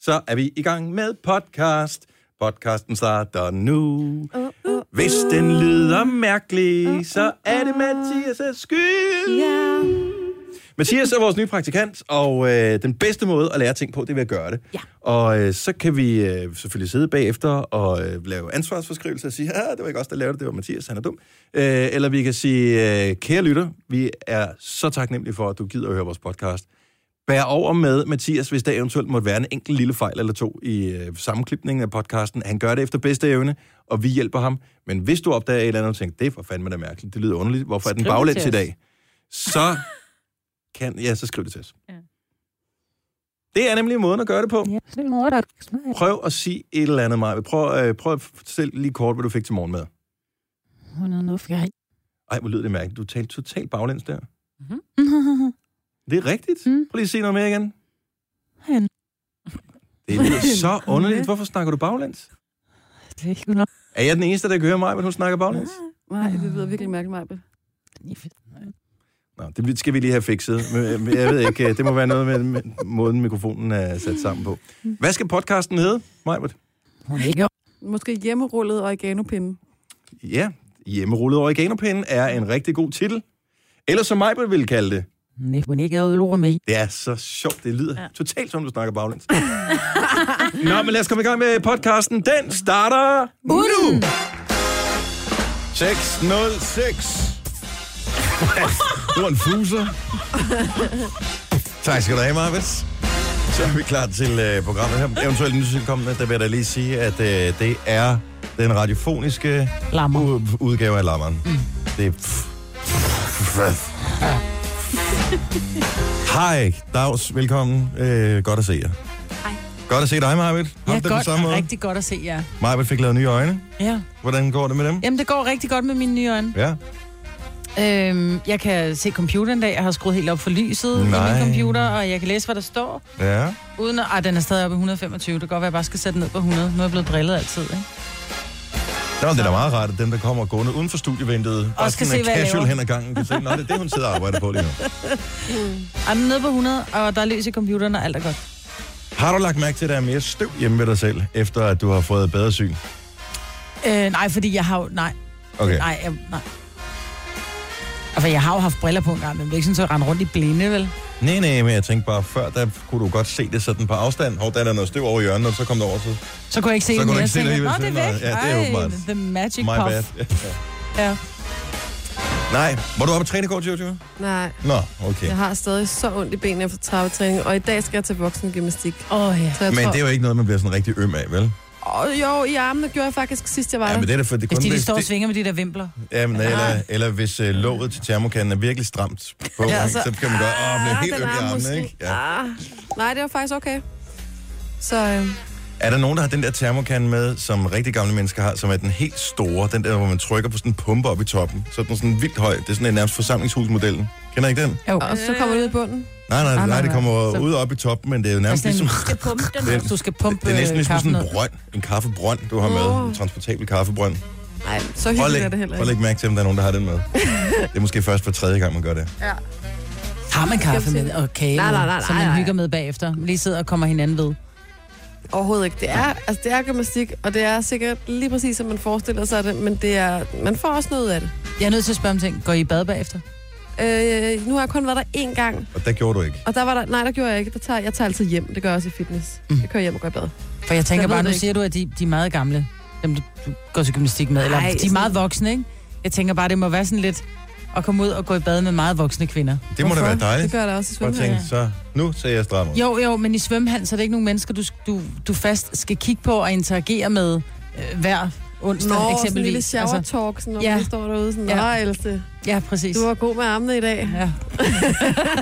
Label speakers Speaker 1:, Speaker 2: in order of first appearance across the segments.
Speaker 1: så er vi i gang med podcast. Podcasten starter nu. Hvis den lyder mærkelig, så er det Mathias' skyld.
Speaker 2: Ja.
Speaker 1: Mathias er vores nye praktikant, og øh, den bedste måde at lære ting på, det er ved at gøre det.
Speaker 2: Ja.
Speaker 1: Og øh, så kan vi øh, selvfølgelig sidde bagefter og øh, lave ansvarsforskrivelser og sige, ah, det var ikke os, der lavede det, det var Mathias, han er dum. Øh, eller vi kan sige, øh, kære lytter, vi er så taknemmelige for, at du gider at høre vores podcast. Bær over med Mathias, hvis der eventuelt måtte være en enkelt lille fejl eller to i øh, sammenklipningen af podcasten. Han gør det efter bedste evne, og vi hjælper ham. Men hvis du opdager et eller andet og tænker, det er for fandme da mærkeligt, det lyder underligt, hvorfor er den
Speaker 2: Skriv det
Speaker 1: baglæns i
Speaker 2: til os.
Speaker 1: dag? Så kan, ja, så skriv det til os. Ja.
Speaker 2: Ja.
Speaker 1: Det er nemlig måden at gøre det på.
Speaker 3: Ja, så det er der
Speaker 1: Prøv at sige et eller andet, Maja. Prøv, øh, prøv at fortælle lige kort, hvad du fik til morgenmad.
Speaker 3: Hun er nu fjern.
Speaker 1: Ej, hvor lyder det mærkeligt. Du talte totalt baglæns der.
Speaker 3: Mhm.
Speaker 1: Det er rigtigt.
Speaker 3: Mm.
Speaker 1: Prøv lige at sige noget mere igen.
Speaker 3: Han.
Speaker 1: Det lyder så underligt. Hvorfor snakker du baglæns?
Speaker 3: Det er ikke nok.
Speaker 1: Er jeg den eneste, der kan høre mig, men hun snakker baglæns?
Speaker 2: Nej, det lyder virkelig mærkeligt, Majbel.
Speaker 1: Nå, det skal vi lige have fikset. Men, øh, Jeg ved ikke, øh, det må være noget med, med måden, mikrofonen er sat sammen på. Hvad skal podcasten hedde, Majbert?
Speaker 3: Hun er ikke
Speaker 2: Måske hjemmerullet oreganopinde.
Speaker 1: Ja, hjemmerullet oreganopinden er en rigtig god titel. Eller som mig ville kalde det.
Speaker 3: Nej, hun er ikke ad lort med.
Speaker 1: Det er så sjovt, det lyder ja. totalt som, du snakker baglæns. Nå, men lad os komme i gang med podcasten. Den starter nu! 606. du er en fuser. tak skal du have, Marvits. Så er vi klar til øh, programmet her. Eventuelt nytilkommende, der vil jeg da lige sige, at øh, det er den radiofoniske
Speaker 3: Lammer.
Speaker 1: u- udgave af lammeren. Mm. Det er... Hej, Dags. Velkommen. Øh, godt at se jer.
Speaker 2: Hej.
Speaker 1: Godt at se dig, Marvitt.
Speaker 3: Ja,
Speaker 1: Har du det på
Speaker 3: godt.
Speaker 1: samme måde?
Speaker 3: Rigtig godt at se jer.
Speaker 1: Marvitt fik lavet nye øjne.
Speaker 3: Ja.
Speaker 1: Hvordan går det med dem?
Speaker 3: Jamen, det går rigtig godt med mine nye øjne.
Speaker 1: Ja.
Speaker 3: Øhm, jeg kan se computeren i dag. Jeg har skruet helt op for lyset
Speaker 1: Nej.
Speaker 3: i min computer, og jeg kan læse, hvad der står.
Speaker 1: Ja.
Speaker 3: Uden at... Ej, den er stadig oppe i 125. Det kan godt være, at jeg bare skal sætte den ned på 100. Nu er jeg blevet drillet altid, ikke?
Speaker 1: Nå, det er da meget rart, at dem, der kommer gående uden for studievinduet, bare
Speaker 3: skal
Speaker 1: sådan
Speaker 3: se, hvad jeg
Speaker 1: casual
Speaker 3: laver.
Speaker 1: hen ad gangen, kan se, nå, det er det, hun sidder og arbejder på lige nu.
Speaker 3: Ej, den er nede på 100, og der er løs i computeren, og alt er godt.
Speaker 1: Har du lagt mærke til, at der er mere støv hjemme ved dig selv, efter at du har fået bedre syn?
Speaker 3: Øh, nej, fordi jeg har jo... Nej,
Speaker 1: Okay.
Speaker 3: nej, jeg, nej. Altså, jeg har jo haft briller på en gang, men det er ikke sådan, at jeg render rundt i blinde, vel?
Speaker 1: Nej, nej, men jeg tænkte bare, før der kunne du godt se det sådan på afstand. Hov, der er der noget støv over i hjørnet, og så kom det over til
Speaker 3: Så kunne jeg ikke se
Speaker 1: Så kunne
Speaker 3: det
Speaker 1: du
Speaker 3: mere.
Speaker 1: ikke se det
Speaker 3: tænker jeg, Nå,
Speaker 1: alligevel.
Speaker 3: det er væk.
Speaker 1: Nej, ja, det er åbenbart.
Speaker 3: Ej, the magic
Speaker 1: my
Speaker 3: puff.
Speaker 1: bad.
Speaker 3: Ja.
Speaker 1: nej, var du oppe at træne i går, Jojo?
Speaker 2: Nej,
Speaker 1: Nå, okay.
Speaker 2: jeg har stadig så ondt i benene efter trappetræning, og i dag skal jeg til voksengymnastik.
Speaker 3: Åh, oh, ja.
Speaker 2: Så jeg
Speaker 1: Men
Speaker 2: tror...
Speaker 1: det er jo ikke noget, man bliver sådan rigtig øm af, vel?
Speaker 2: Åh, jo, i armene gjorde jeg faktisk sidst, jeg var
Speaker 1: Ja, men
Speaker 2: der.
Speaker 1: det er da for, det er
Speaker 3: Hvis
Speaker 1: kun
Speaker 3: de, de
Speaker 1: hvis
Speaker 3: står og
Speaker 1: det-
Speaker 3: svinger med de der vimpler.
Speaker 1: Ja, men eller, eller hvis øh, låget til termokanden er virkelig stramt på,
Speaker 2: Ja,
Speaker 1: ja, så,
Speaker 2: så-
Speaker 1: så kan man godt åh, blive helt
Speaker 2: Ah, den
Speaker 1: øm i
Speaker 2: er
Speaker 1: armen,
Speaker 2: måske-
Speaker 1: ikke? Ja.
Speaker 2: Ah, nej, det var faktisk okay. Så øh,
Speaker 1: Er der nogen, der har den der termokande med, som rigtig gamle mennesker har, som er den helt store, den der, hvor man trykker på sådan en pumpe op i toppen, så er den sådan vildt høj. Det er sådan en nærmest forsamlingshusmodellen. Kender I ikke den?
Speaker 3: Jo.
Speaker 2: og så kommer det ud i bunden.
Speaker 1: Nej, nej, nej,
Speaker 3: nej,
Speaker 1: nej det
Speaker 3: nej.
Speaker 1: kommer
Speaker 3: Så-
Speaker 1: ud op i toppen, men det er jo nærmest
Speaker 3: Altså, den,
Speaker 1: ligesom...
Speaker 3: du skal pumpe den,
Speaker 1: Det-
Speaker 3: og du skal pumpe øh,
Speaker 1: Det er næsten ligesom
Speaker 3: kaffen
Speaker 1: sådan en
Speaker 3: ned.
Speaker 1: brønd, en kaffebrønd, du har med.
Speaker 2: Åh.
Speaker 1: En transportabel kaffebrønd.
Speaker 2: Nej, så
Speaker 1: Prøv at
Speaker 2: hyggeligt er det
Speaker 1: lægge,
Speaker 2: heller
Speaker 1: prøv at
Speaker 2: ikke.
Speaker 1: lægge mærke til, om der er nogen, der har den med. Det er måske først for tredje gang, man gør det.
Speaker 3: Har man kaffe med og kage,
Speaker 2: Nej, nej, nej,
Speaker 3: som man
Speaker 2: nej, nej.
Speaker 3: hygger med bagefter. Lige sidder og kommer hinanden ved.
Speaker 2: Overhovedet ikke. Det er, altså, det er gymnastik, og det er sikkert lige præcis, som man forestiller sig det, men det er, man får også noget ud af det.
Speaker 3: Jeg er nødt til at spørge om ting. Går I i bad bagefter?
Speaker 2: Øh, nu har jeg kun været der én gang,
Speaker 1: Og der gjorde du ikke.
Speaker 2: og der var der, nej, der gjorde jeg ikke. Der tager, jeg tager altid hjem, det gør jeg også i fitness.
Speaker 3: Mm.
Speaker 2: Jeg kører hjem og går i bad.
Speaker 3: For jeg tænker
Speaker 2: Jeg ved
Speaker 3: bare,
Speaker 2: det
Speaker 3: nu
Speaker 2: ikke.
Speaker 3: siger du, at de, de er meget gamle. Dem, du du går til gymnastik med. Eller
Speaker 2: Ej,
Speaker 3: de er meget voksne, ikke? Jeg tænker bare, det må være sådan lidt at komme ud og gå i bad med meget voksne kvinder.
Speaker 1: Det må da
Speaker 2: Hvorfor?
Speaker 1: være
Speaker 2: Det
Speaker 1: dejligt.
Speaker 2: gør jeg da også i
Speaker 1: Prøv at
Speaker 2: svømmehallen.
Speaker 1: tænke, så nu ser jeg stram ud.
Speaker 3: Jo, jo, men i svømmehallen, så er det ikke nogen mennesker, du, du, du fast skal kigge på og interagere med øh, hver onsdag,
Speaker 2: Nå, sådan en lille
Speaker 3: eksempelvis. altså.
Speaker 2: shower talk, sådan, når
Speaker 3: Ja.
Speaker 2: man lige står derude sådan,
Speaker 3: Ja.
Speaker 2: nej, Else,
Speaker 3: ja, præcis.
Speaker 2: du var god med armene i dag.
Speaker 3: Ja.
Speaker 1: Det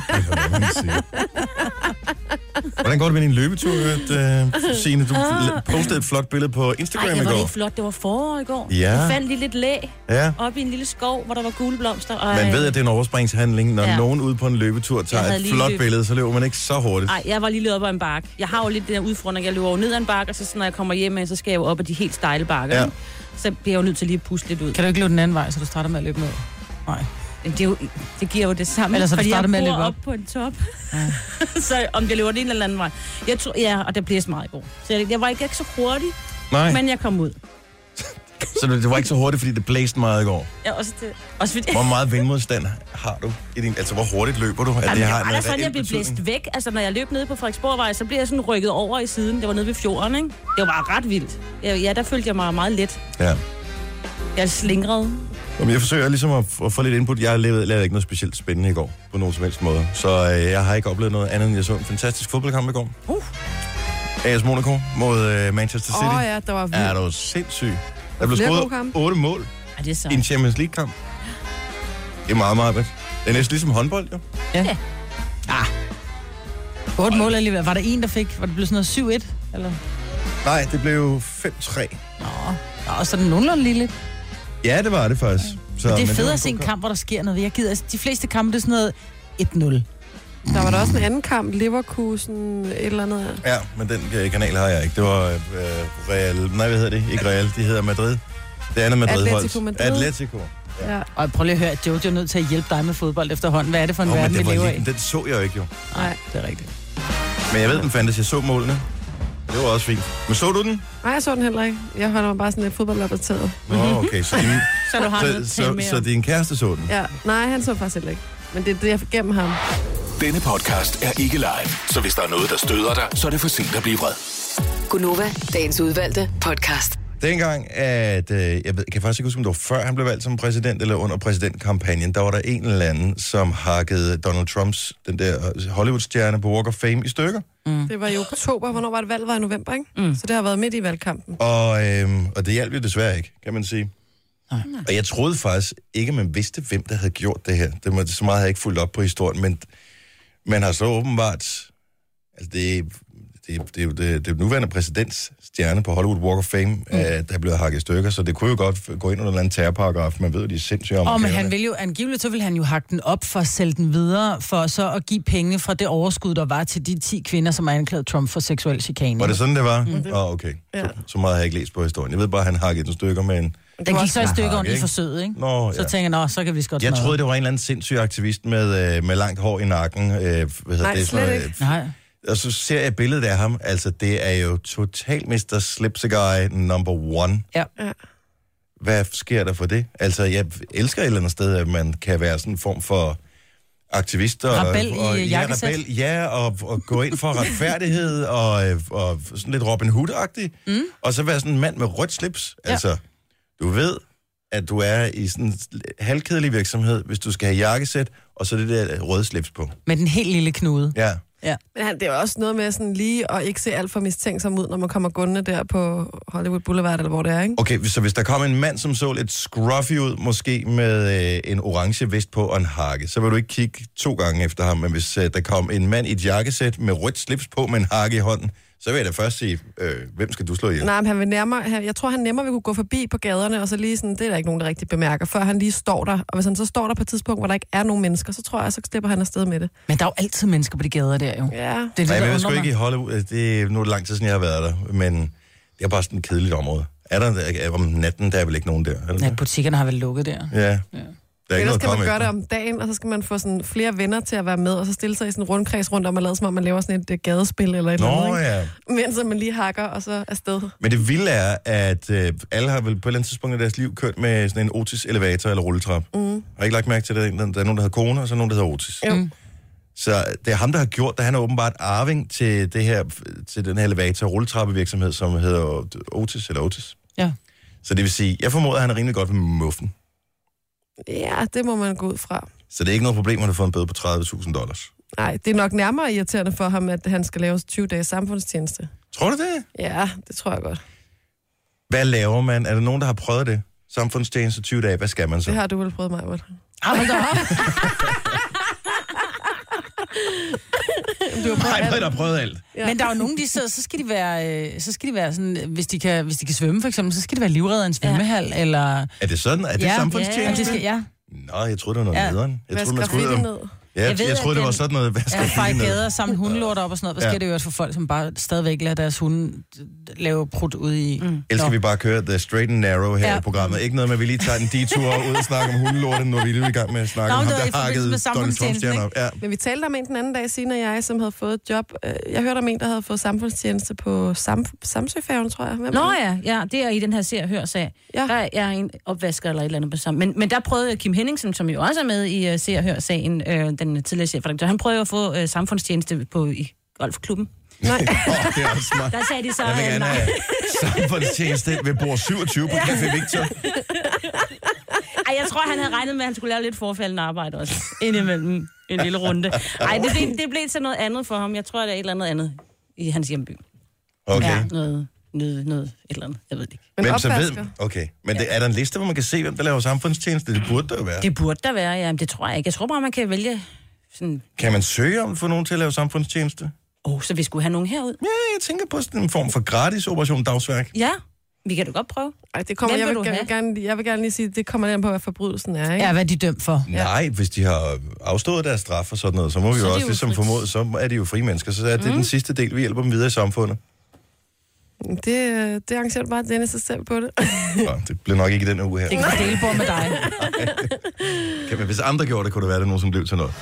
Speaker 1: kan man ikke sige. Hvordan går det med din løbetur, uh, Signe? Du l- postede et flot billede på
Speaker 4: Ej,
Speaker 1: Instagram i
Speaker 4: det var
Speaker 1: går.
Speaker 4: ikke flot. Det var forår i går.
Speaker 1: Ja.
Speaker 4: Jeg fandt lige lidt læ
Speaker 1: Ja.
Speaker 4: oppe i en lille skov, hvor der var gule blomster. Og,
Speaker 1: Man ved, at det er en overspringshandling. Når
Speaker 4: Ja.
Speaker 1: nogen ude på en løbetur tager
Speaker 4: Jeg havde
Speaker 1: et
Speaker 4: lige
Speaker 1: flot
Speaker 4: løbet.
Speaker 1: billede, så løber man ikke så hurtigt.
Speaker 4: Nej, jeg var lige løbet op ad en bakke. Jeg har jo lidt den her udfordring, jeg løber jo ned ad en bakke, og så sådan, når jeg kommer hjem, så skal jeg jo op ad de helt stejle bakker.
Speaker 1: Ja.
Speaker 4: ikke? Så bliver jeg jo nødt til lige at puste lidt ud.
Speaker 3: Kan du ikke løbe den anden vej, så du starter med at løbe ned? Nej.
Speaker 4: Jamen, Det, er jo, det giver jo det samme,
Speaker 3: Ellers har du
Speaker 4: fordi jeg
Speaker 3: startet med at
Speaker 4: bor
Speaker 3: løbe
Speaker 4: op. på en top. Ja. så om jeg løber den ene eller anden vej. Jeg tror, ja, og der bliver så meget i går. Så jeg, jeg var ikke, ikke så hurtig,
Speaker 1: Nej,
Speaker 4: men jeg kom ud.
Speaker 1: så det, det var ikke så hurtigt, fordi det blæste meget i går.
Speaker 4: Jeg, også, det, også fordi,
Speaker 1: Hvor meget vindmodstand har du? I din, altså, hvor hurtigt løber du? At
Speaker 4: Jamen, det
Speaker 1: har
Speaker 4: var
Speaker 1: en
Speaker 4: da sådan,
Speaker 1: reel
Speaker 4: jeg blev
Speaker 1: betydning?
Speaker 4: blæst væk. Altså, når jeg løb nede på Frederiksborgvej, så blev jeg sådan rykket over i siden. Det var nede ved fjorden, ikke? Det var ret vildt. Ja, ja der følte jeg mig meget let.
Speaker 1: Ja.
Speaker 4: Jeg slingrede.
Speaker 1: Jamen, jeg forsøger ligesom at, at få lidt input. Jeg lavede, lavede ikke noget specielt spændende i går, på nogen som helst måde. Så øh, jeg har ikke oplevet noget andet, end jeg så en fantastisk fodboldkamp i går.
Speaker 4: Uh.
Speaker 1: AS Monaco mod øh, Manchester City.
Speaker 2: Åh oh, ja, der var
Speaker 1: Ja, det
Speaker 2: vildt.
Speaker 1: var sindssygt. Der blev
Speaker 2: Flere
Speaker 1: skåret
Speaker 2: gode kampe.
Speaker 1: otte mål
Speaker 4: Ej, det er så.
Speaker 1: i en Champions League-kamp. Det er meget, meget vildt. Det er næsten ligesom håndbold, jo.
Speaker 3: Otte mål alligevel. Var der en, der fik? Var det blevet sådan noget 7-1? Eller?
Speaker 1: Nej, det blev 5-3.
Speaker 3: Nå, og så er den nogenlunde lille.
Speaker 1: Ja, det var det faktisk. Så,
Speaker 3: Men
Speaker 1: men
Speaker 3: det er fedt
Speaker 1: var
Speaker 3: at se en
Speaker 1: god
Speaker 3: kamp, hvor der sker noget. Jeg gider, altså, de fleste kampe, det er sådan noget 1-0.
Speaker 2: Der var der også en anden kamp, Leverkusen, et eller andet.
Speaker 1: Ja, men den øh, kanal har jeg ikke. Det var øh, Real... Nej, hvad hedder det? Ikke Real. De hedder Madrid. Det andet madrid
Speaker 2: Atletico Madrid.
Speaker 1: Atletico.
Speaker 2: Ja.
Speaker 3: Og prøv lige at høre, at Jojo er nødt til at hjælpe dig med fodbold efterhånden. Hvad er det for en
Speaker 1: Nå, men
Speaker 3: verden, vi
Speaker 1: det var
Speaker 3: lever
Speaker 1: lige,
Speaker 3: i?
Speaker 1: den så jeg jo ikke, jo.
Speaker 3: Nej, det er rigtigt.
Speaker 1: Men jeg ved, den fandtes. Jeg så målene. Det var også fint. Men så du den?
Speaker 2: Nej, jeg så den heller ikke. Jeg holder mig bare sådan lidt fodboldopdateret.
Speaker 1: Nå, okay. Så din,
Speaker 4: Mhm. Så du har noget at
Speaker 1: så,
Speaker 4: tale
Speaker 1: så,
Speaker 4: med
Speaker 1: så
Speaker 4: om.
Speaker 1: din kæreste så den?
Speaker 2: Ja, nej, han så faktisk heller ikke. Men det er det, jeg gennem ham.
Speaker 5: Denne podcast er ikke live, så hvis der er noget, der støder dig, så er det for sent at blive vred.
Speaker 6: Gunova, dagens udvalgte podcast.
Speaker 1: Dengang, at øh, jeg ved, kan faktisk ikke huske, om det var før han blev valgt som præsident, eller under præsidentkampagnen, der var der en eller anden, som hakkede Donald Trumps, den der øh, Hollywood-stjerne på Walk of Fame, i stykker.
Speaker 3: Mm.
Speaker 2: Det var i oktober. Hvornår var det valg? Var i november, ikke? Mm. Så det har været midt i valgkampen.
Speaker 1: Og, øhm, og det hjalp jo desværre ikke, kan man sige. Nej. Og jeg troede faktisk ikke, man vidste, hvem der havde gjort det her. Det må, så meget har jeg ikke fulgt op på historien, men man har så åbenbart... Altså det, det, det, er jo det, det nuværende præsidents stjerne på Hollywood Walk of Fame, mm. øh, der er blevet hakket i stykker, så det kunne jo godt gå ind under en eller anden terrorparagraf. Man ved jo, de er sindssyge om
Speaker 3: Og men han vil jo, angiveligt så vil han jo hakke den op for at sælge den videre, for så at give penge fra det overskud, der var til de 10 kvinder, som har anklaget Trump for seksuel chikane.
Speaker 1: Var det sådan, det var? Åh, mm. oh, okay. Ja.
Speaker 2: Ja.
Speaker 1: Så, så meget har jeg ikke læst på historien. Jeg ved bare, at han hakkede den i stykker med en...
Speaker 3: Den gik så et stykke
Speaker 1: hakke,
Speaker 3: ondt i
Speaker 1: ikke?
Speaker 3: forsøget, ikke?
Speaker 1: Nå,
Speaker 3: Så
Speaker 1: ja.
Speaker 3: tænker jeg, nå, så kan vi så godt
Speaker 1: Jeg
Speaker 3: smadre.
Speaker 1: troede, det var en eller anden sindssyg aktivist med, øh, med langt hår i nakken. Øh, hvad hedder
Speaker 2: Nej,
Speaker 1: det? Sådan
Speaker 2: slet
Speaker 1: noget,
Speaker 2: ikke.
Speaker 3: Nej.
Speaker 1: Og så ser jeg billedet af ham. Altså, det er jo total Mr. Slipseguy number one.
Speaker 3: Ja.
Speaker 2: Ja.
Speaker 1: Hvad sker der for det? Altså, jeg elsker et eller andet sted, at man kan være sådan en form for aktivister.
Speaker 3: Rebel i
Speaker 1: og, og, ja,
Speaker 3: jakkesæt.
Speaker 1: rebel, ja, og, og gå ind for retfærdighed, og, øh, og sådan lidt Robin Hood-agtig. Mm. Og så være sådan en mand med rødt slips. Ja.
Speaker 3: Ja.
Speaker 1: Altså, du ved, at du er i sådan en halvkedelig virksomhed, hvis du skal have jakkesæt, og så det der røde slips på.
Speaker 3: Med den helt lille knude.
Speaker 1: Ja.
Speaker 3: Ja.
Speaker 2: Men han, det er jo også noget med sådan lige at ikke se alt for mistænksom ud, når man kommer gående der på Hollywood Boulevard, eller hvor det er, ikke?
Speaker 1: Okay, så hvis der kom en mand, som så lidt scruffy ud, måske med øh, en orange vest på og en hakke, så vil du ikke kigge to gange efter ham. Men hvis øh, der kom en mand i et jakkesæt med rødt slips på med en hakke i hånden, så vil jeg da først sige, øh, hvem skal du slå ihjel?
Speaker 2: Nej, men han vil nærmere, han, jeg tror, han nemmere vil kunne gå forbi på gaderne, og så lige sådan, det er der ikke nogen, der rigtig bemærker, før han lige står der. Og hvis han så står der på et tidspunkt, hvor der ikke er nogen mennesker, så tror jeg, så slipper han afsted med det.
Speaker 3: Men der er jo altid mennesker på de gader der, jo.
Speaker 2: Ja.
Speaker 3: Det er
Speaker 1: Nej,
Speaker 3: det,
Speaker 1: men
Speaker 3: der
Speaker 1: jeg ved
Speaker 3: undrer
Speaker 1: sgu
Speaker 3: mig.
Speaker 1: ikke i Hollywood. øh, Det, nu er det lang tid siden, jeg har været der, men det er bare sådan et kedeligt område. Er der, er- om natten, der er vel ikke nogen der? Er der
Speaker 3: Ja,
Speaker 1: det?
Speaker 3: butikkerne har vel lukket der.
Speaker 1: Ja. ja. Der er ikke
Speaker 2: Ellers
Speaker 1: noget
Speaker 2: kan
Speaker 1: at
Speaker 2: man
Speaker 1: komme
Speaker 2: gøre det
Speaker 1: efter.
Speaker 2: om dagen, og så skal man få sådan flere venner til at være med, og så stille sig i sådan en rundkreds rundt om og lade som om, man laver sådan et øh, gadespil eller et eller andet.
Speaker 1: Nå
Speaker 2: ikke?
Speaker 1: ja.
Speaker 2: Mens at man lige hakker, og så afsted.
Speaker 1: Men det vilde er, at øh, alle har vel på et eller andet tidspunkt i deres liv kørt med sådan en Otis-elevator eller rulletrap. Mm. Har I ikke lagt mærke til det? Der er nogen, der hedder Kone, og så er nogen, der hedder Otis.
Speaker 2: Jo.
Speaker 1: Så det er ham, der har gjort det. Han er åbenbart arving til, det her, til den her elevator- og rulletrappevirksomhed, som hedder Otis eller Otis.
Speaker 3: Ja.
Speaker 1: Så det vil sige, jeg formoder, at han er rimelig godt ved muffen.
Speaker 2: Ja, det må man gå ud fra.
Speaker 1: Så det er ikke noget problem, at han har fået en bøde på 30.000 dollars.
Speaker 2: Nej, det er nok nærmere irriterende for ham, at han skal lave 20 dages samfundstjeneste.
Speaker 1: Tror du det?
Speaker 2: Ja, det tror jeg godt.
Speaker 1: Hvad laver man? Er der nogen, der har prøvet det? Samfundstjeneste 20 dage, hvad skal man så?
Speaker 2: Det har du vel prøvet mig,
Speaker 3: Ah, hold da op.
Speaker 2: Du har prøvet
Speaker 1: Nej,
Speaker 2: alt.
Speaker 1: Britt har prøvet alt.
Speaker 2: Ja.
Speaker 3: Men der er jo nogen, de sidder, så skal de være, øh, så skal de være sådan, øh, hvis de kan, hvis de kan svømme for eksempel, så skal de være livredder i en svømmehal, ja. eller...
Speaker 1: Er det sådan? Er det
Speaker 3: ja,
Speaker 1: samfundstjeneste?
Speaker 3: Ja, de skal, ja.
Speaker 1: Nå, jeg troede, det var noget ja.
Speaker 3: Ja.
Speaker 1: nederen. Jeg
Speaker 2: Vask
Speaker 1: troede, man skulle ud
Speaker 2: graffiti
Speaker 1: og...
Speaker 2: ned.
Speaker 1: Jeg, jeg,
Speaker 3: ved,
Speaker 1: ved, jeg troede,
Speaker 3: at
Speaker 1: det var
Speaker 3: den-
Speaker 1: sådan noget, hvad skal
Speaker 3: Ja,
Speaker 1: ja,
Speaker 3: fej gader samt hundelort op og sådan noget. Hvad
Speaker 1: Ja.
Speaker 3: sker det jo for folk, som bare stadigvæk lader deres hunde lave prut ud i? Mm.
Speaker 1: Elsker vi bare køre The Straight and Narrow her ja.
Speaker 3: Ja.
Speaker 1: i programmet. Ikke noget med, at vi lige tager en detur ud og snakker om hundelorten, når vi lige er i gang med at snakke
Speaker 3: Nå,
Speaker 1: om
Speaker 3: men
Speaker 1: ham,
Speaker 3: det var
Speaker 1: der
Speaker 3: i forbindelse
Speaker 1: hakkede Donald
Speaker 3: med
Speaker 1: Trump
Speaker 3: samfundstjenesten,
Speaker 1: stjerne op. Ja.
Speaker 2: Men vi talte om en den anden dag, Signe og jeg, som havde fået et job. Øh, Jeg hørte om en, der havde fået samfundstjeneste på Sam Samsøfærgen, tror jeg. Hvem
Speaker 4: Nå
Speaker 2: er det?
Speaker 4: ja, ja, det er i den her ser hør sag.
Speaker 2: Ja.
Speaker 4: Ja. Der er en opvasker eller et eller andet på sammen. Men, men der prøvede Kim Henningsen, som jo også er med i uh, ser hør sagen, øh, den tidligere chefredaktør, han prøvede at få uh, samfundstjeneste på i golfklubben.
Speaker 2: Nej.
Speaker 1: Åh, det er også smart.
Speaker 4: Der sagde de så,
Speaker 1: Jeg vil
Speaker 4: øh,
Speaker 1: gerne
Speaker 4: nej.
Speaker 1: have samfundstjeneste ved bord 27 på Café Victor.
Speaker 4: Ej, jeg tror, han havde regnet med, at han skulle lave lidt forfaldende arbejde også. Indimellem en lille runde. Ej, det, blev, det blev så noget andet for ham. Jeg tror, det er et eller andet andet i hans hjemby.
Speaker 1: Okay.
Speaker 4: Ja, noget, noget, noget, et eller andet. Jeg ved det ikke.
Speaker 2: Men
Speaker 1: Men så ved,
Speaker 2: opvasker.
Speaker 1: okay. Men det, er der en liste, hvor man kan se, hvem der laver samfundstjeneste? Det burde der jo være.
Speaker 4: Det burde der være, ja. Men det tror jeg ikke. Jeg tror bare, man kan vælge sådan...
Speaker 1: Kan man søge om at få nogen til at lave samfundstjeneste?
Speaker 4: Åh, oh, så vi skulle have nogen herud.
Speaker 1: Ja, jeg tænker på sådan en form for gratis operation dagsværk.
Speaker 4: Ja, vi kan da godt prøve.
Speaker 2: Ej, det kommer,
Speaker 4: Hvem
Speaker 2: jeg,
Speaker 4: vil
Speaker 2: vil,
Speaker 4: du
Speaker 2: jeg, vil
Speaker 4: have?
Speaker 2: gerne, jeg vil gerne lige sige, det kommer an på, hvad forbrydelsen er. Ikke?
Speaker 3: Ja, hvad er de dømt for?
Speaker 1: Nej, hvis de har afstået deres straf og sådan noget, så må vi
Speaker 4: Så
Speaker 1: jo
Speaker 4: er
Speaker 1: også
Speaker 4: de jo Mhm.
Speaker 1: ligesom
Speaker 4: fri.
Speaker 1: formode, så er de jo frie mennesker. Så er det den sidste del, vi hjælper dem videre i samfundet.
Speaker 2: Det, øh, det arrangerer du bare Dennis sig selv på det.
Speaker 1: Nå, det bliver nok ikke i den her uge her.
Speaker 3: Det kan vi dele på med dig.
Speaker 1: Kan man, hvis andre gjorde det, kunne det være, at der er nogen, som blev til noget.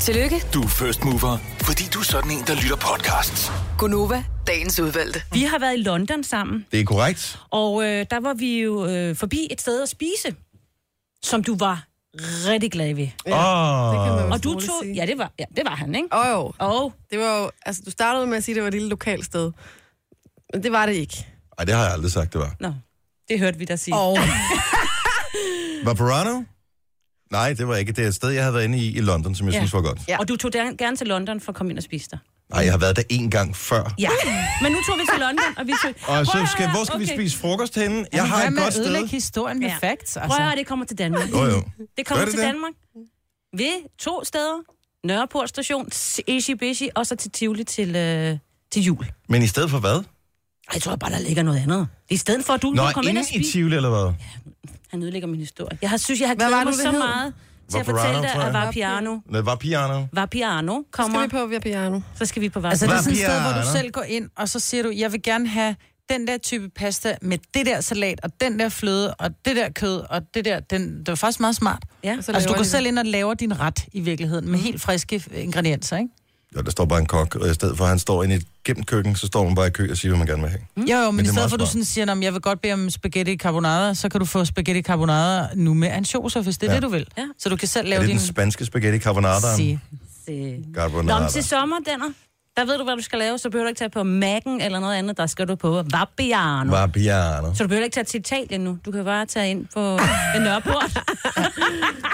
Speaker 6: Tillykke,
Speaker 7: Du er first mover, fordi du er sådan en, der lytter podcasts.
Speaker 6: Gunova, dagens udvalgte.
Speaker 4: Vi har været i London sammen,
Speaker 1: Det er korrekt.
Speaker 4: og øh, der var vi jo øh, forbi et sted at spise, som du var rigtig glad ved.
Speaker 1: Ja, oh,
Speaker 2: det kan man jo
Speaker 4: Og du
Speaker 2: roligt
Speaker 4: tog...
Speaker 2: sige.
Speaker 4: Ja, det var, ja, det var han, ikke?
Speaker 2: Åh jo,
Speaker 4: Og
Speaker 2: det var jo, altså du startede med at sige, at det var et lille lokalt sted. Men det var det ikke.
Speaker 1: Ej, det har jeg aldrig sagt, det var.
Speaker 4: Nå, det hørte vi dig sige.
Speaker 3: Og
Speaker 1: Var Verano? Nej, det var ikke. Det er et sted, jeg havde været inde i i London, som jeg ja.
Speaker 4: Ja.
Speaker 1: synes var godt.
Speaker 2: Ja.
Speaker 4: Ja. Og du tog der, gerne til London for at komme ind og spise dig.
Speaker 1: Nej, jeg har været der én gang før.
Speaker 4: Ja. Men nu tog vi til London, og vi tog...
Speaker 1: Og så
Speaker 4: Prøv at
Speaker 1: skal,
Speaker 4: høre,
Speaker 1: hvor skal okay. vi
Speaker 4: okay.
Speaker 1: spise frokost henne? Jeg har
Speaker 3: hvad
Speaker 1: et
Speaker 3: med
Speaker 1: godt
Speaker 3: at
Speaker 1: sted.
Speaker 3: ødelægge historien med
Speaker 4: Ja.
Speaker 3: facts?
Speaker 4: Prøv at
Speaker 3: Altså.
Speaker 4: høre, det kommer til Danmark.
Speaker 1: Jo, jo.
Speaker 4: Det kommer
Speaker 1: Gør det
Speaker 4: til
Speaker 1: det?
Speaker 4: Danmark. Ved to steder. Nørreport station, s- Ishi Bishi, og så til Tivoli til, øh, til jul. Ej,
Speaker 1: Men i stedet for hvad?
Speaker 4: jeg tror bare, der ligger noget andet. I stedet for, at du
Speaker 1: Nå,
Speaker 4: kan komme ind
Speaker 1: inde
Speaker 4: og
Speaker 1: i
Speaker 4: spise...
Speaker 1: Tivoli, eller hvad?
Speaker 4: Han ødelægger min historie. Jeg har, synes, jeg har
Speaker 2: Hvad var
Speaker 4: glædet mig
Speaker 2: det, det
Speaker 4: så
Speaker 2: hed?
Speaker 4: meget til at
Speaker 1: Vaporano,
Speaker 4: fortælle dig,
Speaker 1: tror jeg.
Speaker 4: at Vapiano,
Speaker 1: Det var piano.
Speaker 4: Vapiano
Speaker 2: Skal vi
Speaker 4: kommer.
Speaker 2: på via piano?
Speaker 4: Så skal vi på
Speaker 3: Altså, det
Speaker 4: Vapiano.
Speaker 3: er sådan et sted, hvor
Speaker 1: Vapiano.
Speaker 3: du selv går ind, og så siger du, jeg vil gerne have den der type pasta med det der salat, og den der fløde, og det der kød, og det der... Den, det var faktisk meget smart.
Speaker 4: Ja.
Speaker 2: Så
Speaker 3: altså,
Speaker 2: laver
Speaker 3: du går
Speaker 2: de
Speaker 3: selv ind og laver din ret i virkeligheden, med helt friske ingredienser, ikke?
Speaker 1: Jo, der står bare en kok, og i stedet for, at han står inde i gennem køkken, så står man bare i kø og siger, hvad man gerne vil have.
Speaker 2: Mm.
Speaker 3: Jo, jo, men,
Speaker 1: det
Speaker 3: men
Speaker 1: er
Speaker 3: i
Speaker 1: meget
Speaker 3: stedet for, at du
Speaker 1: smart.
Speaker 3: sådan siger, at jeg vil godt bede om spaghetti carbonara, så kan du få spaghetti carbonara nu med ansjoser, hvis det er
Speaker 1: Ja.
Speaker 3: ja. det, du vil.
Speaker 4: Ja.
Speaker 3: Så du kan selv
Speaker 1: Er
Speaker 3: lave
Speaker 1: det
Speaker 3: din...
Speaker 1: den spanske spaghetti carbonara?
Speaker 3: sige.
Speaker 4: Se. Nå,
Speaker 1: Carbonara.
Speaker 4: men til sommer, Danner, der ved du, hvad du skal lave, så behøver du ikke tage på Mac'en eller noget andet, der skal du på Vapiano.
Speaker 1: Var piano.
Speaker 4: Så du behøver ikke tage til Italien nu. Du kan bare tage ind på Nørreport.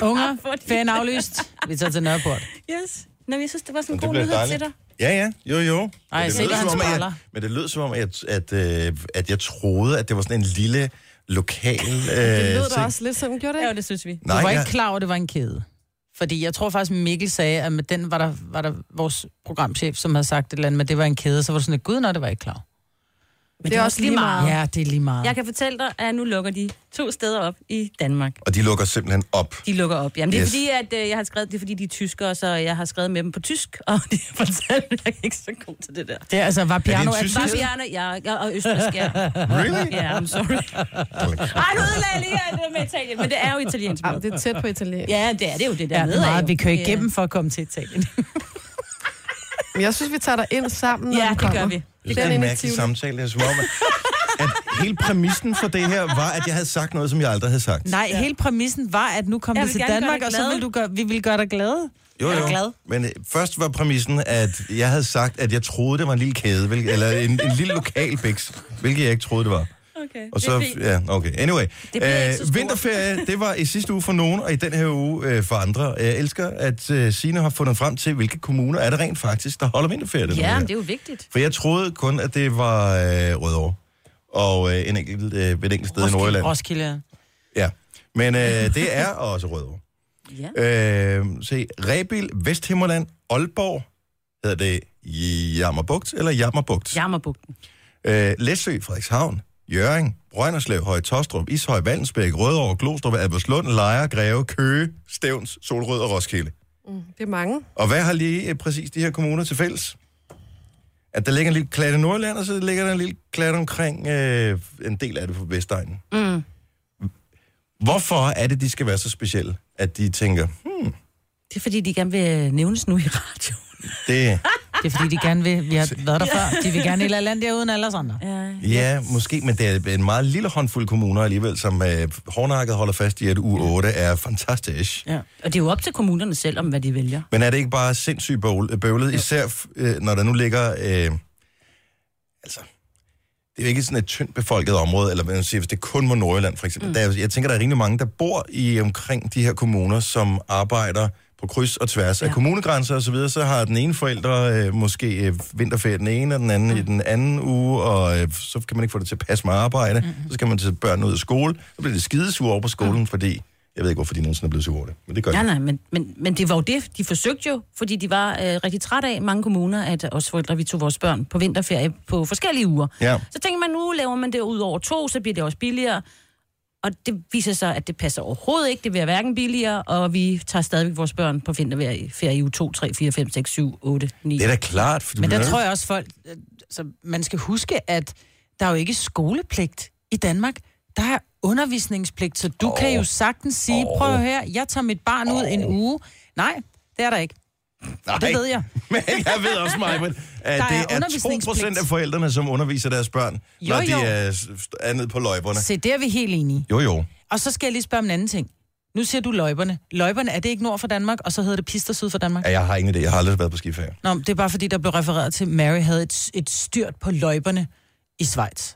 Speaker 3: Unger,
Speaker 4: Fordi-
Speaker 3: ferien aflyst. Vi tager til Nørreport.
Speaker 4: yes. Nå, men jeg synes, det var sådan en
Speaker 1: Men
Speaker 4: god nyhed dejligt. til dig.
Speaker 1: Ja, ja. Jo, jo.
Speaker 3: Ej,
Speaker 1: Men det
Speaker 3: se,
Speaker 1: lød
Speaker 3: hvad
Speaker 1: som
Speaker 3: han
Speaker 1: om, at jeg-
Speaker 3: spejler.
Speaker 1: Men det lød som om, at, at, øh, at jeg troede, at det var sådan en lille lokal... Øh,
Speaker 2: Det lød da
Speaker 1: ting.
Speaker 2: også lidt sådan, gjorde det
Speaker 4: Ja,
Speaker 2: ikke?
Speaker 4: det synes vi.
Speaker 3: Du
Speaker 1: Nej,
Speaker 3: var
Speaker 1: jeg,
Speaker 3: ikke klar over, at det var en kæde. Fordi jeg tror faktisk, Mikkel sagde, at med den var der, var der vores programchef, som havde sagt et eller andet, men det var en kæde, så var du sådan, at gud, nej, det var jeg ikke klar. over."
Speaker 2: Det er også lige meget.
Speaker 3: Ja, det er lige meget.
Speaker 4: Jeg kan fortælle dig, at nu lukker de to steder op i Danmark.
Speaker 1: og de lukker simpelthen op.
Speaker 4: De lukker op. Jamen, det er
Speaker 1: Yes.
Speaker 4: yes. fordi, at øh, jeg har skrevet, det er fordi, de er tyskere, så jeg har skrevet med dem på tysk, og de har fortalt, at jeg er ikke så god til det der.
Speaker 3: Det er altså, var piano...
Speaker 1: en tysk-
Speaker 3: at-
Speaker 4: Vapiano, ja, ja, og østrisk, ja.
Speaker 1: Really?
Speaker 4: Ja, I'm sorry. Ej, nu ødelagde jeg lige alt det der med Italien, men det er jo italiensk
Speaker 2: Ja,
Speaker 4: mad.
Speaker 2: det er tæt på italiensk.
Speaker 4: Ja, det er det er jo det der
Speaker 3: Ja, det er meget. Vi kører
Speaker 4: Ja.
Speaker 3: igennem for at komme til Italien.
Speaker 2: Men jeg synes, vi tager dig ind sammen, når
Speaker 4: Ja,
Speaker 2: du
Speaker 4: det
Speaker 2: kommer.
Speaker 4: gør vi.
Speaker 1: Jeg synes,
Speaker 2: Den
Speaker 1: det er en
Speaker 2: inde i
Speaker 1: mærkelig
Speaker 2: Tivoli.
Speaker 1: samtale. Det er som om, at, at hele præmissen for det her var, at jeg havde sagt noget, som jeg aldrig havde sagt.
Speaker 3: Nej, ja. hele præmissen var, at nu kom
Speaker 4: Jeg
Speaker 3: det til
Speaker 4: vil gerne gøre
Speaker 3: Danmark,
Speaker 4: dig
Speaker 3: og så
Speaker 4: glad.
Speaker 3: vil du gøre, vi vil gøre dig glade.
Speaker 1: Jo,
Speaker 4: Er du
Speaker 1: jo.
Speaker 4: glad?
Speaker 1: Men øh, først var præmissen, at jeg havde sagt, at jeg troede, det var en lille kæde, hvilket, eller en, en lille lokal biks, hvilket jeg ikke troede, det var.
Speaker 4: Okay,
Speaker 1: Og så, ja, okay. Anyway,
Speaker 4: bliver ikke så
Speaker 1: øh,
Speaker 4: stort.
Speaker 1: vinterferie, det var i sidste uge for nogen, og i den her uge øh, for andre. Jeg elsker, at øh, Signe har fundet frem til, hvilke kommuner er det rent faktisk, der holder vinterferie. den
Speaker 4: Ja,
Speaker 1: uge
Speaker 4: men
Speaker 1: her.
Speaker 4: det er jo vigtigt.
Speaker 1: For jeg troede kun, at det var øh, Rødovre og øh, en enkelt, øh, ved et enkelt sted i Nordjylland.
Speaker 3: Roskilde. ja.
Speaker 1: Ja, men øh, det er også Rødovre.
Speaker 4: Ja.
Speaker 1: Øh, se, Rebil, Vesthimmerland, Aalborg, hedder det Jammerbugt eller Jammerbugt?
Speaker 4: Jammerbugten.
Speaker 1: Øh, Læsø, Frederikshavn, Jøring, Brønderslev, Høje Tostrup, Ishøj, Valensbæk, Rødovre, Glostrup, Albertslund, Lejre, Greve, Køge, Stævns, Solrød og Roskilde.
Speaker 2: Det er mange.
Speaker 1: Og hvad har lige øh, præcis de her kommuner til fælles? At der ligger en lille klat i Nordland, og så ligger der en lille klat omkring øh, en del af det på Vestegnen. Mm. Hvorfor er det, de skal være så specielle, at de tænker, hmm,
Speaker 4: Det er fordi, de gerne vil nævnes nu i radioen.
Speaker 1: det,
Speaker 3: Det er fordi, de gerne vil... Vi har været der før. De vil gerne hele land der uden alle os andre.
Speaker 1: ja, måske, men det er en meget lille håndfuld kommuner alligevel, som øh, hårdnakket holder fast i, at U8 er fantastisk.
Speaker 4: Ja. Og det er jo op til kommunerne selv, om hvad de vælger.
Speaker 1: Men er det ikke bare sindssygt bøvl- bøvlet, især f- øh, når der nu ligger... Øh, altså, det er jo ikke sådan et tyndt befolket område, eller hvad man siger, hvis det kun var Nordjylland for eksempel. Mm. Der, er- jeg tænker, der er rimelig mange, der bor i omkring de her kommuner, som arbejder på kryds og tværs ja. af kommunegrænser og så videre, så har den ene forælder øh, måske øh, vinterferie den ene, og den anden mm. i den anden uge, og øh, så kan man ikke få det til at passe med arbejde. Mm. Så skal man til børnene ud af skole. Så bliver de skidesure over på skolen, mm. fordi... Jeg ved ikke, hvorfor de nogensinde er blevet sure over det, men det gør de.
Speaker 4: Nej, nej, men, men, men det var jo det, de forsøgte jo, fordi de var øh, rigtig trætte af mange kommuner, at os forældre, vi tog vores børn på vinterferie på forskellige uger.
Speaker 1: Ja.
Speaker 4: Så tænker man, nu laver man det ud over to, så bliver det også billigere. Og det viser sig, at det passer overhovedet ikke. Det bliver hverken billigere, og vi tager stadigvæk vores børn på vinterferie ferie i uge 2, 3, 4, 5, 6, 7, 8, 9.
Speaker 1: Det er da klart. For du
Speaker 3: Men der
Speaker 1: bliver
Speaker 3: tror jeg også folk... øh, Så man skal huske, at der er jo ikke skolepligt i Danmark. Der er undervisningspligt, så du oh. kan jo sagtens sige, oh. prøv her, jeg tager mit barn ud oh. en uge. Nej, det er der ikke.
Speaker 1: Nej,
Speaker 3: det ved jeg.
Speaker 1: Men jeg ved også, mig, at
Speaker 3: er
Speaker 1: det er 2%
Speaker 3: undervisningspligt.
Speaker 1: af forældrene, som underviser deres børn,
Speaker 3: Jo,
Speaker 1: når de
Speaker 3: jo.
Speaker 1: er, s- st- er nede på løjberne.
Speaker 3: Se, det er vi helt enige. i.
Speaker 1: Jo, jo.
Speaker 3: Og så skal jeg lige spørge om en anden ting. Nu siger du løjberne. Løjberne, er det ikke nord for Danmark, og så hedder det pister syd for Danmark?
Speaker 1: Ja, jeg har ingen idé. Jeg har aldrig været på skiferie.
Speaker 3: Nå, men det er bare fordi, der blev refereret til, at Mary havde et, et styrt på løjberne i Schweiz.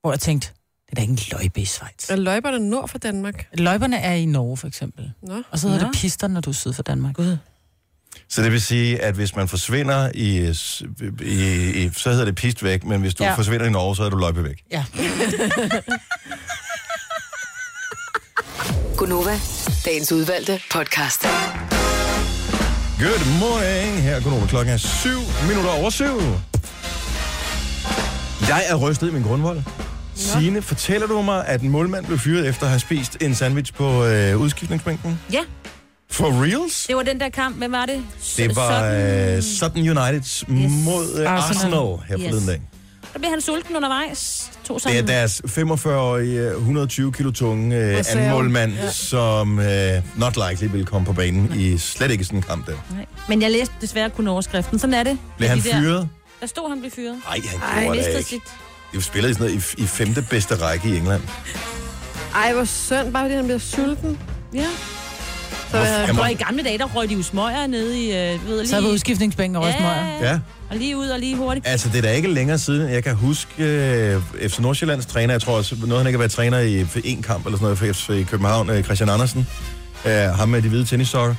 Speaker 3: Hvor jeg tænkte, det er da ikke en løjbe i Schweiz.
Speaker 2: Er løjberne nord for Danmark?
Speaker 3: Løjberne er i Norge, for eksempel.
Speaker 2: Nå.
Speaker 3: Og så hedder
Speaker 4: Nå.
Speaker 3: det pister, når du er syd for Danmark. Gud.
Speaker 1: Så det vil sige, at hvis man forsvinder i... øh, s- i, i så hedder det pist væk, men hvis du ja.
Speaker 3: Ja.
Speaker 1: forsvinder i Norge, så er du løjpe væk.
Speaker 3: Ja.
Speaker 6: Gunova, dagens udvalgte podcast.
Speaker 1: Good morning. Her er Konoba. Klokken er 7 minutter over 7. Jeg er rystet i min grundvold. Signe, fortæller du mig, at en målmand blev fyret efter at have spist en sandwich på øh, udskiftningsbænken?
Speaker 4: Ja,
Speaker 1: For reals?
Speaker 4: det var den der kamp. Hvad var det?
Speaker 1: Det var
Speaker 4: Sådan- Ah,
Speaker 1: øh, Sutton United mod øh,
Speaker 3: Arsenal.
Speaker 1: Arsenal her forleden
Speaker 4: Yes.
Speaker 1: dag.
Speaker 4: Der blev han sulten undervejs. Tog
Speaker 1: Det
Speaker 4: sådan
Speaker 1: er deres 45-årige, øh, 120 kilo tunge øh,
Speaker 2: Reserve.
Speaker 1: anden målmand, ja. som øh, not likely vil komme på banen i slet ikke sådan en kamp der.
Speaker 4: Nej. Men jeg læste desværre kun overskriften. Sådan er det.
Speaker 1: Blev han
Speaker 4: de der-
Speaker 1: fyret?
Speaker 4: Der stod, han blev fyret.
Speaker 1: Nej, han
Speaker 2: Ej,
Speaker 1: gjorde det
Speaker 4: Mistede
Speaker 1: ikke.
Speaker 4: sit...
Speaker 1: De spillede i sådan noget i, i femte bedste række i England.
Speaker 2: Ej, hvor synd, bare fordi han bliver sulten.
Speaker 4: Ja.
Speaker 2: Så er
Speaker 1: Jamen,
Speaker 4: Og i gamle dage, der røg de jo smøger nede i... Øh, du ved, lige...
Speaker 3: Så er vi udskiftningsbænken over ja.
Speaker 4: ja,
Speaker 1: ja.
Speaker 4: og lige ud og lige hurtigt.
Speaker 1: Altså, det er da ikke længere siden. Jeg kan huske øh, FC Nordsjællands træner, jeg tror også, noget han ikke har været træner i en kamp eller sådan noget for FC København, øh, Christian Andersen, øh, ham med de hvide tennissokker,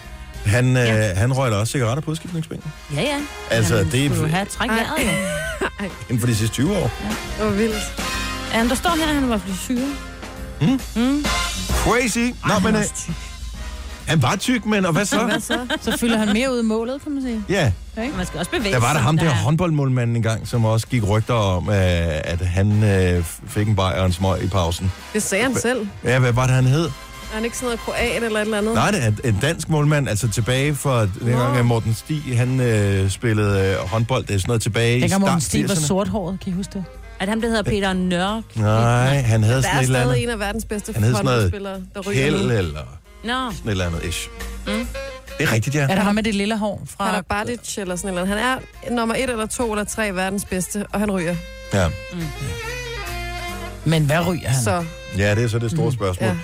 Speaker 1: han, øh, ja.
Speaker 4: Ja.
Speaker 1: han røg da også cigaretter på udskiftningsbænken.
Speaker 4: Ja, ja.
Speaker 1: Altså,
Speaker 4: Jamen,
Speaker 1: det er-
Speaker 4: skulle jo have træk vejret, jo.
Speaker 1: Inden for de sidste 20 år.
Speaker 2: det var vildt.
Speaker 4: Ja, men der står her, at han var blevet fyret.
Speaker 1: Crazy! Nå, men øh, han var tyk, men og hvad
Speaker 2: Hvad
Speaker 1: så?
Speaker 2: så?
Speaker 3: Så fylder han mere ud i målet, kan man sige.
Speaker 1: Ja,
Speaker 4: Man skal også bevæge
Speaker 1: der var der
Speaker 4: sig,
Speaker 1: ham der
Speaker 4: er-
Speaker 1: håndboldmålmanden engang, som også gik rygter om, øh, at han øh, fik en bajer og en smøg i pausen.
Speaker 2: Det sagde han selv.
Speaker 1: Ja, hvad var det, han hed?
Speaker 2: Er han ikke sådan noget kroat eller et eller andet?
Speaker 1: Nej, det er en dansk målmand, altså tilbage fra dengang, at Morten Stig, han øh, spillede øh, håndbold, det er sådan noget tilbage i
Speaker 3: Dengang
Speaker 1: start
Speaker 3: Morten Stig var
Speaker 1: 80'erne.
Speaker 3: sorthåret, kan I huske det?
Speaker 4: At ham, der hedder Peter Nørk.
Speaker 1: Nej, han havde
Speaker 2: Der
Speaker 1: sådan
Speaker 2: er
Speaker 1: et eller
Speaker 2: stadig
Speaker 1: andet.
Speaker 2: en af verdens bedste
Speaker 1: Han hed sådan noget
Speaker 2: håndboldspillere, der ryger
Speaker 1: Kjeld øh,
Speaker 2: nu. Mm.
Speaker 1: eller
Speaker 4: Nå,
Speaker 1: sådan et eller andet ish. Det er rigtigt, ja.
Speaker 3: Er der ham med det lille hår fra...
Speaker 2: Han er Bartic eller sådan et eller andet. Han er nummer et eller to eller tre i verdens bedste, og han ryger.
Speaker 1: ja.
Speaker 3: Men hvad ryger han?
Speaker 2: Så
Speaker 1: Ja, det er så det store spørgsmål.
Speaker 2: Mm-hmm.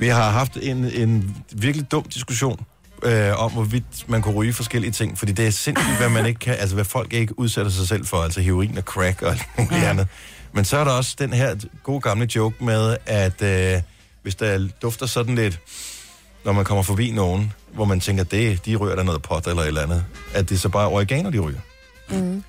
Speaker 2: ja.
Speaker 1: Vi har haft en, en virkelig dum diskussion øh, om, hvorvidt man kunne ryge forskellige ting, fordi det er sindssygt, hvad man ikke kan, altså hvad folk ikke udsætter sig selv for, altså heroin og crack og alt muligt andet. Men så er der også den her gode gamle joke med, at øh, hvis der dufter sådan lidt, når man kommer forbi nogen, hvor man tænker, det, de rører der noget pot eller et eller andet, at det så bare er oregano, de ryger. Mm.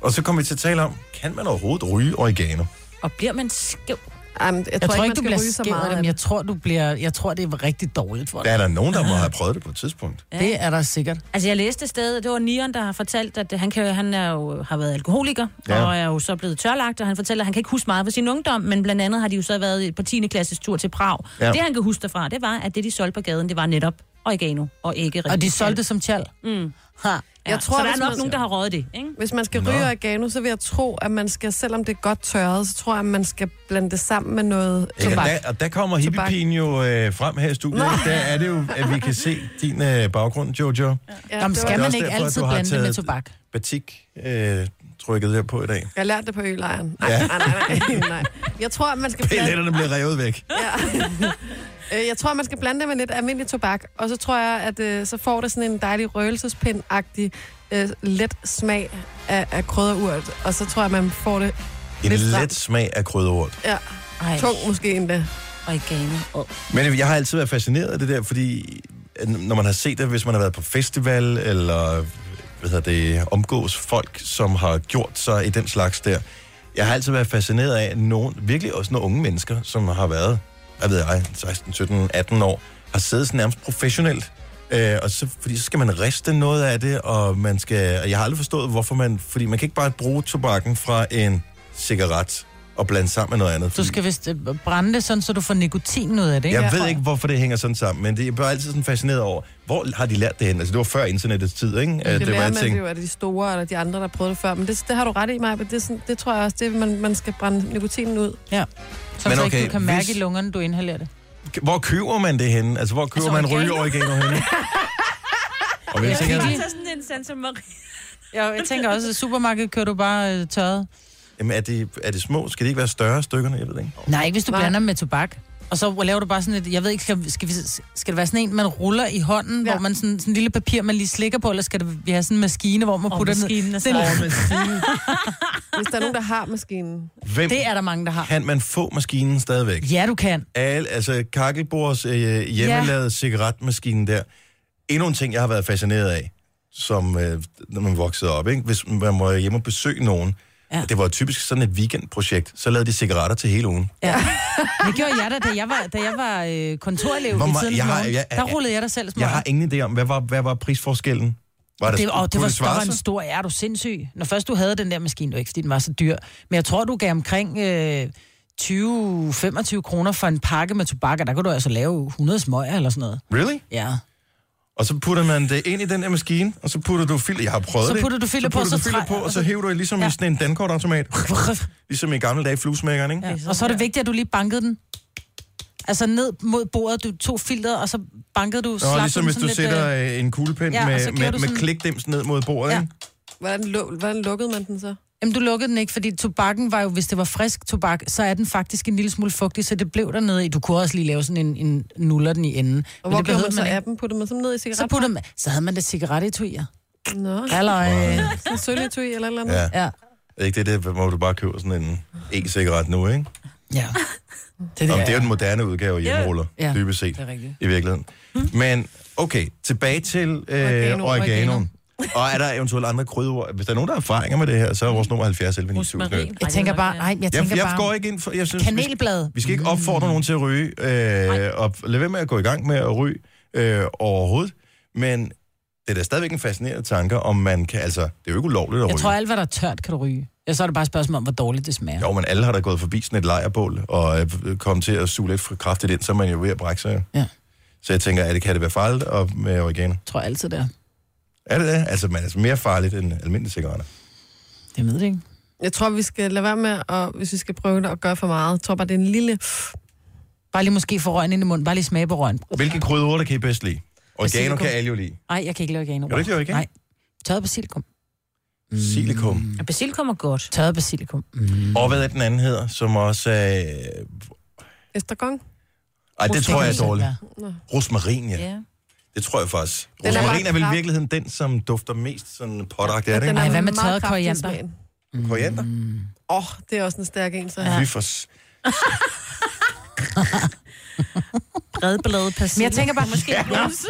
Speaker 1: Og så kommer vi til at tale om, kan man overhovedet ryge oregano?
Speaker 4: og bliver man skæv?
Speaker 2: Jamen, jeg,
Speaker 3: Jeg
Speaker 2: tror ikke,
Speaker 3: du
Speaker 2: man
Speaker 3: bliver
Speaker 2: skal ryge så
Speaker 3: skæv
Speaker 2: meget.
Speaker 3: af
Speaker 2: af
Speaker 3: dem.
Speaker 2: det.
Speaker 3: Jeg tror, du bliver... Jeg tror, det er rigtig dårligt for
Speaker 1: Der
Speaker 3: dig.
Speaker 1: er der nogen, der må have prøvet det på et tidspunkt.
Speaker 3: Det er der sikkert.
Speaker 4: Altså, jeg læste et sted, det var Nieren, der har fortalt, at han, kan, han er jo, har været alkoholiker,
Speaker 1: Ja.
Speaker 4: ja. og er jo så blevet tørlagt, og han fortæller, at han kan ikke huske meget fra sin ungdom, men blandt andet har de jo så været på 10. klasses tur til Prag.
Speaker 1: Ja.
Speaker 4: Ja. Det, han kan huske derfra, det var, at det, de solgte på gaden, det var netop oregano og ikke rigtig
Speaker 3: Og de
Speaker 4: tjal.
Speaker 3: solgte det som tjal.
Speaker 4: Mm.
Speaker 3: Ha.
Speaker 4: Ja,
Speaker 2: Jeg
Speaker 4: jeg
Speaker 2: tror,
Speaker 4: tror, så der
Speaker 2: hvis
Speaker 4: er nok
Speaker 2: man-
Speaker 4: nogen, der har røget det, ikke?
Speaker 2: Hvis man skal ryge oregano, så vil jeg tro, at man skal, selvom det er godt tørret, så tror jeg, at man skal blande det sammen med noget
Speaker 1: Ja,
Speaker 2: tobak.
Speaker 1: der, og der kommer hippiepigen jo øh, frem her i studiet. Der er det jo, at vi kan se din øh, baggrund, Jojo.
Speaker 2: Ja,
Speaker 3: Jamen,
Speaker 2: det
Speaker 1: Det
Speaker 3: skal
Speaker 2: var-
Speaker 1: er
Speaker 3: man
Speaker 1: også
Speaker 3: ikke
Speaker 1: derfor, at
Speaker 3: altid
Speaker 1: du har
Speaker 3: blande det med
Speaker 1: taget-
Speaker 3: tobak?
Speaker 1: Batik øh, trykket her på i dag.
Speaker 2: Jeg lærte det på ølejren. Nej, ja. nej, nej, nej, nej. Jeg tror, at man skal blande...
Speaker 1: Billetterne bliver revet væk.
Speaker 2: Ja. Øh, jeg tror, man skal blande det med lidt almindelig tobak, og så tror jeg, at øh, så får det sådan en dejlig røgelsespind-agtig øh, let smag af, af krydderurt, og så tror jeg, man får det
Speaker 1: En
Speaker 2: lidt stramt.
Speaker 1: let smag af krydderurt.
Speaker 2: Ja,
Speaker 4: Ej,
Speaker 2: tung måske endda.
Speaker 4: oregano. Åh.
Speaker 1: Men jeg har altid været fascineret af det der, fordi at når man har set det, hvis man har været på festival, eller hvad hedder det, omgås folk, som har gjort sig i den slags der. Jeg har altid været fascineret af nogen, virkelig også nogle unge mennesker, som har været, jeg ved jeg, 16, 17, 18 år, har siddet sådan nærmest professionelt. Øh, og så, fordi så skal man riste noget af det, og man skal, og jeg har aldrig forstået, hvorfor man, fordi man kan ikke bare bruge tobakken fra en cigaret og blande sammen med noget andet.
Speaker 3: Du skal vist øh, brænde det sådan, så du får nikotin ud af det.
Speaker 1: Jeg ved ikke, hvorfor det hænger sådan sammen, men det er bare altid sådan fascineret over, hvor har de lært det hen? Altså, det var før internettets tid, ikke?
Speaker 2: Ja,
Speaker 1: Øh,
Speaker 2: det,
Speaker 1: var,
Speaker 2: lærer
Speaker 1: jeg
Speaker 2: man det jo, at de store eller de andre, der prøvede det før. Men det, det har du ret i, Maja, men det, er sådan, det tror jeg også, det er, man, man skal brænde nikotinen ud.
Speaker 3: Ja. Så,
Speaker 1: Men
Speaker 3: så
Speaker 1: okay,
Speaker 3: ikke du kan mærke
Speaker 1: hvis-
Speaker 3: i lungerne, du inhalerer det.
Speaker 1: hvor køber man det henne? Altså, hvor køber
Speaker 4: Altså,
Speaker 1: man
Speaker 4: oregano?
Speaker 1: rygeoregano henne? Og hvis ikke,
Speaker 4: Kan
Speaker 1: at-
Speaker 4: I tage sådan en Santa Maria?
Speaker 3: Jeg, jeg tænker også, at supermarkedet kører du bare øh, tørret.
Speaker 1: jamen, er, det, er det små? Skal det ikke være større stykkerne? Jeg ved det ikke.
Speaker 3: Nej, ikke hvis du
Speaker 2: Nej.
Speaker 3: Nej. blander dem med tobak. Og så laver du bare sådan et, jeg ved ikke, skal, skal, vi, skal det være sådan en, man ruller i hånden,
Speaker 2: Ja.
Speaker 3: ja. hvor man sådan, sådan en lille papir, man lige slikker på, eller skal det, vi have sådan en maskine, hvor man
Speaker 4: Åh,
Speaker 3: putter den ned?
Speaker 4: maskinen er
Speaker 3: Det, er-
Speaker 2: Hvis der er nogen, der har maskinen.
Speaker 1: Hvem
Speaker 3: det er der mange, der har.
Speaker 1: kan man få maskinen stadigvæk?
Speaker 3: Ja, du kan.
Speaker 1: Al, altså, kakkelbords øh, hjemmelavede cigaretmaskinen der. Endnu en ting, jeg har været fascineret af, som øh, når man voksede op, ikke? hvis man må hjemme og besøge nogen,
Speaker 3: Ja.
Speaker 1: ja. det var typisk sådan et weekendprojekt, så lavede de cigaretter til hele ugen.
Speaker 3: Ja. Det gjorde jeg da, da jeg var, da jeg var øh, kontorelev
Speaker 1: Hvor
Speaker 3: i
Speaker 1: meget-
Speaker 3: tiden
Speaker 1: jeg
Speaker 3: jeg
Speaker 1: har-
Speaker 3: morgen,
Speaker 1: jeg-
Speaker 3: der rullede jeg dig selv små.
Speaker 1: Jeg har ingen idé om, hvad var, hvad var prisforskellen? Var
Speaker 3: det, og det
Speaker 1: kunne
Speaker 3: var, det
Speaker 1: svare
Speaker 3: var en
Speaker 1: sig?
Speaker 3: stor, ja, er du sindssyg? Når først du havde den der maskine, det var ikke, fordi den var så dyr, men jeg tror, du gav omkring øh, 20-25 kroner for en pakke med tobak, og der kunne du altså lave 100 smøger eller sådan noget.
Speaker 1: Really?
Speaker 3: Ja.
Speaker 1: Og så putter man det ind i den der maskine, og så putter du filter. Jeg har prøvet
Speaker 3: Så
Speaker 1: det.
Speaker 3: putter du filter
Speaker 1: så
Speaker 3: på,
Speaker 1: putter du
Speaker 3: så
Speaker 1: filter
Speaker 3: træ-
Speaker 1: på, og
Speaker 3: og
Speaker 1: så
Speaker 3: så-
Speaker 1: hæver du i ligesom ja.
Speaker 3: Ja.
Speaker 1: i sådan en dankortautomat. ligesom i gamle dage i fluesmækkeren, ikke?
Speaker 3: ja. Og så er det vigtigt, at du lige bankede den. Altså ned mod bordet, du tog filteret, og så bankede du,
Speaker 1: Nå,
Speaker 3: slap
Speaker 1: ligesom
Speaker 3: den
Speaker 1: hvis
Speaker 3: sådan
Speaker 1: du
Speaker 3: lidt, øh,
Speaker 1: sætter øh, en kuglepind
Speaker 3: ja,
Speaker 1: ja,
Speaker 3: og
Speaker 1: med,
Speaker 3: så
Speaker 1: med,
Speaker 3: giver du
Speaker 1: med
Speaker 3: sådan-
Speaker 1: klikdims ned mod bordet, ja.
Speaker 3: Ja.
Speaker 1: ikke?
Speaker 2: Hvordan, lu- hvordan lukkede man den så?
Speaker 3: Jamen, du lukkede den ikke, fordi tobakken var jo, hvis det var frisk tobak, så er den faktisk en lille smule fugtig, så det blev dernede i. Du kunne også lige lave sådan en, en nuller den i enden.
Speaker 2: Og hvor
Speaker 3: det
Speaker 2: gjorde
Speaker 3: behøvede
Speaker 2: man så
Speaker 3: man ikke.
Speaker 2: af dem? Puttede man sådan ned i
Speaker 3: Så,
Speaker 2: cigaret?
Speaker 3: puttede man, så havde man da cigarettetuier.
Speaker 2: Nå,
Speaker 3: Halløj.
Speaker 2: sådan sølgetøj eller et eller andet.
Speaker 1: Ja.
Speaker 2: Ja.
Speaker 3: Ja.
Speaker 1: Er Ikke det, det hvor du bare køber sådan en e-cigaret nu, ikke?
Speaker 3: Ja.
Speaker 1: Om
Speaker 3: Det,
Speaker 1: det
Speaker 3: er
Speaker 1: er jo
Speaker 3: det,
Speaker 1: den moderne udgave af hjemmeruller, ja.
Speaker 3: Ja.
Speaker 1: dybest set,
Speaker 3: Det er rigtigt.
Speaker 1: i virkeligheden. Men okay, tilbage til øh,
Speaker 2: Oregano,
Speaker 1: oreganoen. Og er der eventuelt andre krydderord? Hvis der er nogen, der har erfaringer med det her, så er vores nummer 70 11 9000.
Speaker 4: Rosmarin.
Speaker 1: Jeg,
Speaker 3: jeg tænker bare, nej, jeg tænker
Speaker 1: jeg, jeg
Speaker 3: bare,
Speaker 1: går ikke ind for... Jeg synes, vi,
Speaker 3: kanelblad.
Speaker 1: vi skal ikke opfordre nogen til at ryge, øh, og lad være med at gå i gang med at ryge øh, overhovedet. Men det er da stadigvæk en fascinerende tanke, om man kan... Altså, det er jo ikke ulovligt at ryge.
Speaker 3: Jeg tror, alt hvad der er tørt, kan du ryge. Ja, så er det bare et spørgsmål om, hvor dårligt det smager.
Speaker 1: Jo, men alle har da gået forbi sådan et lejrbål, og øh, kommet til at suge lidt for kraftigt ind, så er man jo ved at brække sig.
Speaker 3: Ja.
Speaker 1: Så jeg tænker, er det, kan det være farligt og med oregano?
Speaker 3: Jeg tror altid, det er.
Speaker 1: Er det det? Altså, man er altså mere farligt end almindelige cigaretter.
Speaker 3: Det ved det ikke.
Speaker 2: Jeg tror, vi skal lade være med, og hvis vi skal prøve det at gøre for meget. Jeg tror bare, det er en lille...
Speaker 3: Bare lige måske få røgen ind i munden. Bare lige smage på røgen.
Speaker 1: Hvilke krydderurter kan I bedst lide? Oregano
Speaker 3: Basilikum. Mm.
Speaker 1: kan alle jo lide.
Speaker 3: Nej, jeg kan ikke lave oregano.
Speaker 1: Kan du ikke lide oregano?
Speaker 3: Nej. Tørret basilikum.
Speaker 1: Silikum.
Speaker 4: Ja, basilikum er godt.
Speaker 3: Tørret basilikum. Mm.
Speaker 1: Og hvad er den anden hedder, som også er... Øh...
Speaker 2: Estragon?
Speaker 1: Ej, det tror jeg er dårligt.
Speaker 3: Ja.
Speaker 1: Rosmarin, ja.
Speaker 4: Ja.
Speaker 1: Det tror jeg faktisk.
Speaker 2: er bare
Speaker 1: Rosmarin er vel i
Speaker 2: kraftig.
Speaker 1: virkeligheden den, som dufter mest sådan pådragt, er det
Speaker 2: Den
Speaker 1: ikke?
Speaker 3: Ej, hvad med tørret
Speaker 2: meget kraftig i
Speaker 3: koriander?
Speaker 2: smagen.
Speaker 1: Koriander?
Speaker 3: Mm.
Speaker 2: Åh, oh, det er også en stærk en, så. Ja.
Speaker 1: Fy for... s-
Speaker 4: Redbladet persille.
Speaker 3: Men jeg tænker bare-
Speaker 4: måske bruges.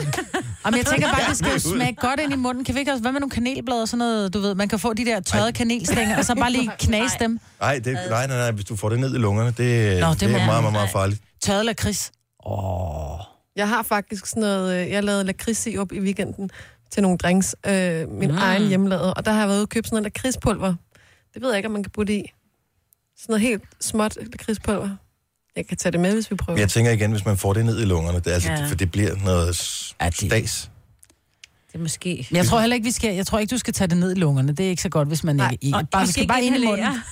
Speaker 3: Jamen, jeg tænker bare, det skal jo smage godt ind i munden. Kan vi ikke også, hvad med nogle kanelblade og sådan noget, du ved? Man kan få de der tørrede kanelstænger, og så bare lige knase dem.
Speaker 1: Ej, det, nej, nej, nej, hvis du får det ned i lungerne, det,
Speaker 3: Nå,
Speaker 1: Nå,
Speaker 3: det
Speaker 1: det, det er
Speaker 3: må
Speaker 1: meget,
Speaker 3: man-
Speaker 1: meget, meget farligt.
Speaker 3: Tørret lakrids.
Speaker 2: Jeg har faktisk sådan noget... øh, Jeg lavede lakridssirup i weekenden til nogle drinks. Øh, min mm. egen hjemmelavede. Og der har jeg været ude og købe sådan noget lakridspulver. Det ved jeg ikke, om man kan putte i. Sådan noget helt småt lakridspulver. Jeg kan tage det med, hvis vi prøver.
Speaker 1: Men jeg tænker igen, hvis man får det ned i lungerne, det, er altså, ja.
Speaker 4: Ja.
Speaker 1: for det bliver noget s-
Speaker 3: Ja, det-
Speaker 1: stas.
Speaker 4: Det er måske...
Speaker 3: Men jeg tror heller ikke, vi skal, jeg tror ikke, du skal tage det ned i lungerne. Det er ikke så godt, hvis man
Speaker 2: Nej,
Speaker 3: ikke...
Speaker 4: Og
Speaker 3: Ikke, bare, vi skal bare ind i
Speaker 4: inhalere.
Speaker 3: munden.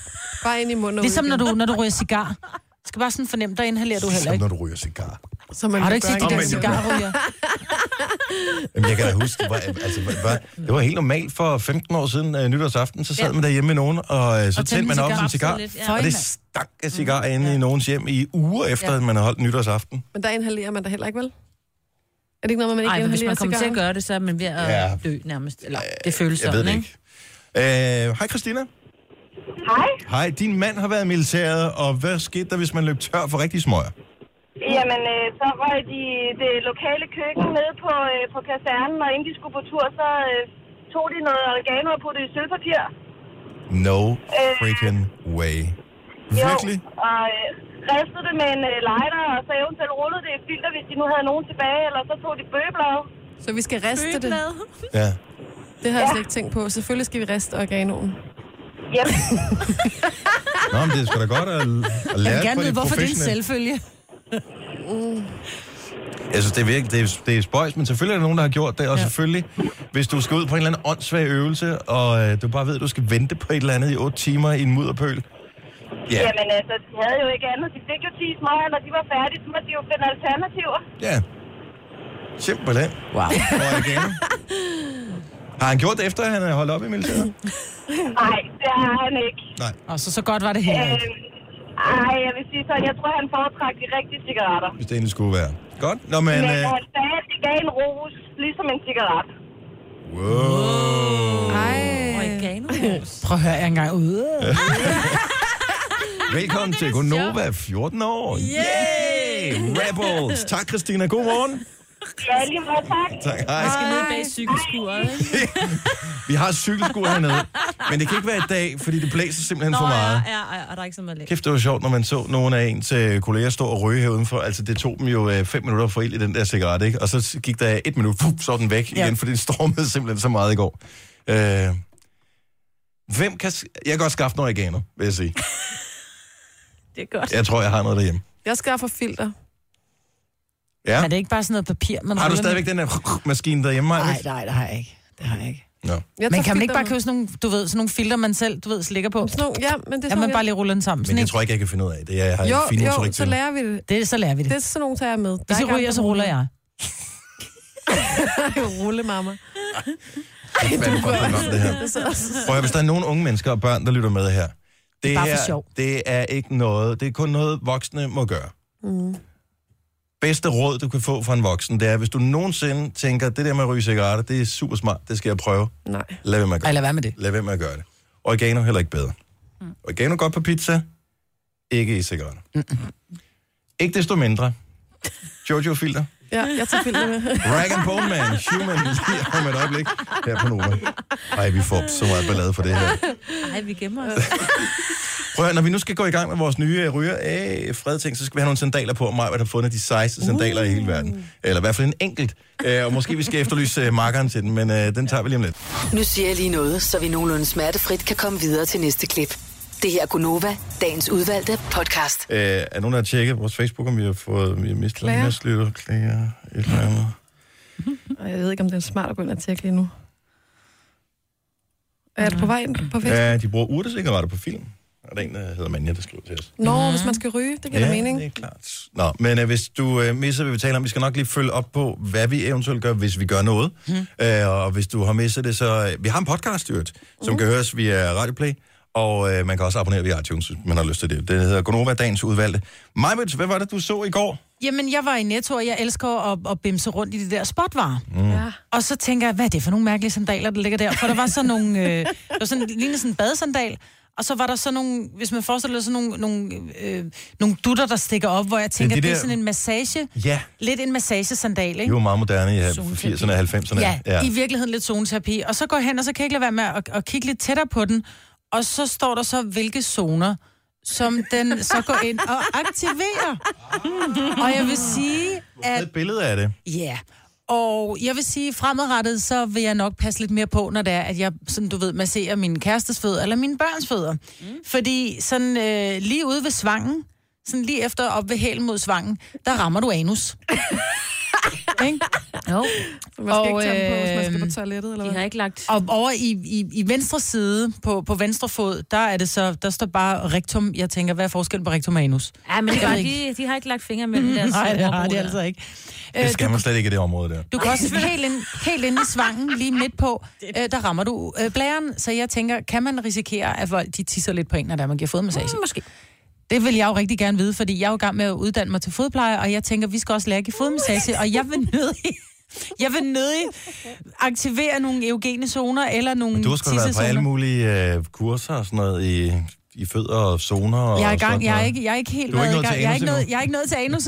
Speaker 2: Bare ind i munden og
Speaker 3: Ligesom
Speaker 2: ud
Speaker 3: når
Speaker 2: igen.
Speaker 3: du, når du ryger cigar. Du skal bare sådan fornemme, der inhalerer du heller
Speaker 1: Som
Speaker 3: ikke.
Speaker 1: når du ryger cigar.
Speaker 2: Så man
Speaker 3: Har du
Speaker 2: kan
Speaker 3: ikke set
Speaker 2: gøre
Speaker 3: de der
Speaker 2: igen.
Speaker 3: cigarryger?
Speaker 1: Jamen, jeg kan da huske, det var, altså, det var, det var helt normalt for 15 år siden øh, nytårsaften, så sad
Speaker 4: Ja.
Speaker 1: man derhjemme med nogen, og øh, så
Speaker 3: Og tændte
Speaker 1: tændte man
Speaker 3: en
Speaker 1: op
Speaker 3: cigar.
Speaker 1: sin cigar,
Speaker 4: Absolut, ja.
Speaker 1: og
Speaker 3: Føj,
Speaker 1: det
Speaker 3: mand. Mm.
Speaker 1: stank af cigar inde i nogens hjem i uger efter, at man har holdt nytårsaften.
Speaker 2: Men der inhalerer man da heller ikke, vel? Er det ikke noget, man ikke
Speaker 4: Ej, men hvis
Speaker 2: inhalerer
Speaker 4: man kommer til at
Speaker 2: cigarer?
Speaker 4: gøre det, så er man ved at
Speaker 1: Ja. Øh,
Speaker 4: ja. dø nærmest. Eller det føles
Speaker 1: Jeg
Speaker 4: sådan,
Speaker 1: ved det
Speaker 4: ikke?
Speaker 1: ikke. Øh, Hej, Christina.
Speaker 8: Hej.
Speaker 1: Hej, din mand har været i militæret, og hvad skete der, hvis man løb tør for rigtig smøger?
Speaker 8: Jamen, øh, så var de det lokale køkken nede på, øh, på kasernen, og inden de skulle på tur, så øh, tog de noget oregano og puttede i sølvpapir.
Speaker 1: No freaking way. Virkelig?
Speaker 8: Øh. Jo, og øh, ristede det med en øh, lighter, og så eventuelt rullede det i filter, hvis de nu havde nogen tilbage, eller så tog de bøgeblad.
Speaker 2: Så vi skal riste det.
Speaker 1: Ja.
Speaker 2: Det har jeg slet ikke tænkt på. Selvfølgelig skal vi riste organoen.
Speaker 8: Jamen,
Speaker 1: Nå, men det er sgu da godt at, at
Speaker 3: Jeg
Speaker 1: lære på
Speaker 3: vil gerne vide,
Speaker 1: det
Speaker 3: hvorfor det er en
Speaker 1: professionelle.
Speaker 3: selvfølge.
Speaker 1: Altså, det er, virkelig, det, er, det er spøjs, men selvfølgelig er der nogen, der har gjort det, og ja. selvfølgelig, hvis du skal ud på en eller anden åndssvag øvelse, og øh, du bare ved, at du skal vente på et eller andet i 8 timer i en mudderpøl. Ja,
Speaker 8: jamen, altså, de havde jo ikke andet. De fik jo 10 smøger, når de var færdige, så måtte de jo finde alternativer.
Speaker 1: ja. Simpelthen.
Speaker 3: Wow.
Speaker 1: Og igen. Har han gjort det, efter han er holdt op i militæret?
Speaker 8: Nej, det har han ikke.
Speaker 1: Nej.
Speaker 3: Og så, så godt var det heller ikke.
Speaker 8: Øh, ej, jeg vil sige sådan, jeg tror, han foretrak de rigtige cigaretter.
Speaker 1: Hvis det egentlig skulle være. Godt. Nå, men...
Speaker 8: Men
Speaker 1: Øh,
Speaker 8: han sagde, at det gav en ros, ligesom en cigaret.
Speaker 1: wow.
Speaker 2: Ej.
Speaker 4: Øh, Oregano.
Speaker 3: Prøv at høre jer engang ude.
Speaker 1: Velkommen til Gonova, 14 år. Yay! Rebels. Tak, Christina. God morgen.
Speaker 8: Ja, lige meget tak.
Speaker 1: Tak. Hej.
Speaker 4: Skal ned bag cykelskuret, ikke?
Speaker 1: Vi har cykelsko hernede, men det kan ikke være i dag, fordi det blæser simpelthen for meget.
Speaker 4: ja, ja, ja, og der er ikke så meget lækkert.
Speaker 1: Kæft, det var sjovt, når man så nogle af ens øh, kolleger stå og ryge her udenfor. Altså, det tog dem jo øh, fem minutter at få ild i den der cigaret, ikke? Og så gik der et minut, fup, så var den væk
Speaker 3: Ja.
Speaker 1: igen, for den stormede simpelthen så meget i går. Øh, hvem kan... s- Jeg kan godt skaffe noget oregano, vil jeg sige.
Speaker 4: Det er godt.
Speaker 1: Jeg tror, jeg har noget derhjemme.
Speaker 2: Jeg skaffer filter.
Speaker 1: Ja.
Speaker 3: Er det ikke bare sådan noget papir, man
Speaker 1: Har du
Speaker 3: ruller
Speaker 1: stadigvæk
Speaker 3: med?
Speaker 1: den der maskine derhjemme,
Speaker 3: Nej,
Speaker 1: Maja?
Speaker 3: nej, det har jeg ikke. Det har jeg ikke.
Speaker 1: Nå.
Speaker 2: Jeg
Speaker 3: Men
Speaker 2: tager
Speaker 3: kan man ikke
Speaker 2: filter
Speaker 3: bare købe sådan nogle, du ved, sådan nogle filter, man selv, du ved, slikker på?
Speaker 2: med. Sådan nogle- Ja, men det er
Speaker 3: Ja,
Speaker 2: sådan
Speaker 3: man
Speaker 2: nogle,
Speaker 3: bare lige ruller den sammen.
Speaker 1: Men
Speaker 3: Sådan
Speaker 1: det
Speaker 3: en-
Speaker 1: tror jeg ikke, jeg kan finde ud af. Det er, jeg har
Speaker 2: Jo,
Speaker 1: en fin
Speaker 2: jo,
Speaker 1: motorik
Speaker 2: så
Speaker 1: til.
Speaker 2: lærer vi det.
Speaker 3: Det, så lærer vi det.
Speaker 2: Det er sådan nogle, tager jeg med. Der
Speaker 3: Hvis
Speaker 2: er
Speaker 3: I
Speaker 2: ikke
Speaker 3: ryger,
Speaker 2: andre
Speaker 3: så ruller jeg.
Speaker 2: muligheder. Rulle, mamma.
Speaker 1: Det er fandme godt program, det her.
Speaker 2: Det sidder også-
Speaker 1: Prøv at, høre, hvis der er nogen unge mennesker og børn, der lytter med her. Det
Speaker 3: Bare for
Speaker 1: her,
Speaker 3: sjov.
Speaker 1: det er ikke noget, det er kun noget, voksne må gøre. Mm. Bedste råd, du kan få fra en voksen, det er, hvis du nogensinde tænker, det der med at ryge cigaretter, det er super smart, det skal jeg prøve.
Speaker 2: Nej.
Speaker 1: Lad være med at gøre,
Speaker 3: Ej, lad være med det.
Speaker 1: lad være med at gøre det. Oregano heller ikke bedre. Mm. Oregano godt på pizza, ikke i cigaretter. Mm. Ikke desto mindre. Jojo Filter,
Speaker 2: Ja, jeg tager filter med.
Speaker 1: Rag and Bone Man, Human, lige om et øjeblik her på Nova. Ej, vi får så meget ballade for det her.
Speaker 4: Nej, vi gemmer os.
Speaker 1: Prøv at, høre, når vi nu skal gå i gang med vores nye øh, ryger af fredting, så skal vi have nogle sandaler på, og Maja har fundet de sejeste sandaler i hele verden. Eller i hvert fald en enkelt. Øh, og måske vi skal efterlyse øh, markeren til den, men øh, den tager vi lige om lidt.
Speaker 6: Nu siger jeg lige noget, så vi nogenlunde smertefrit kan komme videre til næste klip. Det her er Gunova, dagens udvalgte podcast.
Speaker 1: Øh, er nogen, der har tjekket vores Facebook, om vi har fået vi har mistet
Speaker 2: Klager.
Speaker 1: en masse lytter, klager, et eller andet?
Speaker 2: Og jeg ved ikke, om det er smart at gå ind og tjekke lige nu. Er du på vej ind på Facebook?
Speaker 1: Ja, de bruger urtecigaretter på film. Og der er en, der hedder Manja, der skriver til os.
Speaker 2: Nå, hvis man skal ryge, det giver da mening.
Speaker 1: det er klart. Nå, men øh, hvis du øh, misser, hvad vi taler om, vi skal nok lige følge op på, hvad vi eventuelt gør, hvis vi gør noget.
Speaker 3: Mhm.
Speaker 1: Hmm. Øh, og hvis du har misset det, så... Øh, vi har en podcast, jo, som
Speaker 3: Mhm.
Speaker 1: kan høres via Radioplay, og øh, man kan også abonnere via iTunes, hvis man har lyst til det. Det hedder Gonova Dagens Udvalgte. Majbets, hvad var det, du så i går?
Speaker 3: Jamen, jeg var i Netto, og jeg elsker at, at bimse rundt i de der spotvarer. Mm. Ja. Og så tænker jeg, hvad er det for nogle mærkelige sandaler, der ligger der? For der var sådan nogle... Øh, det var sådan, det lignede sådan en badesandal, og så var der sådan nogle, hvis man forestiller sig, sådan nogle, nogle, øh, nogle dutter, der stikker op, hvor jeg tænker,
Speaker 1: de
Speaker 3: det, det,
Speaker 1: der-
Speaker 3: er sådan en massage,
Speaker 1: Ja.
Speaker 3: lidt en massagesandal,
Speaker 1: Vi
Speaker 3: ikke?
Speaker 1: var meget moderne i øh,
Speaker 3: Zoneterapi.
Speaker 1: 80'erne og 90'erne.
Speaker 3: Ja, ja, i virkeligheden lidt zoneterapi. Og så går jeg hen, og så kan jeg ikke lade være med at, at kigge lidt tættere på den. Og så står der så, hvilke zoner, som den så går ind og aktiverer. Og jeg vil sige,
Speaker 1: Jeg
Speaker 3: at
Speaker 1: havde et billede af det.
Speaker 3: Ja, yeah. og jeg vil sige, fremadrettet, så vil jeg nok passe lidt mere på, når det er, at jeg, sådan du ved, masserer min kærestes fødder eller mine børns fødder. Mm. Fordi sådan øh, lige ude ved svangen, sådan lige efter op ved hælen mod svangen, der rammer du anus. Ikke?
Speaker 4: Jo,
Speaker 2: Man skal
Speaker 3: Og,
Speaker 2: ikke tage dem på, hvis man skal
Speaker 3: øhm,
Speaker 2: på toilettet, eller
Speaker 4: de
Speaker 2: hvad?
Speaker 4: har ikke lagt...
Speaker 3: Og over i, i, i venstre side, på, på venstre fod, der er det så, der står bare rectum. Jeg tænker, hvad er forskellen på rectum og anus?
Speaker 4: Ja, men det
Speaker 3: Jeg
Speaker 4: var,
Speaker 3: ved ikke.
Speaker 4: de, de har ikke Mm. lagt fingre mellem deres
Speaker 3: Nej, det har
Speaker 4: overhoveder.
Speaker 3: det altså ikke. Øh,
Speaker 1: Det skal man slet ikke i det område der.
Speaker 3: Du kan også helt ind, helt ind i svangen, lige midt på, øh, der rammer du øh, blæren. Så jeg tænker, kan man risikere, at folk de tisser lidt på en, når der man giver fodmassage?
Speaker 4: Mm, Måske.
Speaker 3: Det vil jeg jo rigtig gerne vide, fordi jeg er jo i gang med at uddanne mig til fodplejer, og jeg tænker, vi skal også lære at give fodmassage, og jeg vil nødig, jeg vil nødig aktivere nogle eugene zoner eller nogle
Speaker 1: Men du har sgu da været på alle mulige øh, kurser og sådan noget i, i fødder og zoner. Og
Speaker 3: Jeg er i
Speaker 1: sådan
Speaker 3: gang. Jeg er
Speaker 1: noget.
Speaker 3: ikke, jeg er ikke helt
Speaker 1: Du har
Speaker 3: været
Speaker 1: ikke
Speaker 3: i
Speaker 1: nået til anus
Speaker 3: gang. Jeg er ikke noget,
Speaker 1: endnu?
Speaker 3: jeg er ikke noget til anus.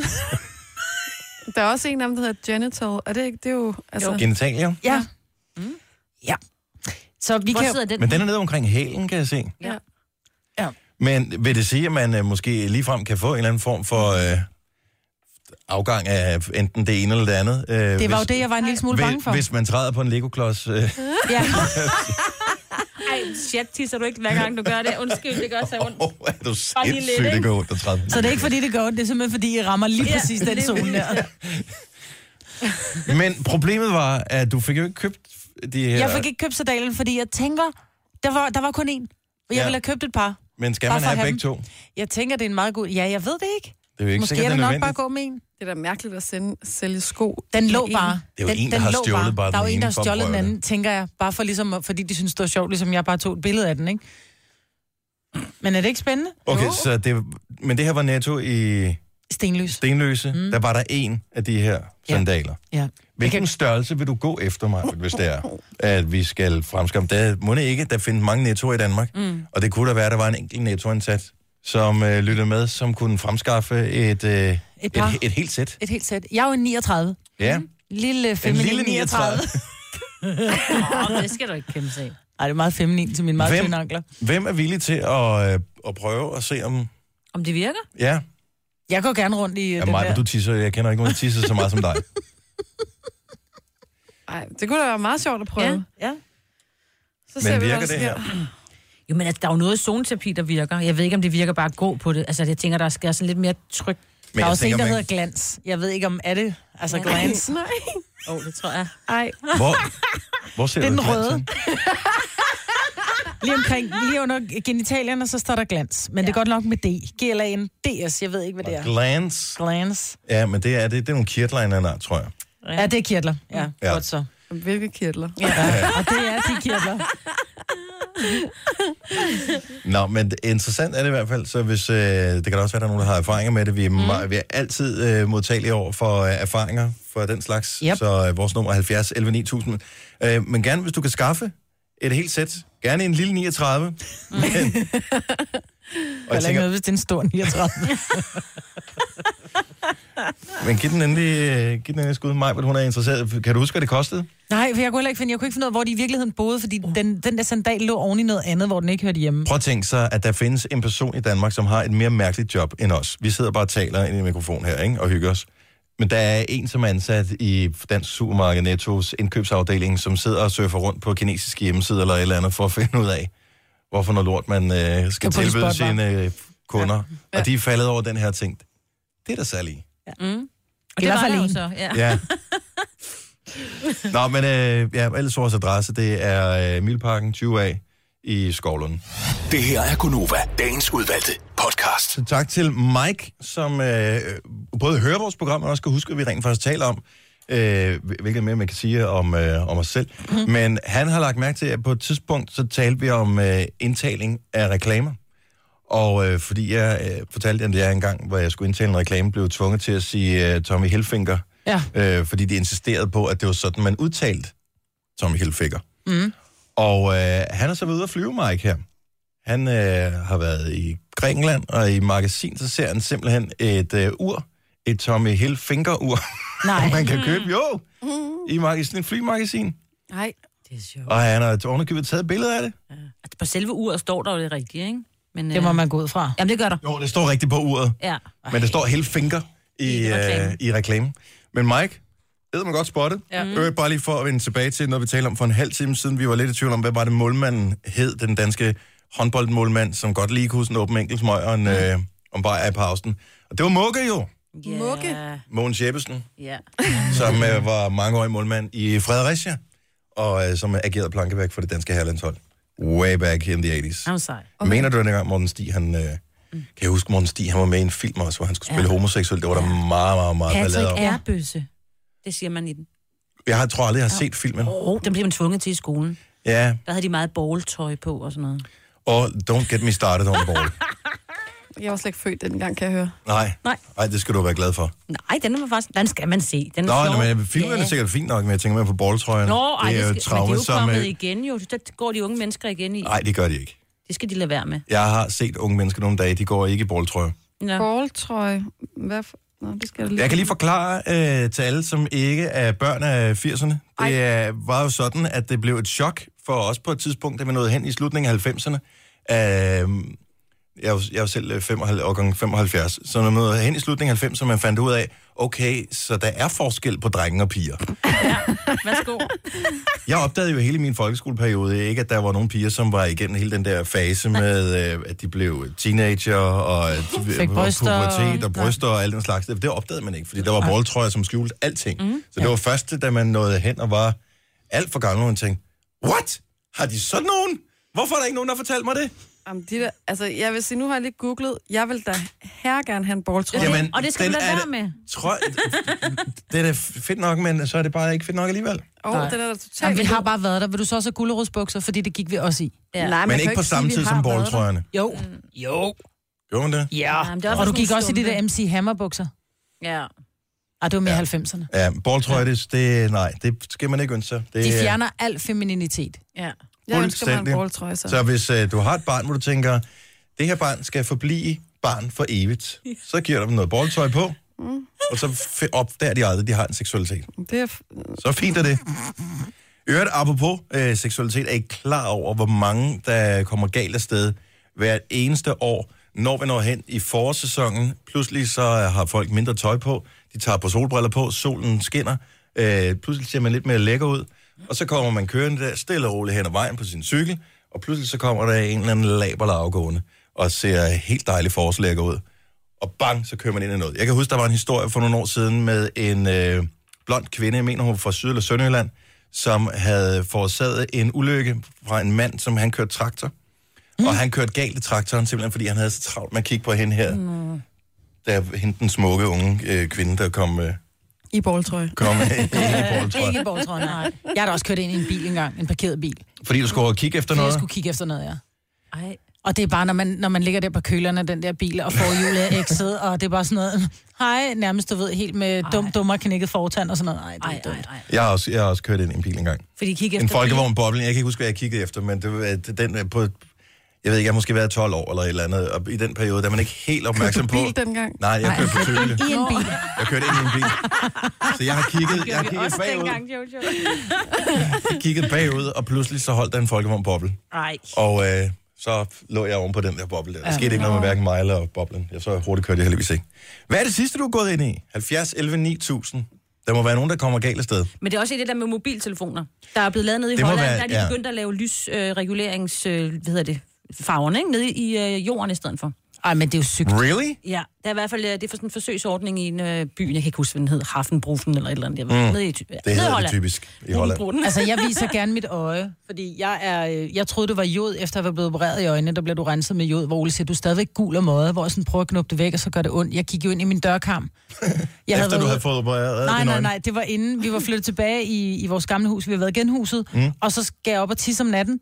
Speaker 2: Der er også en af dem, der hedder genital. Er det ikke? Det er jo... Altså, jo.
Speaker 1: Genitalier.
Speaker 3: ja. Ja. Så vi
Speaker 4: Hvor
Speaker 3: kan...
Speaker 4: sidder den?
Speaker 1: Men den er nede omkring hælen, kan jeg se.
Speaker 4: Ja.
Speaker 3: Ja.
Speaker 1: Men vil det sige, at man øh, måske ligefrem kan få en eller anden form for øh, afgang af enten det ene eller det andet? Øh,
Speaker 3: Det var jo det, jeg var en lille smule bange for.
Speaker 1: Hvis man træder på en legoklods. Øh,
Speaker 3: Ja.
Speaker 4: Ej, shit, tisser du ikke hver gang, du gør det. Undskyld, det gør så ondt.
Speaker 1: oh, er du
Speaker 4: Bare lige lidt,
Speaker 1: sindssygt, det
Speaker 4: ikke?
Speaker 1: går ondt at træde. på en
Speaker 3: Så det er ikke, fordi det går ondt. Det er simpelthen, fordi I rammer lige
Speaker 4: Ja,
Speaker 3: præcis den
Speaker 4: lige
Speaker 3: zone der.
Speaker 1: Men problemet var, at du fik jo ikke købt de her...
Speaker 3: Jeg fik ikke købt sandalen, fordi jeg tænker, der var, der var kun én. Og jeg
Speaker 1: Ja.
Speaker 3: ville have købt et par.
Speaker 1: Men skal
Speaker 3: bare
Speaker 1: man
Speaker 3: for at
Speaker 1: have
Speaker 3: have
Speaker 1: begge to? Det
Speaker 3: Jeg tænker, det er en meget god... Ja, jeg ved det ikke.
Speaker 1: er jo ikke
Speaker 3: Måske
Speaker 1: sikkert,
Speaker 3: er det nok
Speaker 1: nødvendigt.
Speaker 3: bare at gå med en.
Speaker 2: Det er da mærkeligt at sende, sælge sko.
Speaker 3: Den lå
Speaker 2: i en.
Speaker 3: bare.
Speaker 1: Det er jo
Speaker 3: den,
Speaker 1: en, der har
Speaker 3: lå
Speaker 1: stjålet bare
Speaker 3: Der er jo
Speaker 1: den
Speaker 3: en,
Speaker 1: ene
Speaker 3: der har
Speaker 1: for at
Speaker 3: stjålet den
Speaker 1: prøve
Speaker 3: anden, tænker jeg. Bare for ligesom, at- fordi de synes, det var sjovt, ligesom jeg bare tog et billede af den, ikke? Men er det ikke spændende?
Speaker 1: Okay,
Speaker 3: Jo.
Speaker 1: så det, men det her var netto i
Speaker 3: Stenløs.
Speaker 1: Stenløse. Mm. Der var der en af de her sandaler.
Speaker 3: Ja.
Speaker 1: Hvilken størrelse vil du gå efter mig, hvis det er, at vi skal fremskamme? Der må det ikke, der findes mange nettoer i Danmark, mm. og det kunne da være, at der var en enkelt nettoansat, som øh, lyttede med, som kunne fremskaffe et, øh, et, et,
Speaker 3: par. Mm.
Speaker 1: et helt sæt.
Speaker 3: Et helt sæt. Jeg er jo en 39.
Speaker 1: Ja,
Speaker 3: Lille feminin
Speaker 1: lille
Speaker 3: 39.
Speaker 1: 39.
Speaker 4: Åh, det skal du ikke kæmpe sig.
Speaker 3: Ej, det er meget feminin til mine meget
Speaker 1: Hvem?
Speaker 3: tynde ankler.
Speaker 1: Hvem er villig til at, øh, at prøve at se om...
Speaker 4: Om det virker?
Speaker 1: Ja,
Speaker 3: Jeg går gerne rundt i ja,
Speaker 1: ja
Speaker 3: den
Speaker 1: mig,
Speaker 3: der.
Speaker 1: du tisser. Jeg kender ikke nogen, der tisser så meget som dig.
Speaker 2: Ej, det kunne da være meget sjovt at prøve.
Speaker 4: Ja.
Speaker 2: Ja.
Speaker 3: Ja.
Speaker 2: Så
Speaker 1: Men
Speaker 2: hvad
Speaker 1: virker
Speaker 2: der
Speaker 1: det
Speaker 2: sker.
Speaker 4: Jo, men altså, der er jo noget zoneterapi, der virker. Jeg ved ikke, om det virker bare at gå på det. Altså, jeg tænker, der skal sådan lidt mere tryk.
Speaker 1: Men
Speaker 3: Der er
Speaker 1: jeg
Speaker 3: også
Speaker 1: tænker,
Speaker 3: en, der
Speaker 1: man-
Speaker 3: hedder glans. Jeg ved ikke, om er det... Altså,
Speaker 4: Ja.
Speaker 3: glans.
Speaker 2: Nej.
Speaker 4: Åh, oh, det tror jeg.
Speaker 2: Ej,
Speaker 1: Hvor, hvor ser
Speaker 3: Det er
Speaker 1: du
Speaker 3: den
Speaker 1: glansen?
Speaker 3: røde. Lige omkring, lige under genitalierne, så står der glans. Men ja. det er godt nok med D. GLAN, DS, jeg ved ikke, hvad det er.
Speaker 1: Glans.
Speaker 3: Glans.
Speaker 1: Ja, men det er, det, det er nogle kirtler af en eller anden art, tror jeg.
Speaker 3: Ja, det er kirtler. Ja,
Speaker 1: Ja.
Speaker 3: ja. godt så.
Speaker 2: hvilke kirtler.
Speaker 3: Ja. Og det er de kirtler.
Speaker 1: Nå, men interessant er det i hvert fald, så hvis, øh, det kan da også være, der er nogen, der har erfaringer med det. Vi er, mm. meget, vi er altid øh, modtagelige over for øh, erfaringer for den slags,
Speaker 3: Yep.
Speaker 1: så øh, vores nummer er 70 11 9000. Øh, men gerne, hvis du kan skaffe et helt sæt, gerne en lille 39. Mm. Men, og jeg
Speaker 3: Eller ikke
Speaker 1: tænker,
Speaker 3: noget, hvis det er en stor 39.
Speaker 1: men giv den endelig, øh, giv den endelig et skud. Maj, hvor hun er interesseret. Kan du huske, hvad det kostede?
Speaker 3: Nej, for jeg kunne heller ikke finde, jeg kunne ikke finde ud af, hvor de i virkeligheden boede, fordi den, den der sandal lå oven i noget andet, hvor den ikke hørte hjemme.
Speaker 1: Prøv at tænke sig, at der findes en person i Danmark, som har et mere mærkeligt job end os. Vi sidder bare og taler ind i en mikrofon her, ikke? Og hygger os. Men der er en, som er ansat i Dansk Supermarked Nettos indkøbsafdeling, som sidder og surfer rundt på kinesiske hjemmesider eller et eller andet, for at finde ud af, hvorfor noget lort man øh, skal
Speaker 3: på de
Speaker 1: tilbyde
Speaker 3: spot,
Speaker 1: sine øh, kunder. Ja. Og de er faldet over den her ting. Det er der særlig.
Speaker 4: Og
Speaker 3: I
Speaker 4: det
Speaker 3: hvert
Speaker 4: var
Speaker 3: fald
Speaker 4: der jo
Speaker 3: en.
Speaker 4: så. Ja.
Speaker 1: Ja. Nå, men øh, ja, ellers vores adresse, det er øh, Milparken 20A i Skovlund.
Speaker 5: Det her er Gunova, dagens udvalgte podcast.
Speaker 1: Så tak til Mike, som øh, både hører vores program, og også kan huske, at vi rent faktisk taler om, øh, hvilket mere man kan sige om, øh, om os selv. Mm. Men han har lagt mærke til, at på et tidspunkt, så talte vi om øh, indtaling af reklamer. Og øh, fordi jeg øh, fortalte jer, at jeg engang, hvor jeg skulle indtale en reklame, blev tvunget til at sige øh, Tommy Hilfinger,
Speaker 3: Ja.
Speaker 1: øh, fordi de insisterede på, at det var sådan, man udtalte Tommy Hilfiger. Mm. Og øh, han er så ved at flyve, Mike, her. Han øh, har været i Grækenland, og i magasin, så ser han simpelthen et øh, ur, et Tommy Hilfiger-ur,
Speaker 3: Nej.
Speaker 1: man kan købe, jo, i magasin, et flymagasin.
Speaker 2: Nej.
Speaker 4: Det er sjovt.
Speaker 1: Og han har ovenikøbet taget et billede af det.
Speaker 4: Altså, på selve uret står der jo det rigtige, ikke? Men, øh,
Speaker 3: Det må man gå ud fra.
Speaker 4: Jamen, det gør der.
Speaker 1: Jo, det står rigtigt på uret,
Speaker 4: Ja.
Speaker 1: men det står Hilfiger i,
Speaker 4: I reklamen.
Speaker 1: øh, i reklamen. Men Mike, det man godt spottet. Ja. Øh, bare lige for at vende tilbage til noget, vi talte om for en halv time siden. Vi var lidt i tvivl om, hvad var det målmanden hed, den danske håndboldmålmand, som godt lige kunne huske en åben enkelt smøg og en, øh, om bare af pausen. Og det var Mugge jo,
Speaker 4: Ja.
Speaker 2: Mugge.
Speaker 1: Mogens Jeppesen,
Speaker 4: Ja.
Speaker 1: som øh, var mangeårig målmand i Fredericia, og øh, som agerede plankeværk for det danske herrelandshold. Way back in the 80s.
Speaker 4: Han var sej.
Speaker 1: Okay. Mener du, at dengang Morten Stig, han... Øh, kan jeg huske, Morten Stig, han var med i en film også, hvor han skulle spille ja. homoseksuel. Det var der meget, meget, meget ballade om.
Speaker 4: Patrick Erbøsse. Det siger man i den.
Speaker 1: Jeg har- tror aldrig, jeg har set filmen.
Speaker 4: Åh, oh, den blev man tvunget til i skolen.
Speaker 1: Ja,
Speaker 4: Der havde de meget bowltøj på og sådan noget.
Speaker 1: og Don't Get Me Started on Ball.
Speaker 2: Jeg var slet ikke født dengang, kan jeg høre.
Speaker 1: Nej.
Speaker 4: Nej.
Speaker 1: Nej, det skal du være glad for.
Speaker 4: Nej, den var faktisk... Den skal man se. Den er
Speaker 1: Nå,
Speaker 4: sjov.
Speaker 1: nå men filmen er
Speaker 4: Ja.
Speaker 1: sikkert fint nok, men jeg tænker mere på balltrøjen.
Speaker 4: Nå, ej,
Speaker 1: det er jo
Speaker 4: skal,
Speaker 1: et traume,
Speaker 4: men det er
Speaker 1: som...
Speaker 4: jo kommet
Speaker 1: øh,
Speaker 4: igen jo. Det går de unge mennesker igen i.
Speaker 1: Nej, det gør de ikke.
Speaker 4: Det skal de lade være med.
Speaker 1: Jeg har set unge mennesker nogle dage, de går ikke i balltrøjer.
Speaker 4: Ja.
Speaker 2: Balltrøje. Hvad for... Nå, det skal jeg lige...
Speaker 1: Jeg kan lige forklare øh, til alle, som ikke er børn af 80'erne. Det er, var jo sådan, at det blev et chok for os på et tidspunkt, da vi nåede hen i slutningen af 90'erne. Øh, jeg, er jo- jeg er jo selv øh, 55, årgang 75, så når man nåede hen i slutningen af 90'erne, man fandt ud af, okay, så der er forskel på drenge og piger.
Speaker 4: Værsgo.
Speaker 1: Jeg opdagede jo hele min folkeskoleperiode ikke, at der var nogle piger, som var igennem hele den der fase med, øh, at de blev teenager, og at de
Speaker 3: Fik bryster og-
Speaker 1: pubertet og bryster og alt den slags. Det opdagede man ikke, fordi der var boldtrøjer, som skjulte alting. Mm, så det var først, da man nåede hen og var alt for gammel, og man tænkte, what? Har de sådan nogen? Hvorfor er der ikke nogen, der fortalte mig det?
Speaker 2: Jamen, de der... Altså, jeg vil sige, nu har jeg lige googlet. Jeg vil da her gerne have en balltrøje.
Speaker 4: Jamen, og det skal
Speaker 1: den
Speaker 4: du lade
Speaker 1: er
Speaker 4: være
Speaker 1: da-
Speaker 4: med.
Speaker 1: Tror, det er da fedt nok, men så er det bare ikke fedt nok alligevel.
Speaker 2: Åh, oh, den er da totalt...
Speaker 3: Jamen, vi har bare været der. Vil du så også have gulerodsbukser? Fordi det gik vi også i.
Speaker 4: Ja.
Speaker 2: Nej, man
Speaker 1: Men
Speaker 2: kan jo
Speaker 1: ikke på
Speaker 2: sige,
Speaker 1: samme
Speaker 2: vi
Speaker 1: tid som
Speaker 2: har været der.
Speaker 1: boldtrøjerne.
Speaker 3: Jo. Jo.
Speaker 1: Gjorde man det?
Speaker 3: Ja.
Speaker 4: Jamen, det er også
Speaker 3: Og du
Speaker 4: sådan
Speaker 3: gik også i de
Speaker 4: stumpe.
Speaker 3: der MC Hammer-bukser.
Speaker 4: Ja.
Speaker 3: Ah, det var mere ja. 90'erne.
Speaker 1: Ja, boldtrøjer, det, det, nej, det skal man ikke ønske sig. Det,
Speaker 3: De
Speaker 1: er-
Speaker 3: fjerner al femininitet.
Speaker 4: ja.
Speaker 2: Jeg ønsker mig en
Speaker 1: Fuldstændig.
Speaker 2: balltrøje, så.
Speaker 1: Så hvis øh, du har et barn, hvor du tænker, det her barn skal forblive barn for evigt, så giver du dem noget boldtøj på,
Speaker 2: Mm.
Speaker 1: og så f- opdager de aldrig, at de har en seksualitet.
Speaker 2: Det er... f-
Speaker 1: Så fint er det. I Øvrigt, apropos øh, seksualitet, er I klar over, hvor mange, der kommer galt afsted hvert eneste år, når vi når hen i forårssæsonen. Pludselig så øh, har folk mindre tøj på, de tager på solbriller på, solen skinner, øh, pludselig ser man lidt mere lækker ud, og så kommer man kørende der stille og roligt hen ad vejen på sin cykel, og pludselig så kommer der en eller anden laberler afgående, og ser helt dejligt forårslækker ud. Og bang, så kører man ind i noget. Jeg kan huske, der var en historie for nogle år siden med en øh, blond kvinde, jeg mener hun var fra Syd- eller Sønderjylland, som havde forårsaget en ulykke fra en mand, som han kørte traktor. Mm. Og han kørte galt i traktoren, simpelthen fordi han havde så travlt med at kigge på hende her. Mm. Der hende den smukke unge øh, kvinde, der kom, øh,
Speaker 2: I balltrøje.
Speaker 1: kom ind i
Speaker 3: Ikke i
Speaker 1: boldtrøjen.
Speaker 3: borgtrøjen, nej. Jeg har da også kørt ind i en bil engang, en parkeret bil.
Speaker 1: Fordi du skulle kigge efter
Speaker 3: Fordi jeg
Speaker 1: noget.
Speaker 3: skulle kigge efter noget, ja.
Speaker 4: Ej.
Speaker 3: Og det er bare, når man, når man ligger der på kølerne, den der bil, og får hjulet af ekset, og det er bare sådan noget, hej, nærmest, du ved, helt med dum, dummer knækket fortand og sådan noget. Ej, det er
Speaker 4: Ej, ej,
Speaker 3: dumt.
Speaker 4: ej.
Speaker 1: Jeg har, også, jeg har også kørt ind i en bil engang.
Speaker 4: Fordi kig efter...
Speaker 1: En folkevogn boblen. Jeg kan ikke huske, hvad jeg kiggede efter, men det var øh, den øh, på... Jeg ved ikke, jeg har måske været 12 år eller et eller andet, og i den periode, der er man ikke helt opmærksom på...
Speaker 2: Bil dengang.
Speaker 1: Nej, jeg kørte på tøle.
Speaker 3: I en bil.
Speaker 1: Jeg kørte ind i en bil. Så jeg har kigget, jeg har kigget bagud.
Speaker 4: Jojo.
Speaker 1: Jeg kiggede bagud, og pludselig så holdt der en folkevogn boble.
Speaker 4: Nej.
Speaker 1: Og øh, så lå jeg oven på den der boble der. Der skete ikke noget med hverken mig eller boblen. Jeg så hurtigt kørte jeg heldigvis ikke. Hvad er det sidste, du har gået ind i? 70, 11, 9000. Der må være nogen, der kommer galt af sted.
Speaker 4: Men det er også i det der med mobiltelefoner. Der er blevet lavet nede i
Speaker 1: Det må
Speaker 4: Holland,
Speaker 1: være-
Speaker 4: der er de
Speaker 1: ja.
Speaker 4: begyndt at lave lysreguleringsfarverne, øh, regulerings, øh, hvad hedder det, farverne, ikke? Nede i øh, jorden i stedet for.
Speaker 3: Ej, men det er jo sygt.
Speaker 1: Really?
Speaker 4: Ja, der er i hvert fald, øh, det er for sådan en forsøgsordning i en øh, by, jeg kan ikke huske, hvad den hed, Hafenbrufen eller et eller andet. Jeg ved, mm. nede i, det
Speaker 1: Det hedder det typisk i Holland.
Speaker 3: Altså, jeg viser gerne mit øje, fordi jeg er... øh, Jeg troede, det var jod, efter at være blevet opereret i øjnene, der blev du renset med jod, hvor Ole siger, du er stadigvæk gul og måde, hvor jeg sådan prøver at knuppe det væk, og så gør det ondt. Jeg gik jo ind i min dørkarm. Jeg
Speaker 1: Efter du
Speaker 3: været-
Speaker 1: havde fået opereret
Speaker 3: Nej,
Speaker 1: dine
Speaker 3: nej,
Speaker 1: øjne.
Speaker 3: nej, det var inden. Vi var flyttet tilbage i, i vores gamle hus. Vi har været i genhuset, mm. og så skal jeg op og tisse om natten.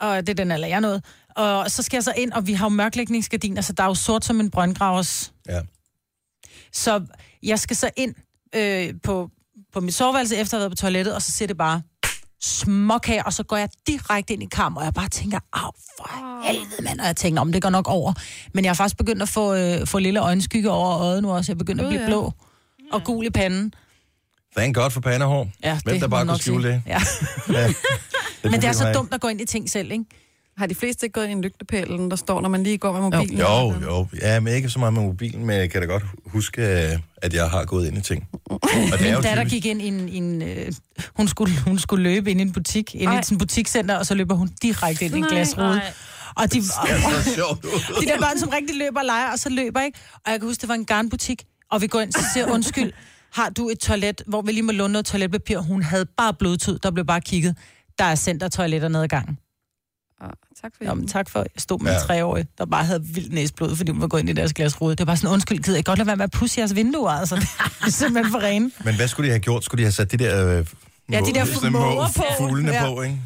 Speaker 3: Og det er den alder, jeg nåede. Og så skal jeg så ind, og vi har jo mørklægningsgardiner, så der er jo sort som en brøndgravers.
Speaker 1: Ja.
Speaker 3: Så jeg skal så ind øh, på, på mit soveværelse, efter at have været på toilettet, og så ser det bare smok her, og så går jeg direkte ind i kammer, og jeg bare tænker, af for
Speaker 2: Ah.
Speaker 3: helvede, mand, og jeg tænker, om det går nok over. Men jeg har faktisk begyndt at få, øh, få lille øjenskygge over øjet nu også. Jeg begynder at
Speaker 2: Gud,
Speaker 3: blive
Speaker 2: ja.
Speaker 3: blå og gul i panden.
Speaker 1: Thank God for pandehår.
Speaker 3: Ja,
Speaker 1: Hvem der
Speaker 3: må
Speaker 1: bare
Speaker 3: man
Speaker 1: kunne
Speaker 3: nok
Speaker 1: skjule
Speaker 3: sige.
Speaker 1: det.
Speaker 3: Ja.
Speaker 1: Ja.
Speaker 3: Men det er
Speaker 1: problem har
Speaker 3: så
Speaker 1: jeg
Speaker 3: dumt at gå ind i ting selv, ikke?
Speaker 2: Har de fleste ikke gået ind i en lygtepæl, eller der står, når man lige går med mobilen?
Speaker 1: Jo, jo. Ja, men ikke så meget med mobilen, men jeg kan da godt huske, øh, at jeg har gået ind i ting. Og det er jo
Speaker 3: Min datter
Speaker 1: typisk-
Speaker 3: gik ind i en... i en øh, hun, skulle, hun skulle løbe ind i en butik, ind i
Speaker 2: Ej.
Speaker 3: sådan en butikscenter, og så løber hun direkte ind i en
Speaker 4: Nej,
Speaker 3: glasrude.
Speaker 4: nej.
Speaker 3: Og de,
Speaker 1: Det ser så sjovt ud.
Speaker 3: de der børn, som rigtig løber og leger, og så løber, ikke? Og jeg kan huske, det var en garnbutik, og vi går ind, så siger undskyld, har du et toilet, hvor vi lige må låne noget toiletpapir? Hun havde bare blodtud, der blev bare kigget. Der er center toiletter ned ad gangen.
Speaker 2: Åh, Ah, tak for
Speaker 3: Jamen,
Speaker 2: hjælpen.
Speaker 3: tak for, jeg stod med ja.
Speaker 1: Ja.
Speaker 3: en treårig, der bare havde vildt næsblod, fordi hun var gået ind i deres glas rode. Det var bare sådan, undskyld, gider jeg godt lade være med at pusse jeres vinduer, altså. Det er simpelthen for rene.
Speaker 1: Men hvad skulle de have gjort? Skulle de have sat de der... Øh,
Speaker 3: Ja, de der
Speaker 1: sådan
Speaker 3: måger
Speaker 1: måger-
Speaker 3: på.
Speaker 1: Fuglene
Speaker 3: Ja.
Speaker 1: på, ikke?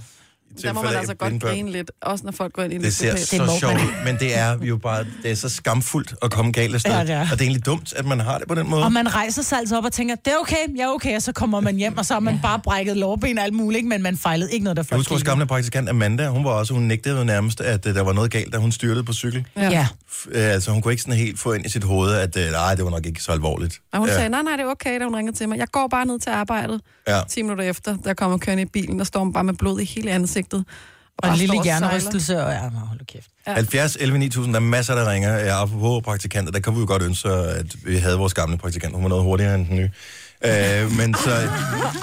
Speaker 1: I
Speaker 2: Der må
Speaker 1: tilfælde
Speaker 2: man
Speaker 1: af
Speaker 2: altså godt
Speaker 1: blindbørn.
Speaker 2: grine lidt, også når folk går ind i en
Speaker 1: Det ser
Speaker 2: psykopat.
Speaker 3: Det er
Speaker 1: så
Speaker 3: lovmand.
Speaker 1: sjovt ud, men det er jo bare, det er så skamfuldt at komme galt af sted.
Speaker 3: Ja, det er.
Speaker 1: Og det er egentlig dumt, at man har det på den måde.
Speaker 3: Og man rejser sig altså op og tænker, det er okay, jeg er okay, og så kommer man hjem, og så har man bare brækket lårben og alt muligt, ikke? men man fejlede ikke noget, der
Speaker 1: Jeg husker vores gamle praktikant Amanda, hun var også, hun nægtede jo nærmest, at øh, der var noget galt, da hun styrtede på cykel.
Speaker 3: Ja. ja.
Speaker 1: F- øh, altså, hun kunne ikke sådan helt få ind i sit hoved, at øh, nej, det var nok ikke så alvorligt.
Speaker 2: Og hun
Speaker 1: Ja.
Speaker 2: sagde, nej, nej, det er okay, da hun ringede til mig. Jeg går bare ned til arbejdet.
Speaker 1: Ja.
Speaker 2: 10 minutter efter, der kommer kørende i bilen, der står hun bare med blod i hele ansigtet.
Speaker 3: Og en
Speaker 2: bare
Speaker 3: lille
Speaker 2: står sejler.
Speaker 3: hjernerystelse, og ja, nå, hold nu kæft.
Speaker 2: Ja.
Speaker 1: 70, 11, 9000, der er masser, der ringer. Ja, apropos praktikanter, der kan vi jo godt ønske, at vi havde vores gamle praktikant. Hun var noget hurtigere end den nye. Øh, men så... Ja,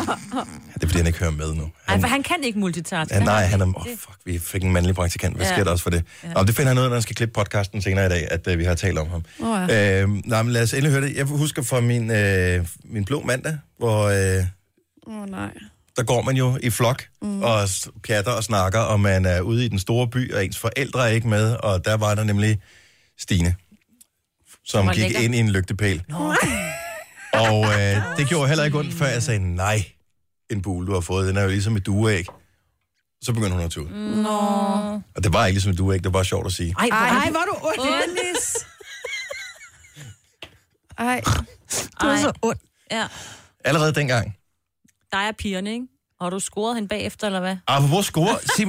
Speaker 1: det er fordi, han ikke hører med nu.
Speaker 4: Ej, for han kan ikke multitaske.
Speaker 1: Ja,
Speaker 4: Det
Speaker 1: nej,
Speaker 4: har
Speaker 1: han er... Åh, oh,
Speaker 4: ikke. Det-
Speaker 1: fuck, vi fik en mandlig praktikant. Hvad
Speaker 4: Ja.
Speaker 1: sker der også for det? Ja. Nå, det finder han ud af, når han skal klippe podcasten senere i dag, at uh, vi har talt om ham.
Speaker 2: Åh,
Speaker 1: ja. øh, nej, men lad os endelig høre det. Jeg husker fra min, øh, min blå mandag, hvor øh,
Speaker 2: Åh, oh, nej.
Speaker 1: der går man jo i flok mm. og s- pjatter og snakker, og man er ude i den store by, og ens forældre er ikke med, og der var der nemlig Stine, som
Speaker 4: var
Speaker 1: gik
Speaker 4: lækker.
Speaker 1: ind i en lygtepæl.
Speaker 4: Nå,
Speaker 1: Og øh, det gjorde heller ikke ondt, før jeg sagde, nej, en bule, du har fået, den er jo ligesom et dueæg. Så begyndte hun at tude.
Speaker 2: Nå.
Speaker 1: Og det var ikke ligesom et dueæg, det var bare sjovt at sige.
Speaker 4: Mm. ej, hvor er
Speaker 3: Ej,
Speaker 4: det-
Speaker 3: hvor er du ondt.
Speaker 2: Dennis. Ej,
Speaker 3: Du er
Speaker 4: Ej.
Speaker 3: så ondt.
Speaker 4: Ja,
Speaker 1: Allerede dengang.
Speaker 4: der er pigerne, ikke? Har du scoret hende bagefter, eller hvad?
Speaker 1: Ah, hvor score? Sig,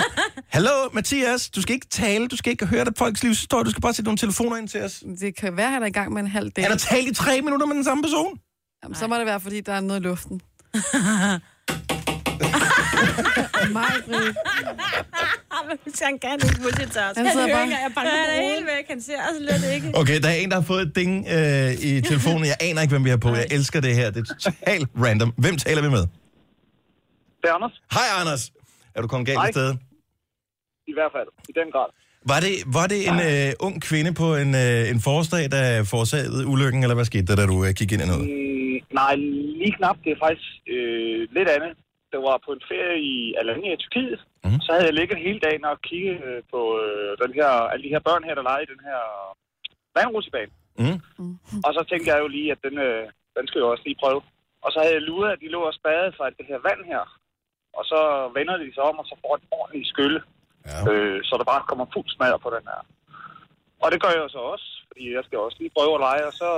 Speaker 1: Hallo, Mathias, du skal ikke tale, du skal ikke høre det folks livshistorie, du skal bare sætte nogle telefoner ind til os.
Speaker 2: det kan være, han er i gang med en halv dag.
Speaker 1: Er der talt i tre minutter med den samme person?
Speaker 2: Jamen, så må det være, fordi der er noget i luften. Mig, Britt.
Speaker 4: Han kan ikke multitaske.
Speaker 2: Han sidder bare...
Speaker 3: jeg banker
Speaker 4: Han er helt væk, han ser altså lidt ikke.
Speaker 1: Okay, der er en, der har fået et ding øh, i telefonen. Jeg aner ikke, hvem vi har på. Jeg elsker det her. Det er totalt random. Hvem taler vi med?
Speaker 9: Det er Anders,
Speaker 1: Hej, Anders. Er du kommet galt
Speaker 9: Hej.
Speaker 1: af sted?
Speaker 9: i hvert fald, i den grad.
Speaker 1: Var det, var det en øh, ung kvinde på en, øh, en forårsdag, der forårsagede ulykken, eller hvad skete der, da du øh, kiggede ind i noget?
Speaker 9: Mm, nej, lige knap. Det er faktisk øh, lidt andet. Det var på en ferie i Alanya i Tyrkiet.
Speaker 1: Mhm.
Speaker 9: Mm. Så havde jeg ligget hele dagen og kigget øh, på øh, den her, alle de her børn her, der leger i den her vandrutsebane.
Speaker 1: Mm.
Speaker 9: Og så tænkte jeg jo lige, at den, øh, den skal jeg jo også lige prøve. Og så havde jeg luret, at de lå og spadede fra det her vand her. Og så vender de sig om, og så får en ordentlig skylle.
Speaker 1: Ja.
Speaker 9: Øh, så der bare kommer fuld smadder på den her. Og det gør jeg jo så også, fordi jeg skal også lige prøve at lege, og så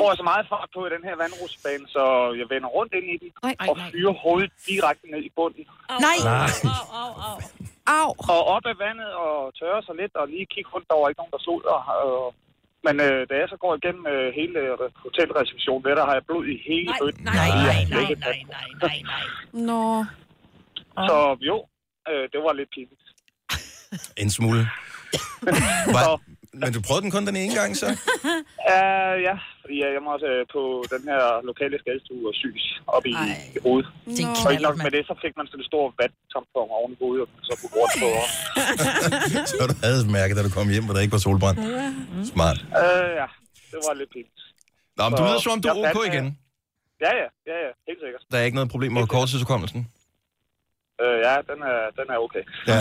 Speaker 9: får jeg så meget fart på i den her vandrusbane, så jeg vender rundt ind i den
Speaker 2: Nej,
Speaker 9: og fyrer hovedet direkte ned i bunden.
Speaker 3: Nej,
Speaker 2: Au.
Speaker 9: Og op af vandet og tørrer sig lidt og lige kigge rundt, der var ikke nogen, der slog der. Øh, men øh, da jeg så går igennem øh, hele øh, hotelreceptionen, der, der har jeg blod i hele bøtten.
Speaker 4: nej, nej, nej, nej,
Speaker 9: nej,
Speaker 4: nej, nej, nej.
Speaker 2: Nå.
Speaker 9: Så jo, øh, det var lidt pinligt.
Speaker 1: En smule. Var, men du prøvede den kun den ene gang, så?
Speaker 9: Uh, ja, fordi jeg er hjemme også øh, på den her lokale skadestue og syg op i,
Speaker 3: Ej.
Speaker 9: i hovedet.
Speaker 3: det er en
Speaker 9: Og ikke
Speaker 3: knald,
Speaker 9: nok med
Speaker 3: mand.
Speaker 9: det, så fik man sådan en stor vandtampon oven i hovedet, og så kunne rundt på.
Speaker 1: Så du havde mærket, da du kom hjem, hvor der ikke var solbrændt. Smart.
Speaker 9: Øh, ja, det var lidt pinligt.
Speaker 1: Nå, men du
Speaker 9: Så
Speaker 1: lyder som om, du er
Speaker 9: jeg fandt,
Speaker 1: ok
Speaker 9: øh,
Speaker 1: igen.
Speaker 9: Ja, ja, ja, ja, helt sikkert.
Speaker 1: Der er ikke noget problem med korttidsudkommelsen.
Speaker 9: Øh, ja, den er, den er okay.
Speaker 1: Ja,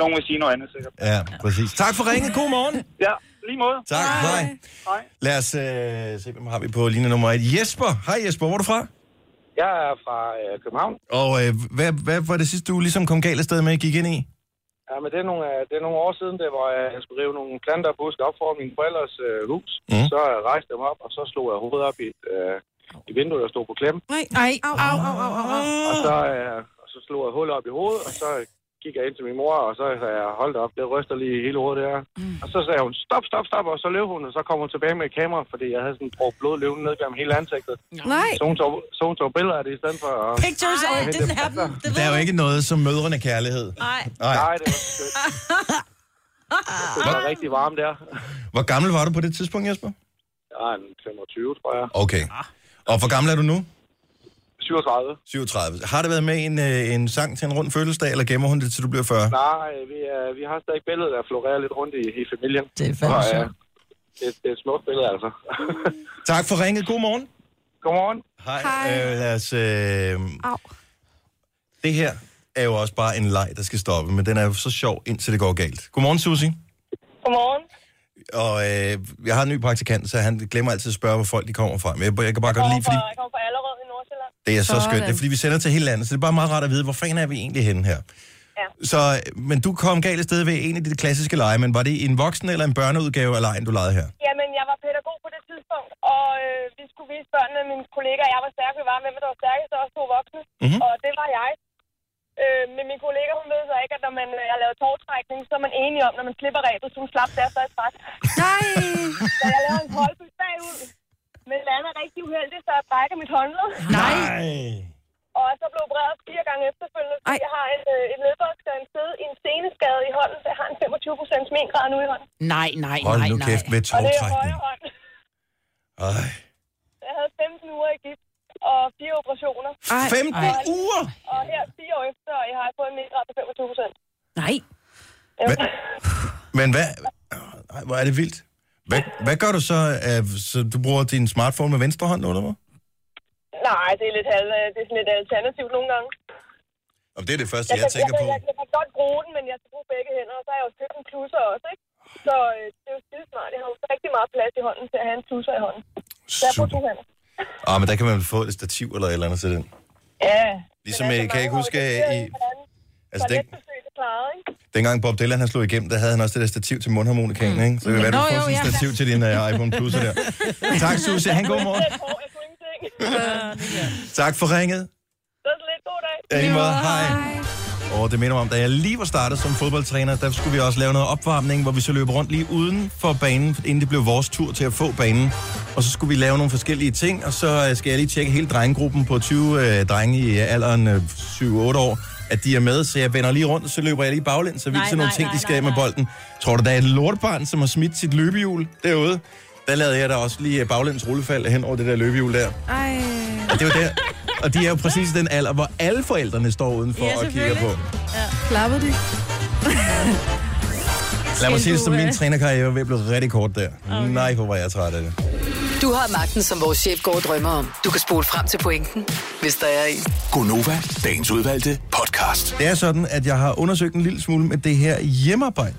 Speaker 9: Nogen vil sige noget andet, sikkert.
Speaker 1: ja, præcis. Tak for ringet. God morgen.
Speaker 9: Ja, lige måde.
Speaker 1: Tak. Hej.
Speaker 9: Hej.
Speaker 1: Lad os øh, se, hvem har vi på linje nummer et. Jesper. Hej Jesper, hvor er du fra?
Speaker 9: Jeg er fra øh, København.
Speaker 1: Og øh, hvad, hvad var det sidste, du ligesom kom galt afsted med, at gik ind i?
Speaker 9: Ja, men det er nogle, øh, det er nogle år siden, det, hvor jeg skulle rive nogle planter og buske op for mine forældres øh, hus.
Speaker 1: Mm.
Speaker 9: Mm. Så øh, rejste jeg mig op, og så slog jeg hovedet op i et, øh, i vinduet, der stod på klem.
Speaker 3: Ej, au, au, au, au, au.
Speaker 9: Og så, øh, og så slog jeg hul op i hovedet, og så gik jeg ind til min mor, og så sagde jeg, hold da op, det ryster lige hele hovedet der. Mm. Og så sagde hun, stop, stop, stop, og så løb hun, og så kom hun tilbage med et kamera, fordi jeg havde sådan brugt blod løbende ned gennem hele ansigtet.
Speaker 2: Nej.
Speaker 9: Så hun tog, så hun tog billeder af det i stedet for. Og...
Speaker 3: Pictures, oh, it didn't happen. Det
Speaker 1: Der er jo ikke noget som mødrene kærlighed.
Speaker 4: Nej,
Speaker 1: Nej.
Speaker 9: Nej, det var så skønt. Det var rigtig varmt der.
Speaker 1: Hvor gammel var du på det tidspunkt, Jesper?
Speaker 9: Jeg er en 25, tror jeg.
Speaker 1: Okay. Og hvor gammel er du nu?
Speaker 9: 37.
Speaker 1: 37. Har det været med en, øh, en sang til en rund fødselsdag, eller gemmer hun det, til du bliver 40?
Speaker 9: Nej, vi, er, vi har stadig billeder, der florerer lidt rundt i, i familien.
Speaker 3: Det er fandme
Speaker 9: Og, øh,
Speaker 3: sjovt.
Speaker 9: det, det er et smukt billede, altså.
Speaker 1: Tak for ringet. God morgen.
Speaker 9: Godmorgen.
Speaker 1: Hej.
Speaker 2: Hej.
Speaker 1: Øh, lad os, øh,
Speaker 2: Au.
Speaker 1: det her er jo også bare en leg, der skal stoppe, men den er jo så sjov, indtil det går galt. Godmorgen, Susie.
Speaker 8: Godmorgen.
Speaker 1: Og øh, jeg har en ny praktikant, så han glemmer altid at spørge, hvor folk de kommer fra. Men jeg, jeg kan bare godt lide, fordi
Speaker 8: Jeg kommer fra Allerød i Nordsjælland.
Speaker 1: det er så
Speaker 2: Sådan.
Speaker 1: skønt. Det er fordi, vi sender til hele landet, så det er bare meget rart at vide, hvor fanden er vi egentlig henne her. Ja. Så, øh, men du kom galt afsted ved en af de klassiske lege, men var det en voksen eller en børneudgave af lejen, du legede her?
Speaker 8: Jamen, jeg var pædagog på det tidspunkt, og øh, vi skulle vise børnene, mine kollegaer, jeg var stærk, vi var med, men der var stærkest, og også to voksne,
Speaker 1: Mhm.
Speaker 8: mm-hmm. og det var jeg. Øh, men min kollega, hun ved så ikke, at når man øh, har lavet tårtrækning, så er man enig om, når man slipper rebet, så hun slap der så i træk.
Speaker 2: Nej!
Speaker 8: Så jeg laver en koldbøs bagud, men lander rigtig uheldig, så jeg brækker mit håndled,
Speaker 3: Nej.
Speaker 8: og så blev opereret fire gange efterfølgende, fordi
Speaker 2: Ej.
Speaker 8: jeg har en, øh, en ledbåndskade, en sted, en seneskade i hånden, så jeg har en 25 procents mengrad nu i hånden,
Speaker 3: Nej, nej,
Speaker 1: Hold
Speaker 3: nej,
Speaker 1: nu
Speaker 3: nej.
Speaker 1: kæft med
Speaker 8: og det er
Speaker 1: togtrækning.
Speaker 8: højre hånd.
Speaker 1: Ej.
Speaker 8: Jeg havde 15 uger i gift og fire operationer.
Speaker 1: 15
Speaker 3: ej.
Speaker 1: uger!
Speaker 8: Og her fire år efter, og jeg har fået en mindre på 25 procent.
Speaker 4: Nej.
Speaker 1: Hvad? Men hvad? Ej, hvor er det vildt. Hvad, hvad gør du så? øh, Så du bruger din smartphone med venstre hånd nu, eller hvad?
Speaker 8: Nej, det er lidt, halv, øh, det er sådan lidt alternativt nogle gange.
Speaker 1: Om det er det første, jeg,
Speaker 8: kan,
Speaker 1: tænker
Speaker 8: jeg,
Speaker 1: på.
Speaker 8: kan- Jeg, jeg, kan godt bruge den, men jeg skal bruge begge hænder, og så har jeg jo købt en plusser også, ikke? Så øh, det er jo skide smart. Jeg har jo rigtig meget plads i hånden til at have en plusser i hånden. Så jeg bruger to
Speaker 1: Super.
Speaker 8: hænder.
Speaker 1: Ah, men der kan man få et stativ eller et eller andet til den.
Speaker 8: Ja.
Speaker 1: Ligesom,
Speaker 3: altså,
Speaker 1: øh, kan jeg ikke huske, at i, altså
Speaker 8: Altså, det...
Speaker 1: den, dengang Bob Dylan han slog igennem, der havde han også det der stativ til mundharmonikaen, ikke? Så det kan være, du
Speaker 3: Mm. Nå,
Speaker 1: får
Speaker 3: jo,
Speaker 1: sådan et
Speaker 3: ja.
Speaker 1: stativ til din uh, iPhone Plus der. tak, Susie. Han god morgen.
Speaker 8: Jeg kunne ingenting.
Speaker 1: Tak for ringet.
Speaker 8: Så er det lidt god dag.
Speaker 1: Ja, i lige måde. Hej. Og det minder mig om, da jeg lige var startet som fodboldtræner, der skulle vi også lave noget opvarmning, hvor vi så løb rundt lige uden for banen, inden det blev vores tur til at få banen. Og så skulle vi lave nogle forskellige ting, og så øh, skal jeg lige tjekke hele drengegruppen på 20 øh, drenge i alderen øh, 7-8 år, at de er med, så jeg vender lige rundt, og så løber jeg lige baglæns, så vi
Speaker 4: Nej,
Speaker 1: viser nogle
Speaker 4: nej,
Speaker 1: ting, de
Speaker 4: nej,
Speaker 1: skal af
Speaker 4: nej,
Speaker 1: med
Speaker 4: nej.
Speaker 1: bolden. Tror du, der er et lortebarn, som har smidt sit løbehjul derude? Der lavede jeg da også lige øh, baglæns rullefald hen over det der løbehjul der.
Speaker 2: Ej.
Speaker 1: Og det var der. Og de er jo præcis den alder, hvor alle forældrene står udenfor
Speaker 4: Ja,
Speaker 1: og kigger på.
Speaker 4: selvfølgelig.
Speaker 2: Klappede de?
Speaker 1: Lad mig sige det,
Speaker 4: du,
Speaker 1: som min
Speaker 4: øh,
Speaker 1: trænerkarriere var ved at blive rigtig kort der. Okay. Nej, hvor var jeg træt af det.
Speaker 6: Du har magten, som vores chef går og drømmer om. Du kan spole frem til pointen, hvis der er en.
Speaker 5: Gonova, dagens udvalgte podcast.
Speaker 1: Det er sådan, at jeg har undersøgt en lille smule med det her hjemmearbejde.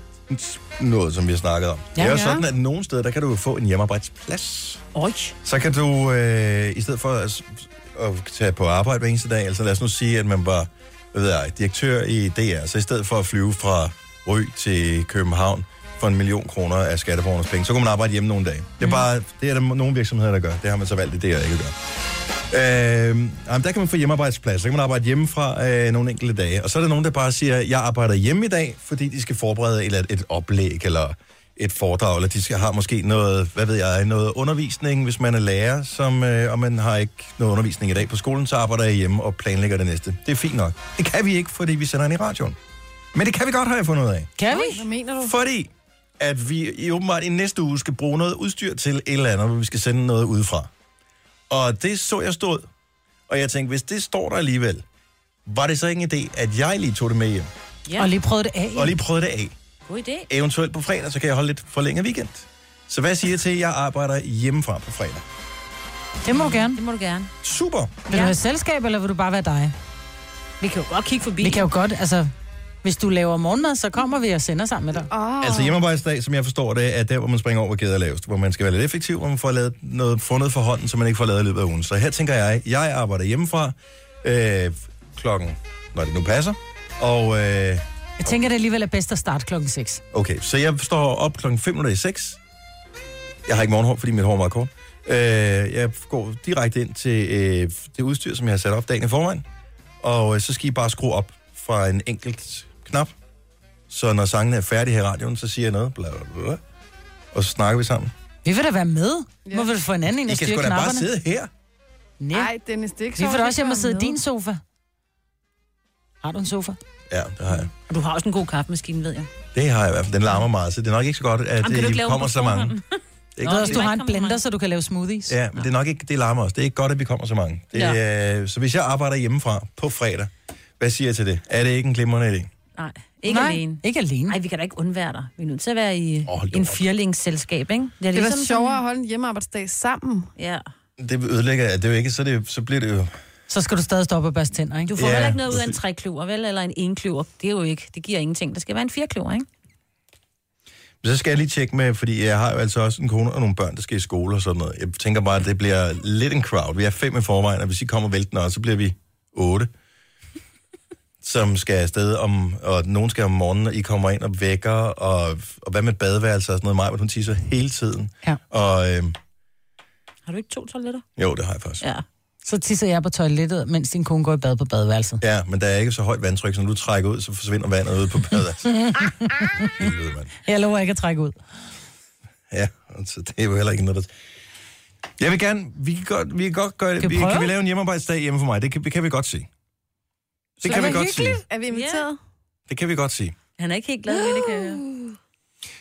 Speaker 1: Noget, som vi har snakket om. Ja, det er jo
Speaker 3: ja.
Speaker 1: sådan, at nogle steder, der kan du jo få en hjemmearbejdsplads.
Speaker 3: Oj.
Speaker 1: Så kan du, øh, i stedet for at, s- at tage på arbejde hver eneste dag, altså lad os nu sige, at man var hvad ved jeg, direktør i DR, så i stedet for at flyve fra Rø til København for en million kroner af skatteborgernes penge, så kunne man arbejde hjemme nogle dage. Det er bare, det er der nogle virksomheder, der gør. Det har man så valgt i DR ikke at gøre. Øh, jamen, der kan man få hjemmearbejdsplads, så kan man arbejde hjemmefra øh, nogle enkelte dage. Og så er der nogen, der bare siger, jeg arbejder hjemme i dag, fordi de skal forberede et, eller andet- et oplæg, eller et foredrag, eller de skal, har måske noget, hvad ved jeg, noget undervisning, hvis man er lærer, som, øh, og man har ikke noget undervisning i dag på skolen, så arbejder jeg hjemme og planlægger det næste. Det er fint nok. Det kan vi ikke, fordi vi sender den i radioen. Men det kan vi godt, har jeg fundet ud af.
Speaker 3: Kan vi?
Speaker 2: Hvad mener du?
Speaker 1: Fordi at vi i åbenbart i næste uge skal bruge noget udstyr til et eller andet, hvor vi skal sende noget udefra. Og det så jeg stod, og jeg tænkte, hvis det står der alligevel, var det så ikke en idé, at jeg lige tog det med hjem,
Speaker 4: Ja.
Speaker 3: Og lige prøve det af.
Speaker 1: og lige prøvede det af.
Speaker 4: God idé.
Speaker 1: Eventuelt på fredag, så kan jeg holde lidt forlænget weekend. Så hvad siger jeg til, at jeg arbejder hjemmefra på fredag?
Speaker 3: Det må du gerne.
Speaker 4: Det må du gerne.
Speaker 1: Super!
Speaker 3: Vil du have selskab, eller vil du bare være dig?
Speaker 4: Vi kan jo godt kigge forbi.
Speaker 3: Vi kan jo godt, altså... Hvis du laver morgenmad, så kommer vi og sender sammen med dig.
Speaker 2: Åh,
Speaker 1: Altså hjemmearbejdsdag, som jeg forstår det, er der, hvor man springer over, hvor kæder er lavest. Hvor man skal være lidt effektiv, hvor man får lavet noget, får noget for hånden, som man ikke får lavet i løbet af ugen. Så her tænker jeg, jeg arbejder hjemmefra øh, klokken, når det nu passer. Og øh,
Speaker 3: Jeg tænker, det alligevel er bedst at starte klokken 6.
Speaker 1: okay, så jeg står op klokken 5 minutter i 6. Jeg har ikke morgenhår, fordi mit hår er meget kort. Øh, jeg går direkte ind til øh, det udstyr, som jeg har sat op dagen i forvejen. Og øh, så skal I bare skrue op fra en enkelt knap. Så når sangen er færdig her i radioen, så siger jeg noget. Bla, bla, bla, og så snakker vi sammen.
Speaker 3: Vi vil da være med.
Speaker 2: Ja.
Speaker 3: Må vi da få en anden ind
Speaker 1: I
Speaker 3: og
Speaker 1: kan
Speaker 3: styre
Speaker 1: sgu da bare
Speaker 3: knapperne?
Speaker 1: sidde her.
Speaker 3: Nej,
Speaker 2: Nej, Dennis, det er ikke
Speaker 3: vi
Speaker 2: sjovt,
Speaker 3: får da
Speaker 2: at
Speaker 3: også
Speaker 2: ikke
Speaker 3: hjem og
Speaker 2: være
Speaker 3: sidde i
Speaker 2: med.
Speaker 3: din sofa. Har du en sofa?
Speaker 1: Ja, det har jeg.
Speaker 4: Og du har også en god kaffemaskine, ved jeg.
Speaker 1: Det har jeg i hvert fald. Den larmer meget, så det er nok ikke så godt, at
Speaker 4: kan du ikke
Speaker 1: det
Speaker 4: lave den
Speaker 1: kommer
Speaker 4: på
Speaker 1: så mange.
Speaker 4: forhånd?
Speaker 3: Nå,
Speaker 10: Nå,
Speaker 3: hvis du
Speaker 4: det-
Speaker 3: har en blender, så du kan lave smoothies.
Speaker 1: Ja, men det er nok ikke, det larmer os. Det er ikke godt, at vi kommer så mange. Det, ja. øh, så hvis jeg arbejder hjemmefra på fredag, hvad siger jeg til det? Er det ikke en glimrende idé?
Speaker 4: Nej, ikke
Speaker 3: Nej,
Speaker 4: alene.
Speaker 3: Ikke alene.
Speaker 4: Nej, vi kan da ikke undvære dig. Vi er nødt til at være i
Speaker 1: Åh,
Speaker 4: oh,
Speaker 1: hold da
Speaker 4: en
Speaker 1: op.
Speaker 4: firlingsselskab, ikke? er ligesom
Speaker 2: Det var
Speaker 4: sådan-
Speaker 2: sjovere at holde en hjemmearbejdsdag sammen.
Speaker 4: Ja.
Speaker 1: Det ødelægger, det er jo ikke, så, det, så bliver det jo...
Speaker 3: Så skal du stadig stoppe og børste tænder, ikke?
Speaker 4: Du får
Speaker 1: Ja,
Speaker 4: heller ikke noget ud af en trekløver, vel? Eller en enkløver. Det er jo ikke. Det giver ingenting. Der skal være en firkløver, ikke?
Speaker 1: Men Så skal jeg lige tjekke med, fordi jeg har jo altså også en kone og nogle børn, der skal i skole og sådan noget. Jeg tænker bare, at det bliver lidt en crowd. Vi er fem i forvejen, og hvis I kommer væltende også, så bliver vi otte, som skal afsted om, og nogen skal om morgenen, og I kommer ind og vækker, og, og hvad med badeværelser og sådan noget. Maja, hun tisser hele tiden.
Speaker 3: Ja.
Speaker 1: Og øhm,
Speaker 4: Har du ikke to toiletter?
Speaker 1: jo, det har jeg faktisk.
Speaker 4: Ja.
Speaker 3: Så tisser jeg på toilettet, mens din kone går i bad på badeværelset.
Speaker 1: Ja, men der er ikke så højt vandtryk, så når du trækker ud, så forsvinder vandet ud på badet. Helvede, mand.
Speaker 3: Jeg lover ikke at trække ud.
Speaker 1: Ja, altså, det er jo heller ikke noget, der... Jeg vil gerne... Vi kan godt, vi kan godt gøre det.
Speaker 3: Kan vi
Speaker 1: Vi, kan
Speaker 3: prøve?
Speaker 1: vi lave en hjemmearbejdsdag hjemme for mig? Det kan, det kan vi godt sige. Det kan vi godt sige.
Speaker 2: Er vi inviteret?
Speaker 1: Det kan vi godt sige.
Speaker 4: Han er ikke helt glad ved det, kan jeg høre.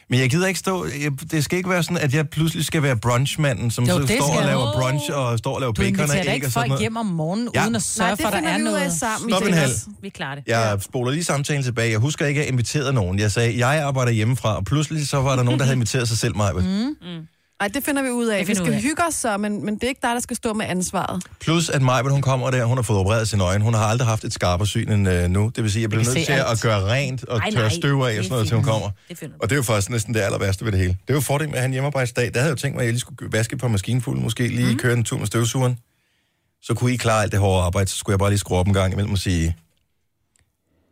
Speaker 1: Men jeg gider ikke stå... Jeg, det skal ikke være sådan, at jeg pludselig skal være brunchmanden, som
Speaker 3: Jo,
Speaker 1: jo,
Speaker 3: det
Speaker 1: så står
Speaker 3: skal
Speaker 1: og
Speaker 3: du.
Speaker 1: laver brunch og står og laver
Speaker 3: Du
Speaker 1: bacon
Speaker 3: inviterer
Speaker 1: og
Speaker 3: da
Speaker 1: æg
Speaker 3: ikke
Speaker 1: og sådan
Speaker 3: folk
Speaker 1: noget.
Speaker 3: hjem om morgenen,
Speaker 1: Ja.
Speaker 3: uden at sørge
Speaker 2: Nej, det
Speaker 3: for, at der
Speaker 2: finder
Speaker 3: er
Speaker 2: vi ud
Speaker 3: noget.
Speaker 2: af sammen.
Speaker 1: Stop en
Speaker 2: Dennis.
Speaker 1: halv.
Speaker 4: Vi klarer det.
Speaker 1: Jeg spoler lige samtalen tilbage. Jeg husker ikke, at jeg inviterede nogen. Jeg sagde, jeg arbejder hjemmefra, og pludselig så var der nogen, der havde inviteret sig selv, mig.
Speaker 2: Nej, det finder vi ud af.
Speaker 4: Det
Speaker 2: Vi
Speaker 4: finder vi
Speaker 2: skal
Speaker 4: ud af.
Speaker 2: hygge os så, men, men det er ikke dig, der skal stå med ansvaret.
Speaker 1: Plus, at Majbert, hun kommer der, hun har fået opereret sine øjne. Hun har aldrig haft et skarpere syn end øh, nu. Det vil sige, at jeg bliver
Speaker 3: kan
Speaker 1: nødt
Speaker 3: se
Speaker 1: til
Speaker 3: alt.
Speaker 1: at gøre rent og
Speaker 4: Ej,
Speaker 1: tørre
Speaker 4: nej,
Speaker 1: støv af
Speaker 4: det
Speaker 1: og
Speaker 4: er
Speaker 1: sådan noget, til
Speaker 4: fint.
Speaker 1: hun kommer.
Speaker 4: Det finder du.
Speaker 1: Og det er jo faktisk næsten det aller værste ved det hele. Det er jo fordelen med at have en hjemmearbejdsdag. Der havde jeg jo tænkt mig, at jeg lige skulle vaske på maskinfulden, måske lige mm. køre en tur med støvsugeren. Så kunne I klare alt det hårde arbejde, så skulle jeg bare lige skrue op en gang imellem og sige,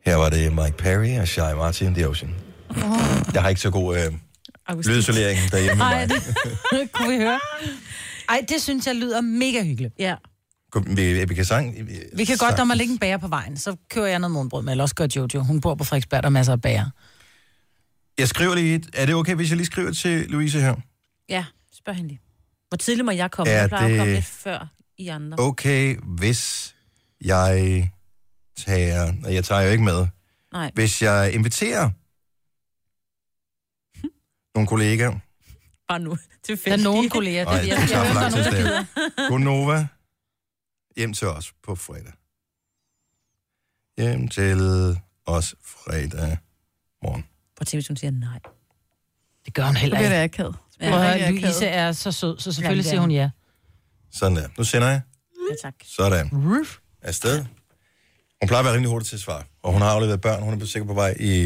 Speaker 1: her var det Mike Perry og Shai Martin in the Ocean. Jeg har ikke så god øh, lydisolering derhjemme med mig.
Speaker 3: det kunne vi høre. Ej, det synes jeg lyder mega hyggeligt.
Speaker 4: Ja.
Speaker 1: Kunne- Vi, vi, kan sang, vi,
Speaker 3: Vi kan godt, når man ligger en bager på vejen, så kører jeg noget morgenbrød med, eller også gør Jojo. Hun bor på Frederiksberg, der er masser af bager.
Speaker 1: Jeg skriver lige, et- er det okay, hvis jeg lige skriver til Louise her?
Speaker 4: Ja, spørg hende lige. Hvor tidligt må jeg komme?
Speaker 1: Er
Speaker 4: Jeg plejer at komme
Speaker 1: det-
Speaker 4: lidt før i andre.
Speaker 1: Okay, hvis jeg tager... Nej, jeg tager jo ikke med.
Speaker 4: Nej.
Speaker 1: Hvis jeg inviterer nogle kollegaer...
Speaker 4: Bare nu.
Speaker 3: Der er nogen kolleger, det
Speaker 1: Nej,
Speaker 3: er
Speaker 1: det
Speaker 3: det,
Speaker 1: tager for lang tid
Speaker 3: jeg
Speaker 1: stadig. Gunova, hjem til os på fredag. Hjem til os fredag morgen.
Speaker 4: Prøv at tænke, hvis hun siger nej.
Speaker 3: Det gør hun
Speaker 2: Det
Speaker 3: heller
Speaker 2: bliver
Speaker 3: ikke.
Speaker 2: da akavet.
Speaker 4: Ja,
Speaker 3: Prøv at
Speaker 2: rigtig
Speaker 3: høre, Louise
Speaker 2: akavet.
Speaker 3: er så sød, så selvfølgelig
Speaker 4: Jamen,
Speaker 3: siger hun ja.
Speaker 1: Sådan der. Nu sender jeg.
Speaker 4: ja tak.
Speaker 1: Sådan. Afsted. Hun plejer at være rimelig hurtig til at svare. Og hun har afleveret børn. Hun er sikkert på vej i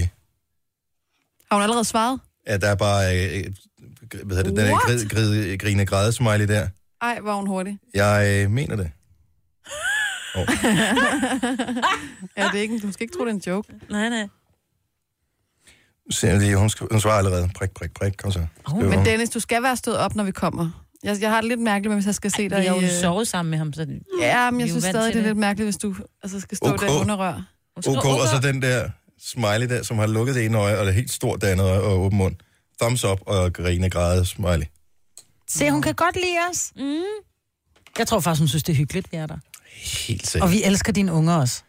Speaker 2: Har hun allerede svaret?
Speaker 1: at der er bare, øh, øh, hvad hedder det, den her
Speaker 2: What?
Speaker 1: grid, grid, grine græde smiley der.
Speaker 2: Ej, var hun hurtig.
Speaker 1: Jeg øh, mener det. Oh.
Speaker 2: Ja, det er ikke, en- du skal ikke tro, det er en joke.
Speaker 4: Nej, nej.
Speaker 1: Ser jeg lige, hun, sk- hun svarer allerede. Prik, prik, prik. Kom så. Oh,
Speaker 2: Men Dennis, du skal være stået op, når vi kommer. Jeg, jeg har det lidt mærkeligt, med, hvis jeg skal se
Speaker 4: Vi
Speaker 2: dig
Speaker 4: har
Speaker 2: i...
Speaker 4: jo
Speaker 2: øh,
Speaker 4: sovet sammen med ham, så...
Speaker 2: Ja, men
Speaker 4: Vi er
Speaker 2: jeg
Speaker 4: jo
Speaker 2: synes
Speaker 4: vant
Speaker 2: stadig,
Speaker 4: til
Speaker 2: det er
Speaker 4: det.
Speaker 2: lidt mærkeligt, hvis du altså, skal stå
Speaker 1: Okay.
Speaker 2: der i underrør.
Speaker 1: OK, og så den der smiley der, som har lukket det ene øje, og det helt stort det andet øje, og åben mund. Thumbs up og grine græde smiley.
Speaker 3: Se, hun kan godt lide os. Mm. Jeg tror faktisk, hun synes, det er hyggeligt, vi er der.
Speaker 1: Helt
Speaker 3: Og
Speaker 1: sikkert.
Speaker 3: vi elsker dine unger også.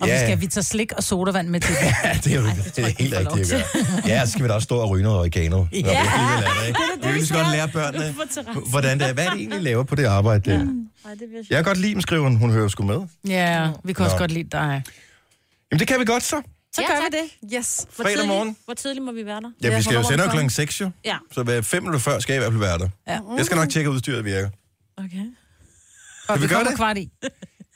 Speaker 3: Og vi
Speaker 1: Ja.
Speaker 3: skal vi tager slik og sodavand med til dem.
Speaker 1: Ja, det er jo det er helt
Speaker 3: lov
Speaker 1: rigtigt at gøre. Ja, så skal vi da også stå og ryge noget oregano. Ja, det er det, Vi vil lige så godt lære børnene, hvordan det er. Hvad er det egentlig, de laver på det arbejde der? Jeg kan godt lide dem, skriver hun. Hun hører jo sgu med.
Speaker 3: Ja, vi kan også
Speaker 1: Nå.
Speaker 3: godt lide dig.
Speaker 1: Jamen, det kan vi godt så.
Speaker 3: Så
Speaker 4: Ja,
Speaker 3: gør
Speaker 4: tak.
Speaker 3: vi det.
Speaker 2: Yes.
Speaker 4: Hvor
Speaker 1: fredag
Speaker 4: tidligt-
Speaker 1: morgen.
Speaker 4: Hvor tidligt må vi være der?
Speaker 1: Ja,
Speaker 2: Ja,
Speaker 1: vi skal jo
Speaker 2: hvornår
Speaker 1: sende
Speaker 2: må du
Speaker 1: klokken 6 jo.
Speaker 4: Ja.
Speaker 1: Så hver 5 minutter før skal jeg i hvert fald være der.
Speaker 3: Ja.
Speaker 2: Mm.
Speaker 1: Jeg skal nok tjekke, at udstyret virker.
Speaker 4: Okay.
Speaker 3: Og
Speaker 1: vi
Speaker 3: vi
Speaker 1: gøre
Speaker 3: kommer
Speaker 1: det?
Speaker 3: kvart i.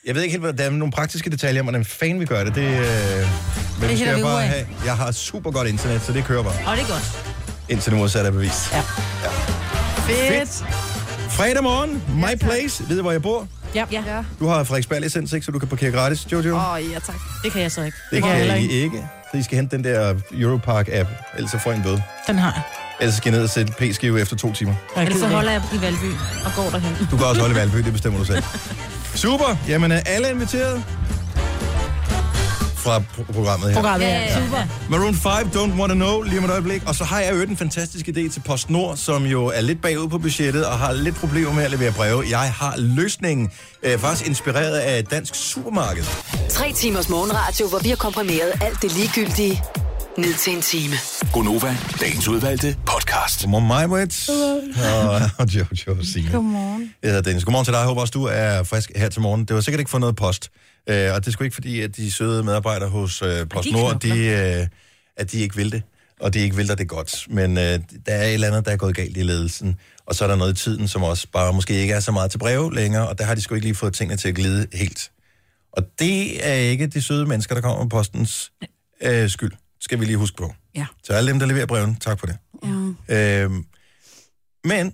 Speaker 1: Jeg ved ikke helt, hvad der er nogle praktiske detaljer om, hvordan fanden vi gør det. Det, øh, men det skal
Speaker 3: hælder
Speaker 1: jeg
Speaker 3: vi ud
Speaker 1: bare
Speaker 3: af.
Speaker 1: have. Jeg har super godt internet, så det kører bare.
Speaker 4: Og det er godt.
Speaker 1: Indtil det modsatte er bevist. Ja.
Speaker 2: Fedt.
Speaker 1: Fredag morgen, my place. Ved du, hvor jeg bor?
Speaker 3: Ja. ja.
Speaker 2: Ja.
Speaker 1: Du har Frederiksberg licens, ikke? Så du kan parkere gratis, Jojo.
Speaker 2: Åh, oh, ja tak.
Speaker 4: Det kan jeg så ikke.
Speaker 1: det kan
Speaker 2: heller
Speaker 1: I ikke. Så I skal hente den der Europark-app, ellers så får I en bøde.
Speaker 3: Den har jeg.
Speaker 1: Ellers skal I ned og sætte p-skive efter to timer.
Speaker 3: jeg.
Speaker 4: Ellers så
Speaker 3: gider
Speaker 4: holder jeg i Valby og går derhen.
Speaker 1: Du kan også holde i Valby, det bestemmer du selv. Super, jamen øh, alle er inviteret fra pro- programmet her.
Speaker 3: ikke. Programmet
Speaker 4: Ja,
Speaker 3: her.
Speaker 4: ja, ja.
Speaker 3: Super.
Speaker 1: Maroon 5, Don't Wanna Know, lige om et øjeblik. Og så har jeg jo den fantastiske idé til PostNord, som jo er lidt bagud på budgettet og har lidt problemer med at levere breve. Jeg har løsningen, øh, faktisk inspireret af et dansk supermarked.
Speaker 6: Tre timers morgenradio, hvor vi har komprimeret alt det ligegyldige ned til en time.
Speaker 5: Gonova, dagens udvalgte podcast.
Speaker 1: Godmorgen, Majbrits. Og, og Jojo og Signe.
Speaker 2: Godmorgen.
Speaker 1: Jeg hedder Dennis. Godmorgen til dig. Jeg håber også, du er frisk her til morgen. Det var sikkert ikke for noget post. Øh, og det skulle ikke fordi, at de søde medarbejdere hos øh, PostNord, de, øh, at de ikke vil det. Og de ikke vil dig det godt. Men øh, der er et eller andet, der er gået galt i ledelsen. Og så er der noget i tiden, som også bare måske ikke er så meget til breve længere. Og der har de sgu ikke lige fået tingene til at glide helt. Og det er ikke de søde mennesker, der kommer med postens øh, skyld. Skal vi lige huske på.
Speaker 4: Ja.
Speaker 1: Så alle dem, der leverer brevene, tak for det. Ja. Øhm, men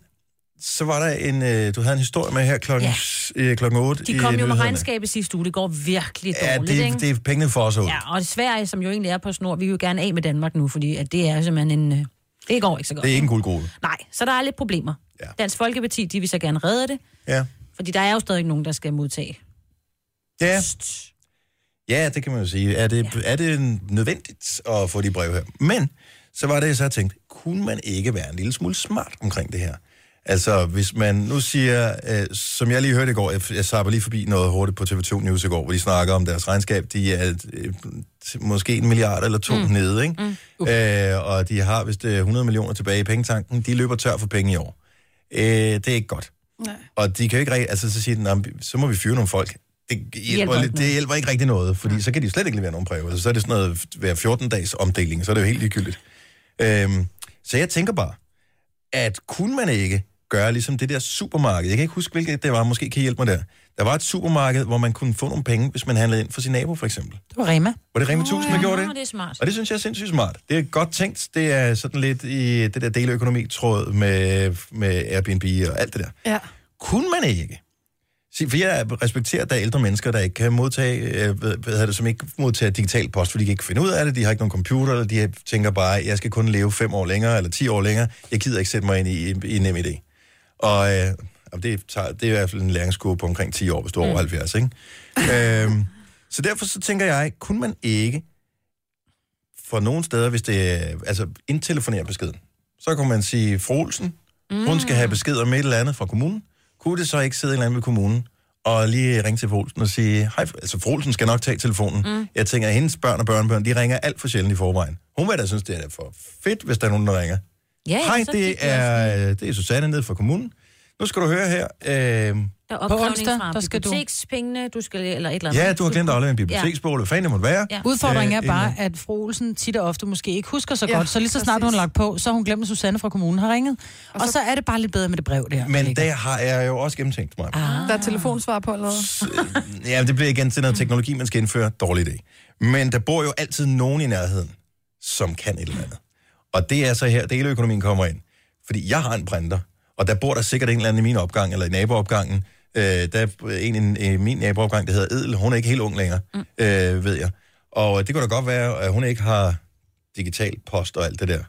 Speaker 1: så var der en, øh, du havde en historie med her klokken, ja. øh, klokken 8.
Speaker 4: De
Speaker 1: i
Speaker 4: kom jo med
Speaker 1: nyhederne.
Speaker 4: regnskabet sidste uge. Det går virkelig
Speaker 1: Ja,
Speaker 4: dårligt, ikke?
Speaker 1: det, det er pengene for os ud. Ja.
Speaker 4: Ja, og Sverige, som jo egentlig er på snor, vi vil jo gerne af med Danmark nu, fordi at det er simpelthen en... øh, Det går ikke så godt.
Speaker 1: Det er ikke en guldgruppe.
Speaker 4: Nej, så der er lidt problemer.
Speaker 1: Ja.
Speaker 4: Dansk Folkeparti, de vil så gerne redde det,
Speaker 1: Ja.
Speaker 4: fordi der er jo stadig nogen, der skal modtage.
Speaker 1: Ja. ja, det kan man jo sige. Er det, ja. er det nødvendigt at få de brev her? Men så var det, jeg så tænkte, kunne man ikke være en lille smule smart omkring det her? Altså, hvis man nu siger, øh, som jeg lige hørte i går, jeg, jeg sapper lige forbi noget hurtigt på TV2 News i går, hvor de snakker om deres regnskab, de er øh, måske en milliard eller to mm. nede, ikke? Mm. Øh, og de har vist øh, 100 millioner tilbage i pengetanken, de løber tør for penge i år. Øh, det er ikke godt. Nej. Og de kan jo ikke rigtig, altså så siger den, "Nå, men så må vi fyre nogle folk. Det hjælper, hjælper
Speaker 4: Hjælper ikke
Speaker 1: lidt, det
Speaker 4: noget.
Speaker 1: hjælper ikke rigtig noget, fordi så kan de jo slet ikke levere nogen prøver. Altså, så er det sådan noget hver 14-dages omdeling, så er det jo helt ligegyldigt. Øhm, så jeg tænker bare, at kunne man ikke gøre ligesom det der supermarked? Jeg kan ikke huske, hvilket det var. Måske kan I hjælpe mig der. Der var et supermarked, hvor man kunne få nogle penge, hvis man handlede ind for sin nabo, for eksempel.
Speaker 3: Det var Rema.
Speaker 1: Var det Rema 1000, der gjorde
Speaker 4: Nå,
Speaker 1: det?
Speaker 4: det er smart.
Speaker 1: Og det synes jeg er sindssygt smart. Det er godt tænkt. Det er sådan lidt i det der deleøkonomi-tråd med, med Airbnb og alt det der.
Speaker 2: Ja.
Speaker 1: Kunne man ikke? Se, for jeg respekterer, at der er ældre mennesker, der ikke kan modtage, øh, hvad, hvad hedder det, som ikke modtager digital post, fordi de kan ikke finde ud af det, de har ikke nogen computer, eller de tænker bare, jeg skal kun leve fem år længere, eller ti år længere, jeg gider ikke sætte mig ind i, i, i NemID. Og øh, jamen, det, tager, det er i hvert fald en læringskurve på omkring 10 år, hvis du er over 70, ikke? øhm, så derfor så tænker jeg, kunne man ikke for nogle steder, hvis det er, altså indtelefonere beskeden, så kunne man sige, Frolsen, mm. hun skal have besked om et eller andet fra kommunen. Kunne det så ikke sidde en eller anden ved kommunen og lige ringe til Frolsen og sige, hej, Fr- altså Frolsen skal nok tage telefonen. Mm. Jeg tænker, at hendes børn og børnebørn, de ringer alt for sjældent i forvejen. Hun vil da synes, det er da for fedt, hvis der er nogen, der ringer.
Speaker 4: Ja,
Speaker 1: hej,
Speaker 4: så
Speaker 1: det
Speaker 4: fik de også-
Speaker 1: er, øh, det er Susanne nede fra kommunen. Nu skal du høre her. Øh,
Speaker 4: Der er opkrævning
Speaker 3: onsdag,
Speaker 4: fra
Speaker 3: der skal du-
Speaker 4: bibliotekspengene, du skal eller et eller andet.
Speaker 1: ja, du har glemt at aflevere en biblioteksbog, eller hvad fanden det måtte være.
Speaker 4: Ja.
Speaker 3: Udfordringen
Speaker 1: Øh,
Speaker 3: er
Speaker 1: en
Speaker 3: bare, at fru Olsen tit og ofte måske ikke husker så
Speaker 2: Ja,
Speaker 3: ja, godt, så lige så snart hun
Speaker 2: præcis.
Speaker 3: har lagt på, så har hun glemt, at Susanne fra kommunen har ringet. Og så, og så er det bare lidt bedre med det brev der.
Speaker 1: Men
Speaker 3: Ikke?
Speaker 1: det har jeg jo også gennemtænkt mig.
Speaker 2: Der er telefonsvar på eller noget.
Speaker 1: øh, ja, det bliver igen til noget teknologi, man skal indføre. Dårlig idé. Men der bor jo altid nogen i nærheden, som kan et eller andet. Og det er så her, deleøkonomien kommer ind. Fordi jeg har en printer, og der bor der sikkert en eller anden i min opgang, eller i naboopgangen. Øh, der er en i i min naboopgang, der hedder Edel. Hun er ikke helt ung længere, mm. øh, ved jeg. Og det kunne da godt være, at hun ikke har digital post og alt det der.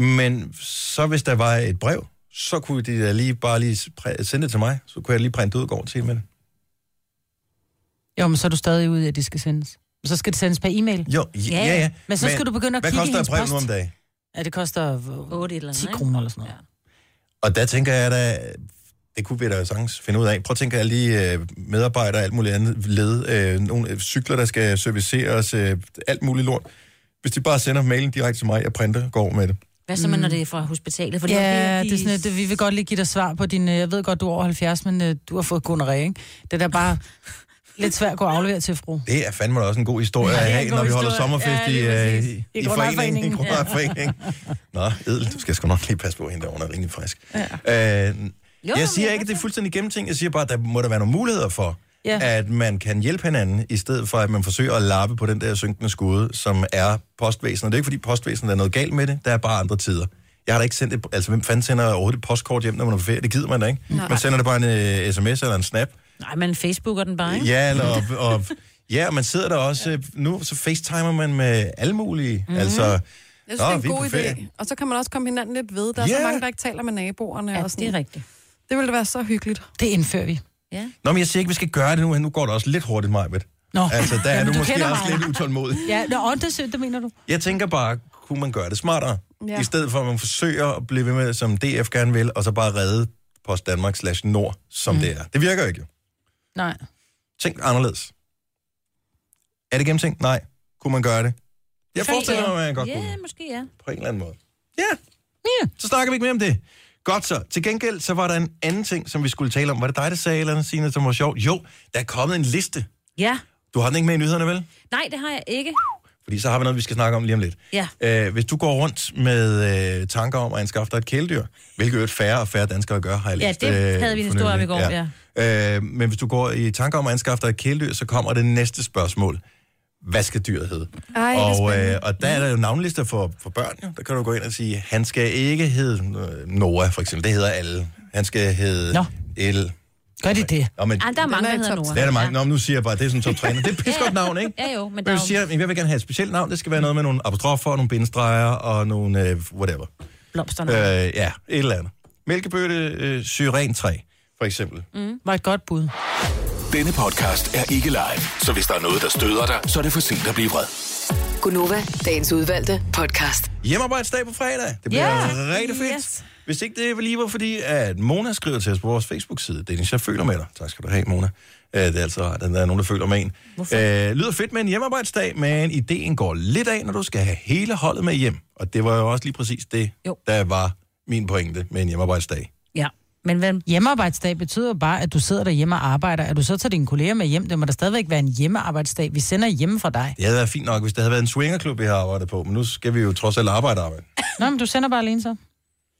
Speaker 1: Men så hvis der var et brev, så kunne de da lige bare lige præ- sende det til mig. Så kunne jeg lige printe det ud og gå over til med det.
Speaker 3: Jo, men så er du stadig ude i, at det skal sendes. Men så skal det sendes per e-mail.
Speaker 1: Jo, ja, ja. ja.
Speaker 3: Men så skal du begynde at
Speaker 1: hvad
Speaker 3: kigge i
Speaker 1: koster et brev
Speaker 3: hendes post?
Speaker 1: nu om dagen?
Speaker 3: Ja, det koster øh,
Speaker 4: 8 et eller andet,
Speaker 3: 10
Speaker 4: ikke?
Speaker 3: kroner eller sådan noget.
Speaker 1: Og der tænker jeg da, det kunne vi da sagtens finde ud af. Prøv at tænke alle de øh, medarbejdere og alt muligt andet led. Øh, nogle øh, cykler, der skal serviceres, øh, alt muligt lort. Hvis de bare sender mailen direkte til mig, jeg printer går med det.
Speaker 4: Hvad så med,
Speaker 1: Mm.
Speaker 4: når det er fra hospitalet? For
Speaker 3: Ja, det er sådan, at det- vi vil godt lige give dig svar på din... øh, Jeg ved godt, du er over 70, men øh, du har fået gonoré, ikke? Det er da bare lidt svært at gå og aflevere til fru.
Speaker 1: Det er fandme da også en god historie ja, at
Speaker 3: det er
Speaker 1: have,
Speaker 3: en
Speaker 1: når
Speaker 3: god
Speaker 1: vi holder
Speaker 3: historie.
Speaker 1: sommerfest
Speaker 3: Ja,
Speaker 1: i,
Speaker 3: lige
Speaker 1: øh, i,
Speaker 3: præcis. I
Speaker 1: i
Speaker 3: Grundejerforeningen.
Speaker 1: foreningen. I Grundejerforeningen. Nå, Edel, du skal sgu nok lige passe på hende der, hun er rimelig frisk. Ja. Øh, jeg siger ikke, at det er fuldstændig gennemtænkt. Jeg siger bare, at der må der være nogle muligheder for, ja.
Speaker 3: Ja.
Speaker 1: at man kan hjælpe hinanden, i stedet for at man forsøger at lappe på den der synkende skude, som er postvæsenet. Og det er ikke, fordi postvæsenet er noget galt med det, der er bare andre tider. Jeg har da ikke sendt et, altså hvem fanden sender overhovedet et postkort hjem, når man er på ferie? Det gider man da ikke. Nej. Man sender det bare en øh, sms eller en snap.
Speaker 4: Nej, man facebooker den bare, ikke?
Speaker 1: Ja, eller, og, og, ja, og man sidder der også, øh, nu så facetimer man med alle mulige, mm-hmm. altså...
Speaker 2: Mhm. Jeg synes,
Speaker 1: Nå,
Speaker 2: det er
Speaker 1: vi
Speaker 2: en
Speaker 1: er
Speaker 2: god
Speaker 1: på ferie.
Speaker 2: idé. Og så kan man også komme hinanden lidt ved. Der er
Speaker 1: Ja.
Speaker 2: så mange, der ikke taler med naboerne.
Speaker 4: Ja,
Speaker 2: og
Speaker 4: det
Speaker 2: sådan.
Speaker 4: er rigtigt.
Speaker 2: det ville da være så hyggeligt.
Speaker 3: Det indfører vi.
Speaker 1: Nå, men jeg siger ikke, vi skal gøre det nu, men nu går det også lidt hurtigt, Majbet.
Speaker 3: Nå,
Speaker 1: Altså, der er
Speaker 3: Jamen,
Speaker 1: du,
Speaker 3: du
Speaker 1: måske
Speaker 3: kender
Speaker 1: også
Speaker 3: mig.
Speaker 1: lidt utålmodig.
Speaker 3: Ja, nå, og det, sy- det mener du?
Speaker 1: Jeg tænker bare, kunne man gøre det smartere? Ja.
Speaker 2: Ja.
Speaker 1: I stedet for, at man forsøger at blive ved med, som DF gerne vil, og så bare redde Post Danmark slash Nord, som mm. det er. Det virker jo ikke. jo.
Speaker 3: Nej.
Speaker 1: Tænk anderledes. Er det gennemtænkt? Nej. Kunne man gøre det? Jeg forestiller mig, at jeg godt kunne.
Speaker 4: Ja, måske ja.
Speaker 1: på en eller anden måde. Ja. ja. Så snakker vi ikke mere om det. Godt så. Til gengæld, så var der en anden ting, som vi skulle tale om. Var det dig, der sagde et eller andet, Signe, som var sjovt? Jo, der er kommet en liste.
Speaker 4: Ja.
Speaker 1: Du har den ikke med i nyhederne, vel?
Speaker 4: Nej, det har jeg ikke.
Speaker 1: Fordi så har vi noget, vi skal snakke om lige om lidt.
Speaker 4: Ja.
Speaker 1: Øh, hvis du går rundt med øh, tanker om at anskaffe dig et kæledyr, hvilket jo færre og færre danskere gør, har jeg
Speaker 4: Ja,
Speaker 1: læst.
Speaker 4: det havde vi en historie om i går,
Speaker 1: fornylig. Øh, men hvis du går i tanker om at anskaffe dig et kæledyr, så kommer det næste spørgsmål. Hvad skal dyret hedde?
Speaker 2: Ej, det er
Speaker 1: og,
Speaker 2: spændende.
Speaker 1: øh, og der er der jo navnlister for, for børn. Jo. Der kan du gå ind og sige, han skal ikke hedde øh, Noah, for eksempel. Det hedder alle. Han skal hedde
Speaker 3: Nå.
Speaker 1: El.
Speaker 3: Gør de det?
Speaker 1: Nå, men,
Speaker 4: Ej, der er mange,
Speaker 2: er
Speaker 4: der
Speaker 2: i
Speaker 4: hedder
Speaker 2: top
Speaker 4: Nora.
Speaker 1: det er der mange. Nå, men nu siger jeg bare, at det er sådan top træner. Det er et pissegodt navn, ikke?
Speaker 4: Ja, jo, men der
Speaker 1: Men
Speaker 4: er
Speaker 1: du
Speaker 4: jo
Speaker 1: siger, at jeg vil gerne have et specielt navn. Det skal være noget med nogle apostrofer, nogle bindestreger og nogle øh, whatever.
Speaker 4: blomsterne. Øh.
Speaker 1: Øh, ja, et eller andet. Mælkebøtte, øh, syren-træ, for eksempel. Mm.
Speaker 3: Var et godt bud.
Speaker 5: Denne podcast er ikke live, så hvis der er noget, der støder dig, så er det for sent at blive vred.
Speaker 6: Gunova, dagens udvalgte podcast.
Speaker 1: Hjemmearbejdsdag på fredag. Det bliver
Speaker 4: Ja.
Speaker 1: rigtig fedt.
Speaker 4: Yes.
Speaker 1: Hvis ikke det lige var fordi, at Mona skriver til os på vores Facebook-side. Dennis, jeg føler med dig. Tak skal du have, Mona. Øh, Det er altså rart, at der er nogen, der føler med en. Øh, lyder fedt med en hjemmearbejdsdag, men ideen går lidt af, når du skal have hele holdet med hjem. Og det var jo også lige præcis det,
Speaker 4: Jo.
Speaker 1: der var min pointe med en hjemmearbejdsdag.
Speaker 4: Ja, men hvem?
Speaker 3: Hjemmearbejdsdag betyder jo bare, at du sidder derhjemme og arbejder. Er du så tager dine kolleger med hjem? Det må da stadigvæk være en hjemmearbejdsdag. Vi sender hjemme fra dig.
Speaker 1: Det havde været fint nok, hvis det havde været en swingerklub, vi har arbejdet på, men nu skal vi jo trods alt arbejde arbejde.
Speaker 4: Altså,
Speaker 3: Nå, men du sender bare alene så.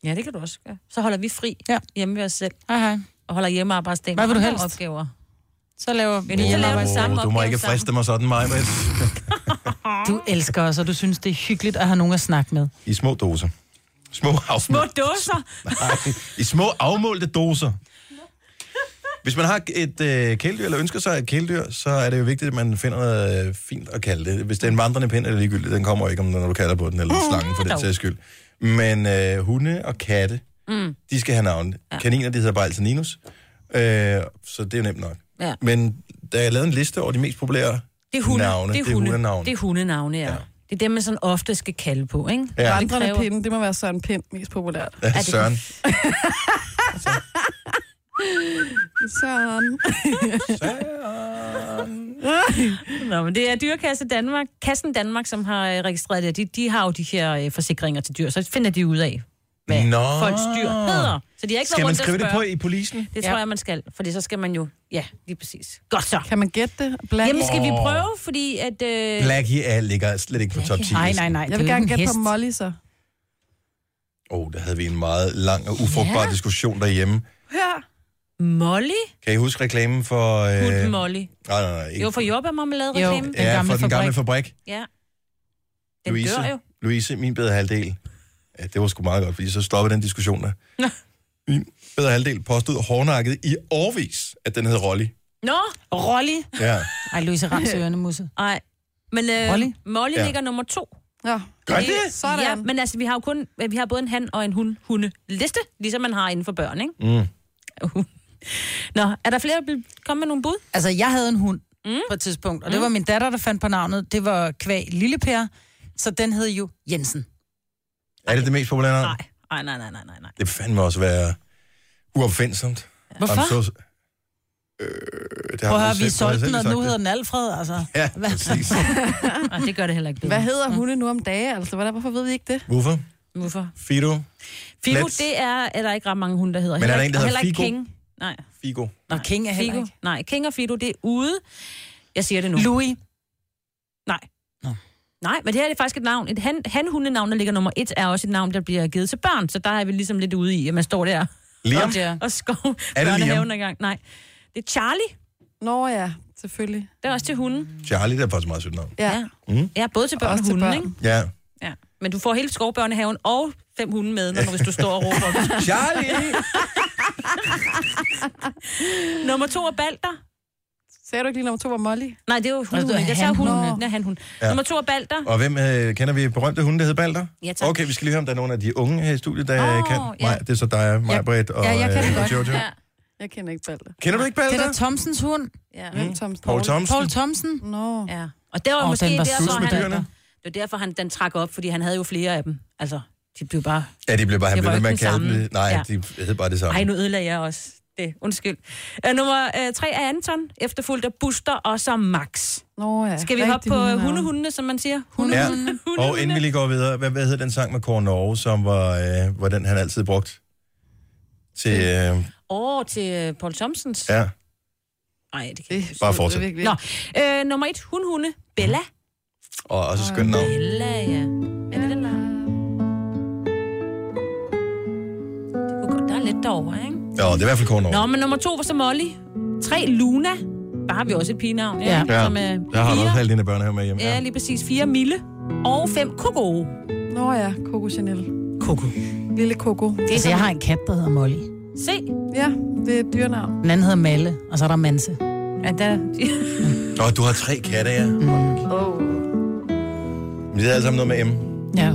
Speaker 4: Ja, det kan du også gøre. Så holder vi fri ja.
Speaker 3: Ja.
Speaker 4: hjemme ved os selv,
Speaker 3: Hej, hej.
Speaker 4: og holder hjemmearbejdsdag
Speaker 3: Hvad vil du
Speaker 4: andre
Speaker 3: helst?
Speaker 4: opgaver.
Speaker 3: Så laver vi
Speaker 4: Men I så laver den
Speaker 3: hjemmearbejdsdag.
Speaker 4: samme
Speaker 1: du må
Speaker 4: opgave
Speaker 1: ikke
Speaker 4: sammen.
Speaker 1: friste mig sådan, mig, men
Speaker 3: Du elsker os, og du synes, det er hyggeligt at have nogen at snakke med.
Speaker 1: i små doser. Små afmål.
Speaker 4: Små dåser.
Speaker 1: Nej, I små afmålte doser. Hvis man har et øh, kæledyr, eller ønsker sig et kæledyr, så er det jo vigtigt, at man finder noget øh, fint at kalde det. Hvis det er en vandrende pind, er det ligegyldigt. Den kommer jo ikke, om når du kalder på den, eller slangen for den
Speaker 4: dog.
Speaker 1: sags skyld. Men øh, hunde og katte, mm. de skal have navn. Ja. Kaniner, de hedder bare altid Ninus. Øh, så det er jo nemt nok.
Speaker 4: Ja.
Speaker 1: Men da jeg lavede en liste over de mest populære
Speaker 4: Det er hunde.
Speaker 1: navne,
Speaker 4: det er hunde.
Speaker 1: hundenavne.
Speaker 4: Det er hundenavne, ja. ja. Det er dem, man sådan ofte skal kalde på, ikke?
Speaker 1: Ja.
Speaker 4: Det
Speaker 2: Vandrende
Speaker 4: kræver...
Speaker 2: pinde, det må være Søren Pind mest populært.
Speaker 1: Ja,
Speaker 4: det-
Speaker 1: Søren.
Speaker 2: Søren.
Speaker 4: Nå, men det er Dyrekasse Danmark, Kassen Danmark, som har øh, registreret det. De, de har jo de her øh, forsikringer til dyr, så finder de ud af, hvad
Speaker 1: Nå.
Speaker 4: folks dyr hedder. Så de har ikke
Speaker 1: Skal man
Speaker 4: været rundt og
Speaker 1: skrive det på
Speaker 4: spørge.
Speaker 1: i polisen?
Speaker 4: Det tror jeg, man skal, for så skal man jo... Ja, lige præcis. Godt så.
Speaker 2: Kan man gætte det? Blandt?
Speaker 4: Jamen, skal vi
Speaker 1: Åh.
Speaker 4: prøve, fordi at... Øh...
Speaker 1: Blackie er ligger slet ikke på top 10.
Speaker 3: Nej, nej, nej. det
Speaker 2: jeg
Speaker 3: er
Speaker 2: vil
Speaker 3: jo
Speaker 2: gerne
Speaker 3: ikke en
Speaker 2: gætte
Speaker 3: hest.
Speaker 2: på Molly, så.
Speaker 1: Oh, der havde vi en meget lang og ufrugtbar ja. diskussion derhjemme.
Speaker 2: Ja.
Speaker 4: Molly?
Speaker 1: Kan I huske reklamen for... Øh...
Speaker 4: Hunden Molly.
Speaker 1: Nej, nej, nej. Ikke...
Speaker 4: Jo, for jordbærmarmelade
Speaker 3: Jo.
Speaker 4: reklamen.
Speaker 1: ja,
Speaker 3: gamle
Speaker 1: for den gamle
Speaker 3: fabrik.
Speaker 1: fabrik.
Speaker 4: Ja. Den
Speaker 1: Louise.
Speaker 4: dør jo.
Speaker 1: Louise, min bedre halvdel. Ja, det var sgu meget godt, fordi så stoppede den diskussion der. min bedre halvdel påstod hårdnakket i årvis, at den hed Rolly.
Speaker 4: Nå,
Speaker 3: Rolly.
Speaker 1: Ja.
Speaker 3: Ej, Louise Rams Ørenemusse.
Speaker 4: nej. Men øh,
Speaker 3: Molly?
Speaker 4: Molly
Speaker 1: Ja.
Speaker 4: ligger nummer to.
Speaker 2: ja.
Speaker 1: Gør det?
Speaker 2: Sådan.
Speaker 4: Ja, men altså, vi har jo kun, vi har både en han og en hun, hunde liste, ligesom man har inden for børn, ikke? Mm. Nå, er der flere, der vil komme med nogle bud?
Speaker 3: Altså, jeg havde en hund mm. på et tidspunkt, og det var min datter, der fandt på navnet. Det var kvæg Lille Per, så den hed jo Jensen.
Speaker 1: Er det det mest populære? navn?
Speaker 4: Nej, nej, nej, nej, nej, nej, nej.
Speaker 1: Det fandme også være uopfindsomt.
Speaker 3: Hvorfor?
Speaker 1: I'm so... øh, det har
Speaker 3: Prøv
Speaker 1: man
Speaker 3: at høre,
Speaker 1: selv-
Speaker 3: vi
Speaker 1: har jeg
Speaker 3: solgte
Speaker 1: selv
Speaker 3: den, og
Speaker 1: sagt
Speaker 3: nu
Speaker 1: det.
Speaker 3: hedder den Alfred, altså.
Speaker 1: Ja, præcis.
Speaker 4: Og det gør det heller ikke bedre.
Speaker 2: Hvad hedder hunde nu om dage? Altså, hvordan- hvorfor ved vi ikke det?
Speaker 1: Hvorfor?
Speaker 4: Hvorfor?
Speaker 1: Fido?
Speaker 4: Figo,
Speaker 1: Let's-
Speaker 4: det er, er der ikke ret mange hunde, der hedder.
Speaker 1: Men er der
Speaker 4: Heller
Speaker 1: en, der hedder
Speaker 4: ikke- heller ikke
Speaker 1: Figo?
Speaker 4: King. Nej,
Speaker 1: Figo.
Speaker 3: Nå, King er heller
Speaker 4: Figo.
Speaker 3: ikke.
Speaker 4: Nej, King og Fido, det er ude. Jeg siger det nu.
Speaker 3: Louis.
Speaker 4: Nej. Nej, men det her er det faktisk et navn. Et han, hanhundenavn, der ligger nummer et, er også et navn, der bliver givet til børn. Så der er vi ligesom lidt ude i, at man står der
Speaker 1: Liam?
Speaker 3: Ja.
Speaker 4: og skov
Speaker 1: Liam?
Speaker 4: børnehaven i gang. Nej, det er Charlie.
Speaker 2: Nå ja, selvfølgelig.
Speaker 4: Det er også til hunden.
Speaker 1: Charlie, det er faktisk meget sødt navn.
Speaker 2: Ja.
Speaker 1: Mhm.
Speaker 4: Mm. Ja, både til børn og,
Speaker 2: Også til
Speaker 4: hunden,
Speaker 2: børn.
Speaker 4: ikke?
Speaker 1: Ja.
Speaker 4: Ja. Men du får hele skovbørnehaven og fem hunde med, når, hvis du står og råber.
Speaker 1: Charlie!
Speaker 4: Nummer to er Balder.
Speaker 2: Sagde du ikke lige nummer to var Molly?
Speaker 4: Nej, det er jo
Speaker 3: du
Speaker 4: hunde.
Speaker 3: er
Speaker 4: Jeg sagde hunde.
Speaker 2: hanhunde.
Speaker 4: Ja, han hund.
Speaker 1: Ja.
Speaker 4: Nummer to er Balder.
Speaker 1: Og hvem øh, kender vi berømte hunde, der hedder Balder?
Speaker 4: Ja, tak.
Speaker 1: Okay, vi skal lige høre, om der er nogen af de unge her i studiet, der
Speaker 4: Åh,
Speaker 1: oh, kan.
Speaker 4: ja.
Speaker 1: Maj, det er så dig, mig, Britt og,
Speaker 2: Ja, jeg kan
Speaker 1: øh,
Speaker 2: det
Speaker 1: og
Speaker 2: godt.
Speaker 1: Jojo.
Speaker 4: Ja.
Speaker 2: Jeg kender ikke Balder.
Speaker 1: Kender du ikke
Speaker 3: Det er
Speaker 1: Balder?
Speaker 3: da Thomsens hund.
Speaker 4: Ja.
Speaker 2: Hvem Thomas
Speaker 1: Paul Mm. Thomsen.
Speaker 3: Paul Thomsen.
Speaker 2: Nå. Ja.
Speaker 4: Mm. ja. Og det var
Speaker 3: Åh,
Speaker 4: måske
Speaker 3: den var
Speaker 4: derfor,
Speaker 3: sus
Speaker 1: med
Speaker 4: han,
Speaker 1: dyrene.
Speaker 4: det var derfor han, den trak op, fordi han havde jo flere af dem. Altså, de blev bare...
Speaker 1: Ja, de blev bare, han
Speaker 4: Det
Speaker 1: blev
Speaker 4: var
Speaker 1: ved med
Speaker 4: jo
Speaker 1: at
Speaker 4: ikke den
Speaker 1: kalde
Speaker 4: samme.
Speaker 1: det. Nej,
Speaker 4: Ja.
Speaker 1: de hed bare det samme.
Speaker 4: Ej, nu ødelagde jeg også det. Undskyld. Øh, nummer øh, tre er Anton, efterfulgt af Buster og så Max.
Speaker 2: Nå, ja.
Speaker 4: Skal vi
Speaker 2: Rigtig
Speaker 4: hoppe på
Speaker 2: hundenavn.
Speaker 4: øh, hundehundene, som man siger? Hunde.
Speaker 1: Ja. Og inden vi lige går videre, hvad, hvad hed den sang med Kåre Norge, som var, øh, var den, han altid brugte? Til, øh,
Speaker 4: Åh, til øh, Paul Thompsons.
Speaker 1: ja,
Speaker 4: Nej, det kan
Speaker 2: Det
Speaker 4: ikke.
Speaker 2: er
Speaker 1: Bare
Speaker 2: sødt,
Speaker 1: fortsæt.
Speaker 2: det er virkelig.
Speaker 4: Nå, øh, nummer et, hundhunde. Bella.
Speaker 1: og også skønt navn.
Speaker 4: Bella, ja. Er det den der? Det kunne godt, der er lidt derovre, ikke?
Speaker 1: Ja, det er i hvert fald Kåre Norge.
Speaker 4: Nå, men nummer to var så Molly. Tre, Luna. Der har vi også et pigenavn, ja.
Speaker 1: Ja,
Speaker 4: Som er
Speaker 1: der har du også
Speaker 4: fire.
Speaker 1: halvdelen af børn her med hjemme.
Speaker 4: Ja,
Speaker 1: Ja.
Speaker 4: lige præcis. Fire, Mille. Og fem, Coco.
Speaker 2: Nå ja, Coco Chanel.
Speaker 3: Koko.
Speaker 2: Lille Coco.
Speaker 4: Det er
Speaker 3: Altså, jeg har en kat, der hedder Molly.
Speaker 4: Se.
Speaker 2: Ja, det er et dyrenavn.
Speaker 3: Den anden hedder Malle, og så er der Manse.
Speaker 4: Ja, der...
Speaker 1: Nå, du har tre katte, ja. Mm. Oh. Men det er alle sammen noget med M.
Speaker 3: Ja.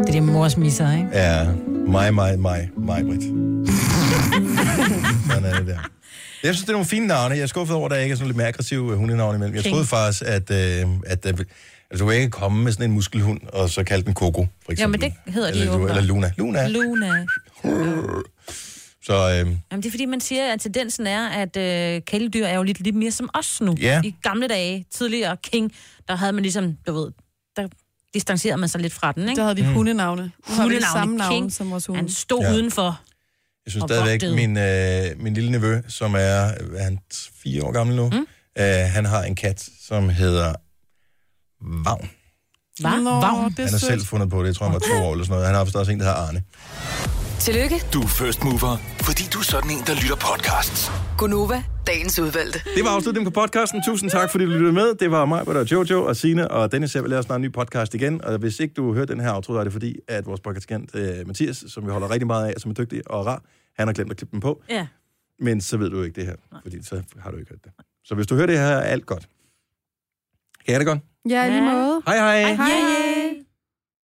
Speaker 3: Det er din mors misser, ikke?
Speaker 1: Ja, mig, mig, mig, mig, Britt. Sådan er det der. Jeg synes, det er nogle fine navne. Jeg er skuffet over, at der ikke er sådan lidt mere aggressive hundenavne imellem. Jeg troede faktisk, at, øh, at der, vil- altså, du kan ikke komme med sådan en muskelhund, og så kalde den Coco, for eksempel.
Speaker 4: Jamen, det hedder de
Speaker 1: eller,
Speaker 4: jo
Speaker 1: du-
Speaker 4: bare.
Speaker 1: Eller Luna. Luna.
Speaker 4: Luna.
Speaker 1: Så øh,
Speaker 4: Jamen, det er fordi, man siger, at tendensen er, at øh, kæledyr er jo lidt, lidt mere som os nu.
Speaker 1: Ja.
Speaker 4: I gamle dage, tidligere King, der havde man ligesom, du ved, der distancerede man sig lidt fra den,
Speaker 2: Der
Speaker 4: ikke?
Speaker 2: havde vi
Speaker 1: Mm.
Speaker 2: hundenavne. Nu har vi det
Speaker 4: Hundenavne,
Speaker 2: samme navn
Speaker 4: King.
Speaker 2: som vores hunde.
Speaker 4: Han stod
Speaker 1: Ja.
Speaker 4: ja. udenfor.
Speaker 1: jeg synes
Speaker 4: Og
Speaker 1: stadigvæk,
Speaker 4: vogtede.
Speaker 1: min, øh, min lille nevø, som er, øh, han er fire år gammel nu, mm. øh, han har en kat, som hedder Vagn.
Speaker 4: Hva?
Speaker 2: Nå,
Speaker 3: Vagn.
Speaker 2: det er
Speaker 1: Han har
Speaker 2: sødt.
Speaker 1: selv fundet på det. Jeg tror, han var to år eller sådan noget. Han har vist også en, der hedder Arne.
Speaker 6: Tillykke,
Speaker 5: Du er first mover, fordi du er sådan en, der lytter podcasts.
Speaker 6: Gunova, dagens udvalgte.
Speaker 10: Det var afslutningen på podcasten. Tusind tak, fordi du lyttede med. Det var mig, hvor der Jojo og Sine og Dennis. Jeg vil lave snart en ny podcast igen. Og hvis ikke du hørte den her outro, er det fordi, at vores podcastkant øh, Mathias, som vi holder rigtig meget af, som er dygtig og rar, han har glemt at klippe den på.
Speaker 4: Ja.
Speaker 10: Men så ved du ikke det her, fordi så har du ikke hørt det. Så hvis du hører det her, er alt godt. Kan I have det godt?
Speaker 2: Ja, i lige måde.
Speaker 10: Hej hej!
Speaker 4: Hej.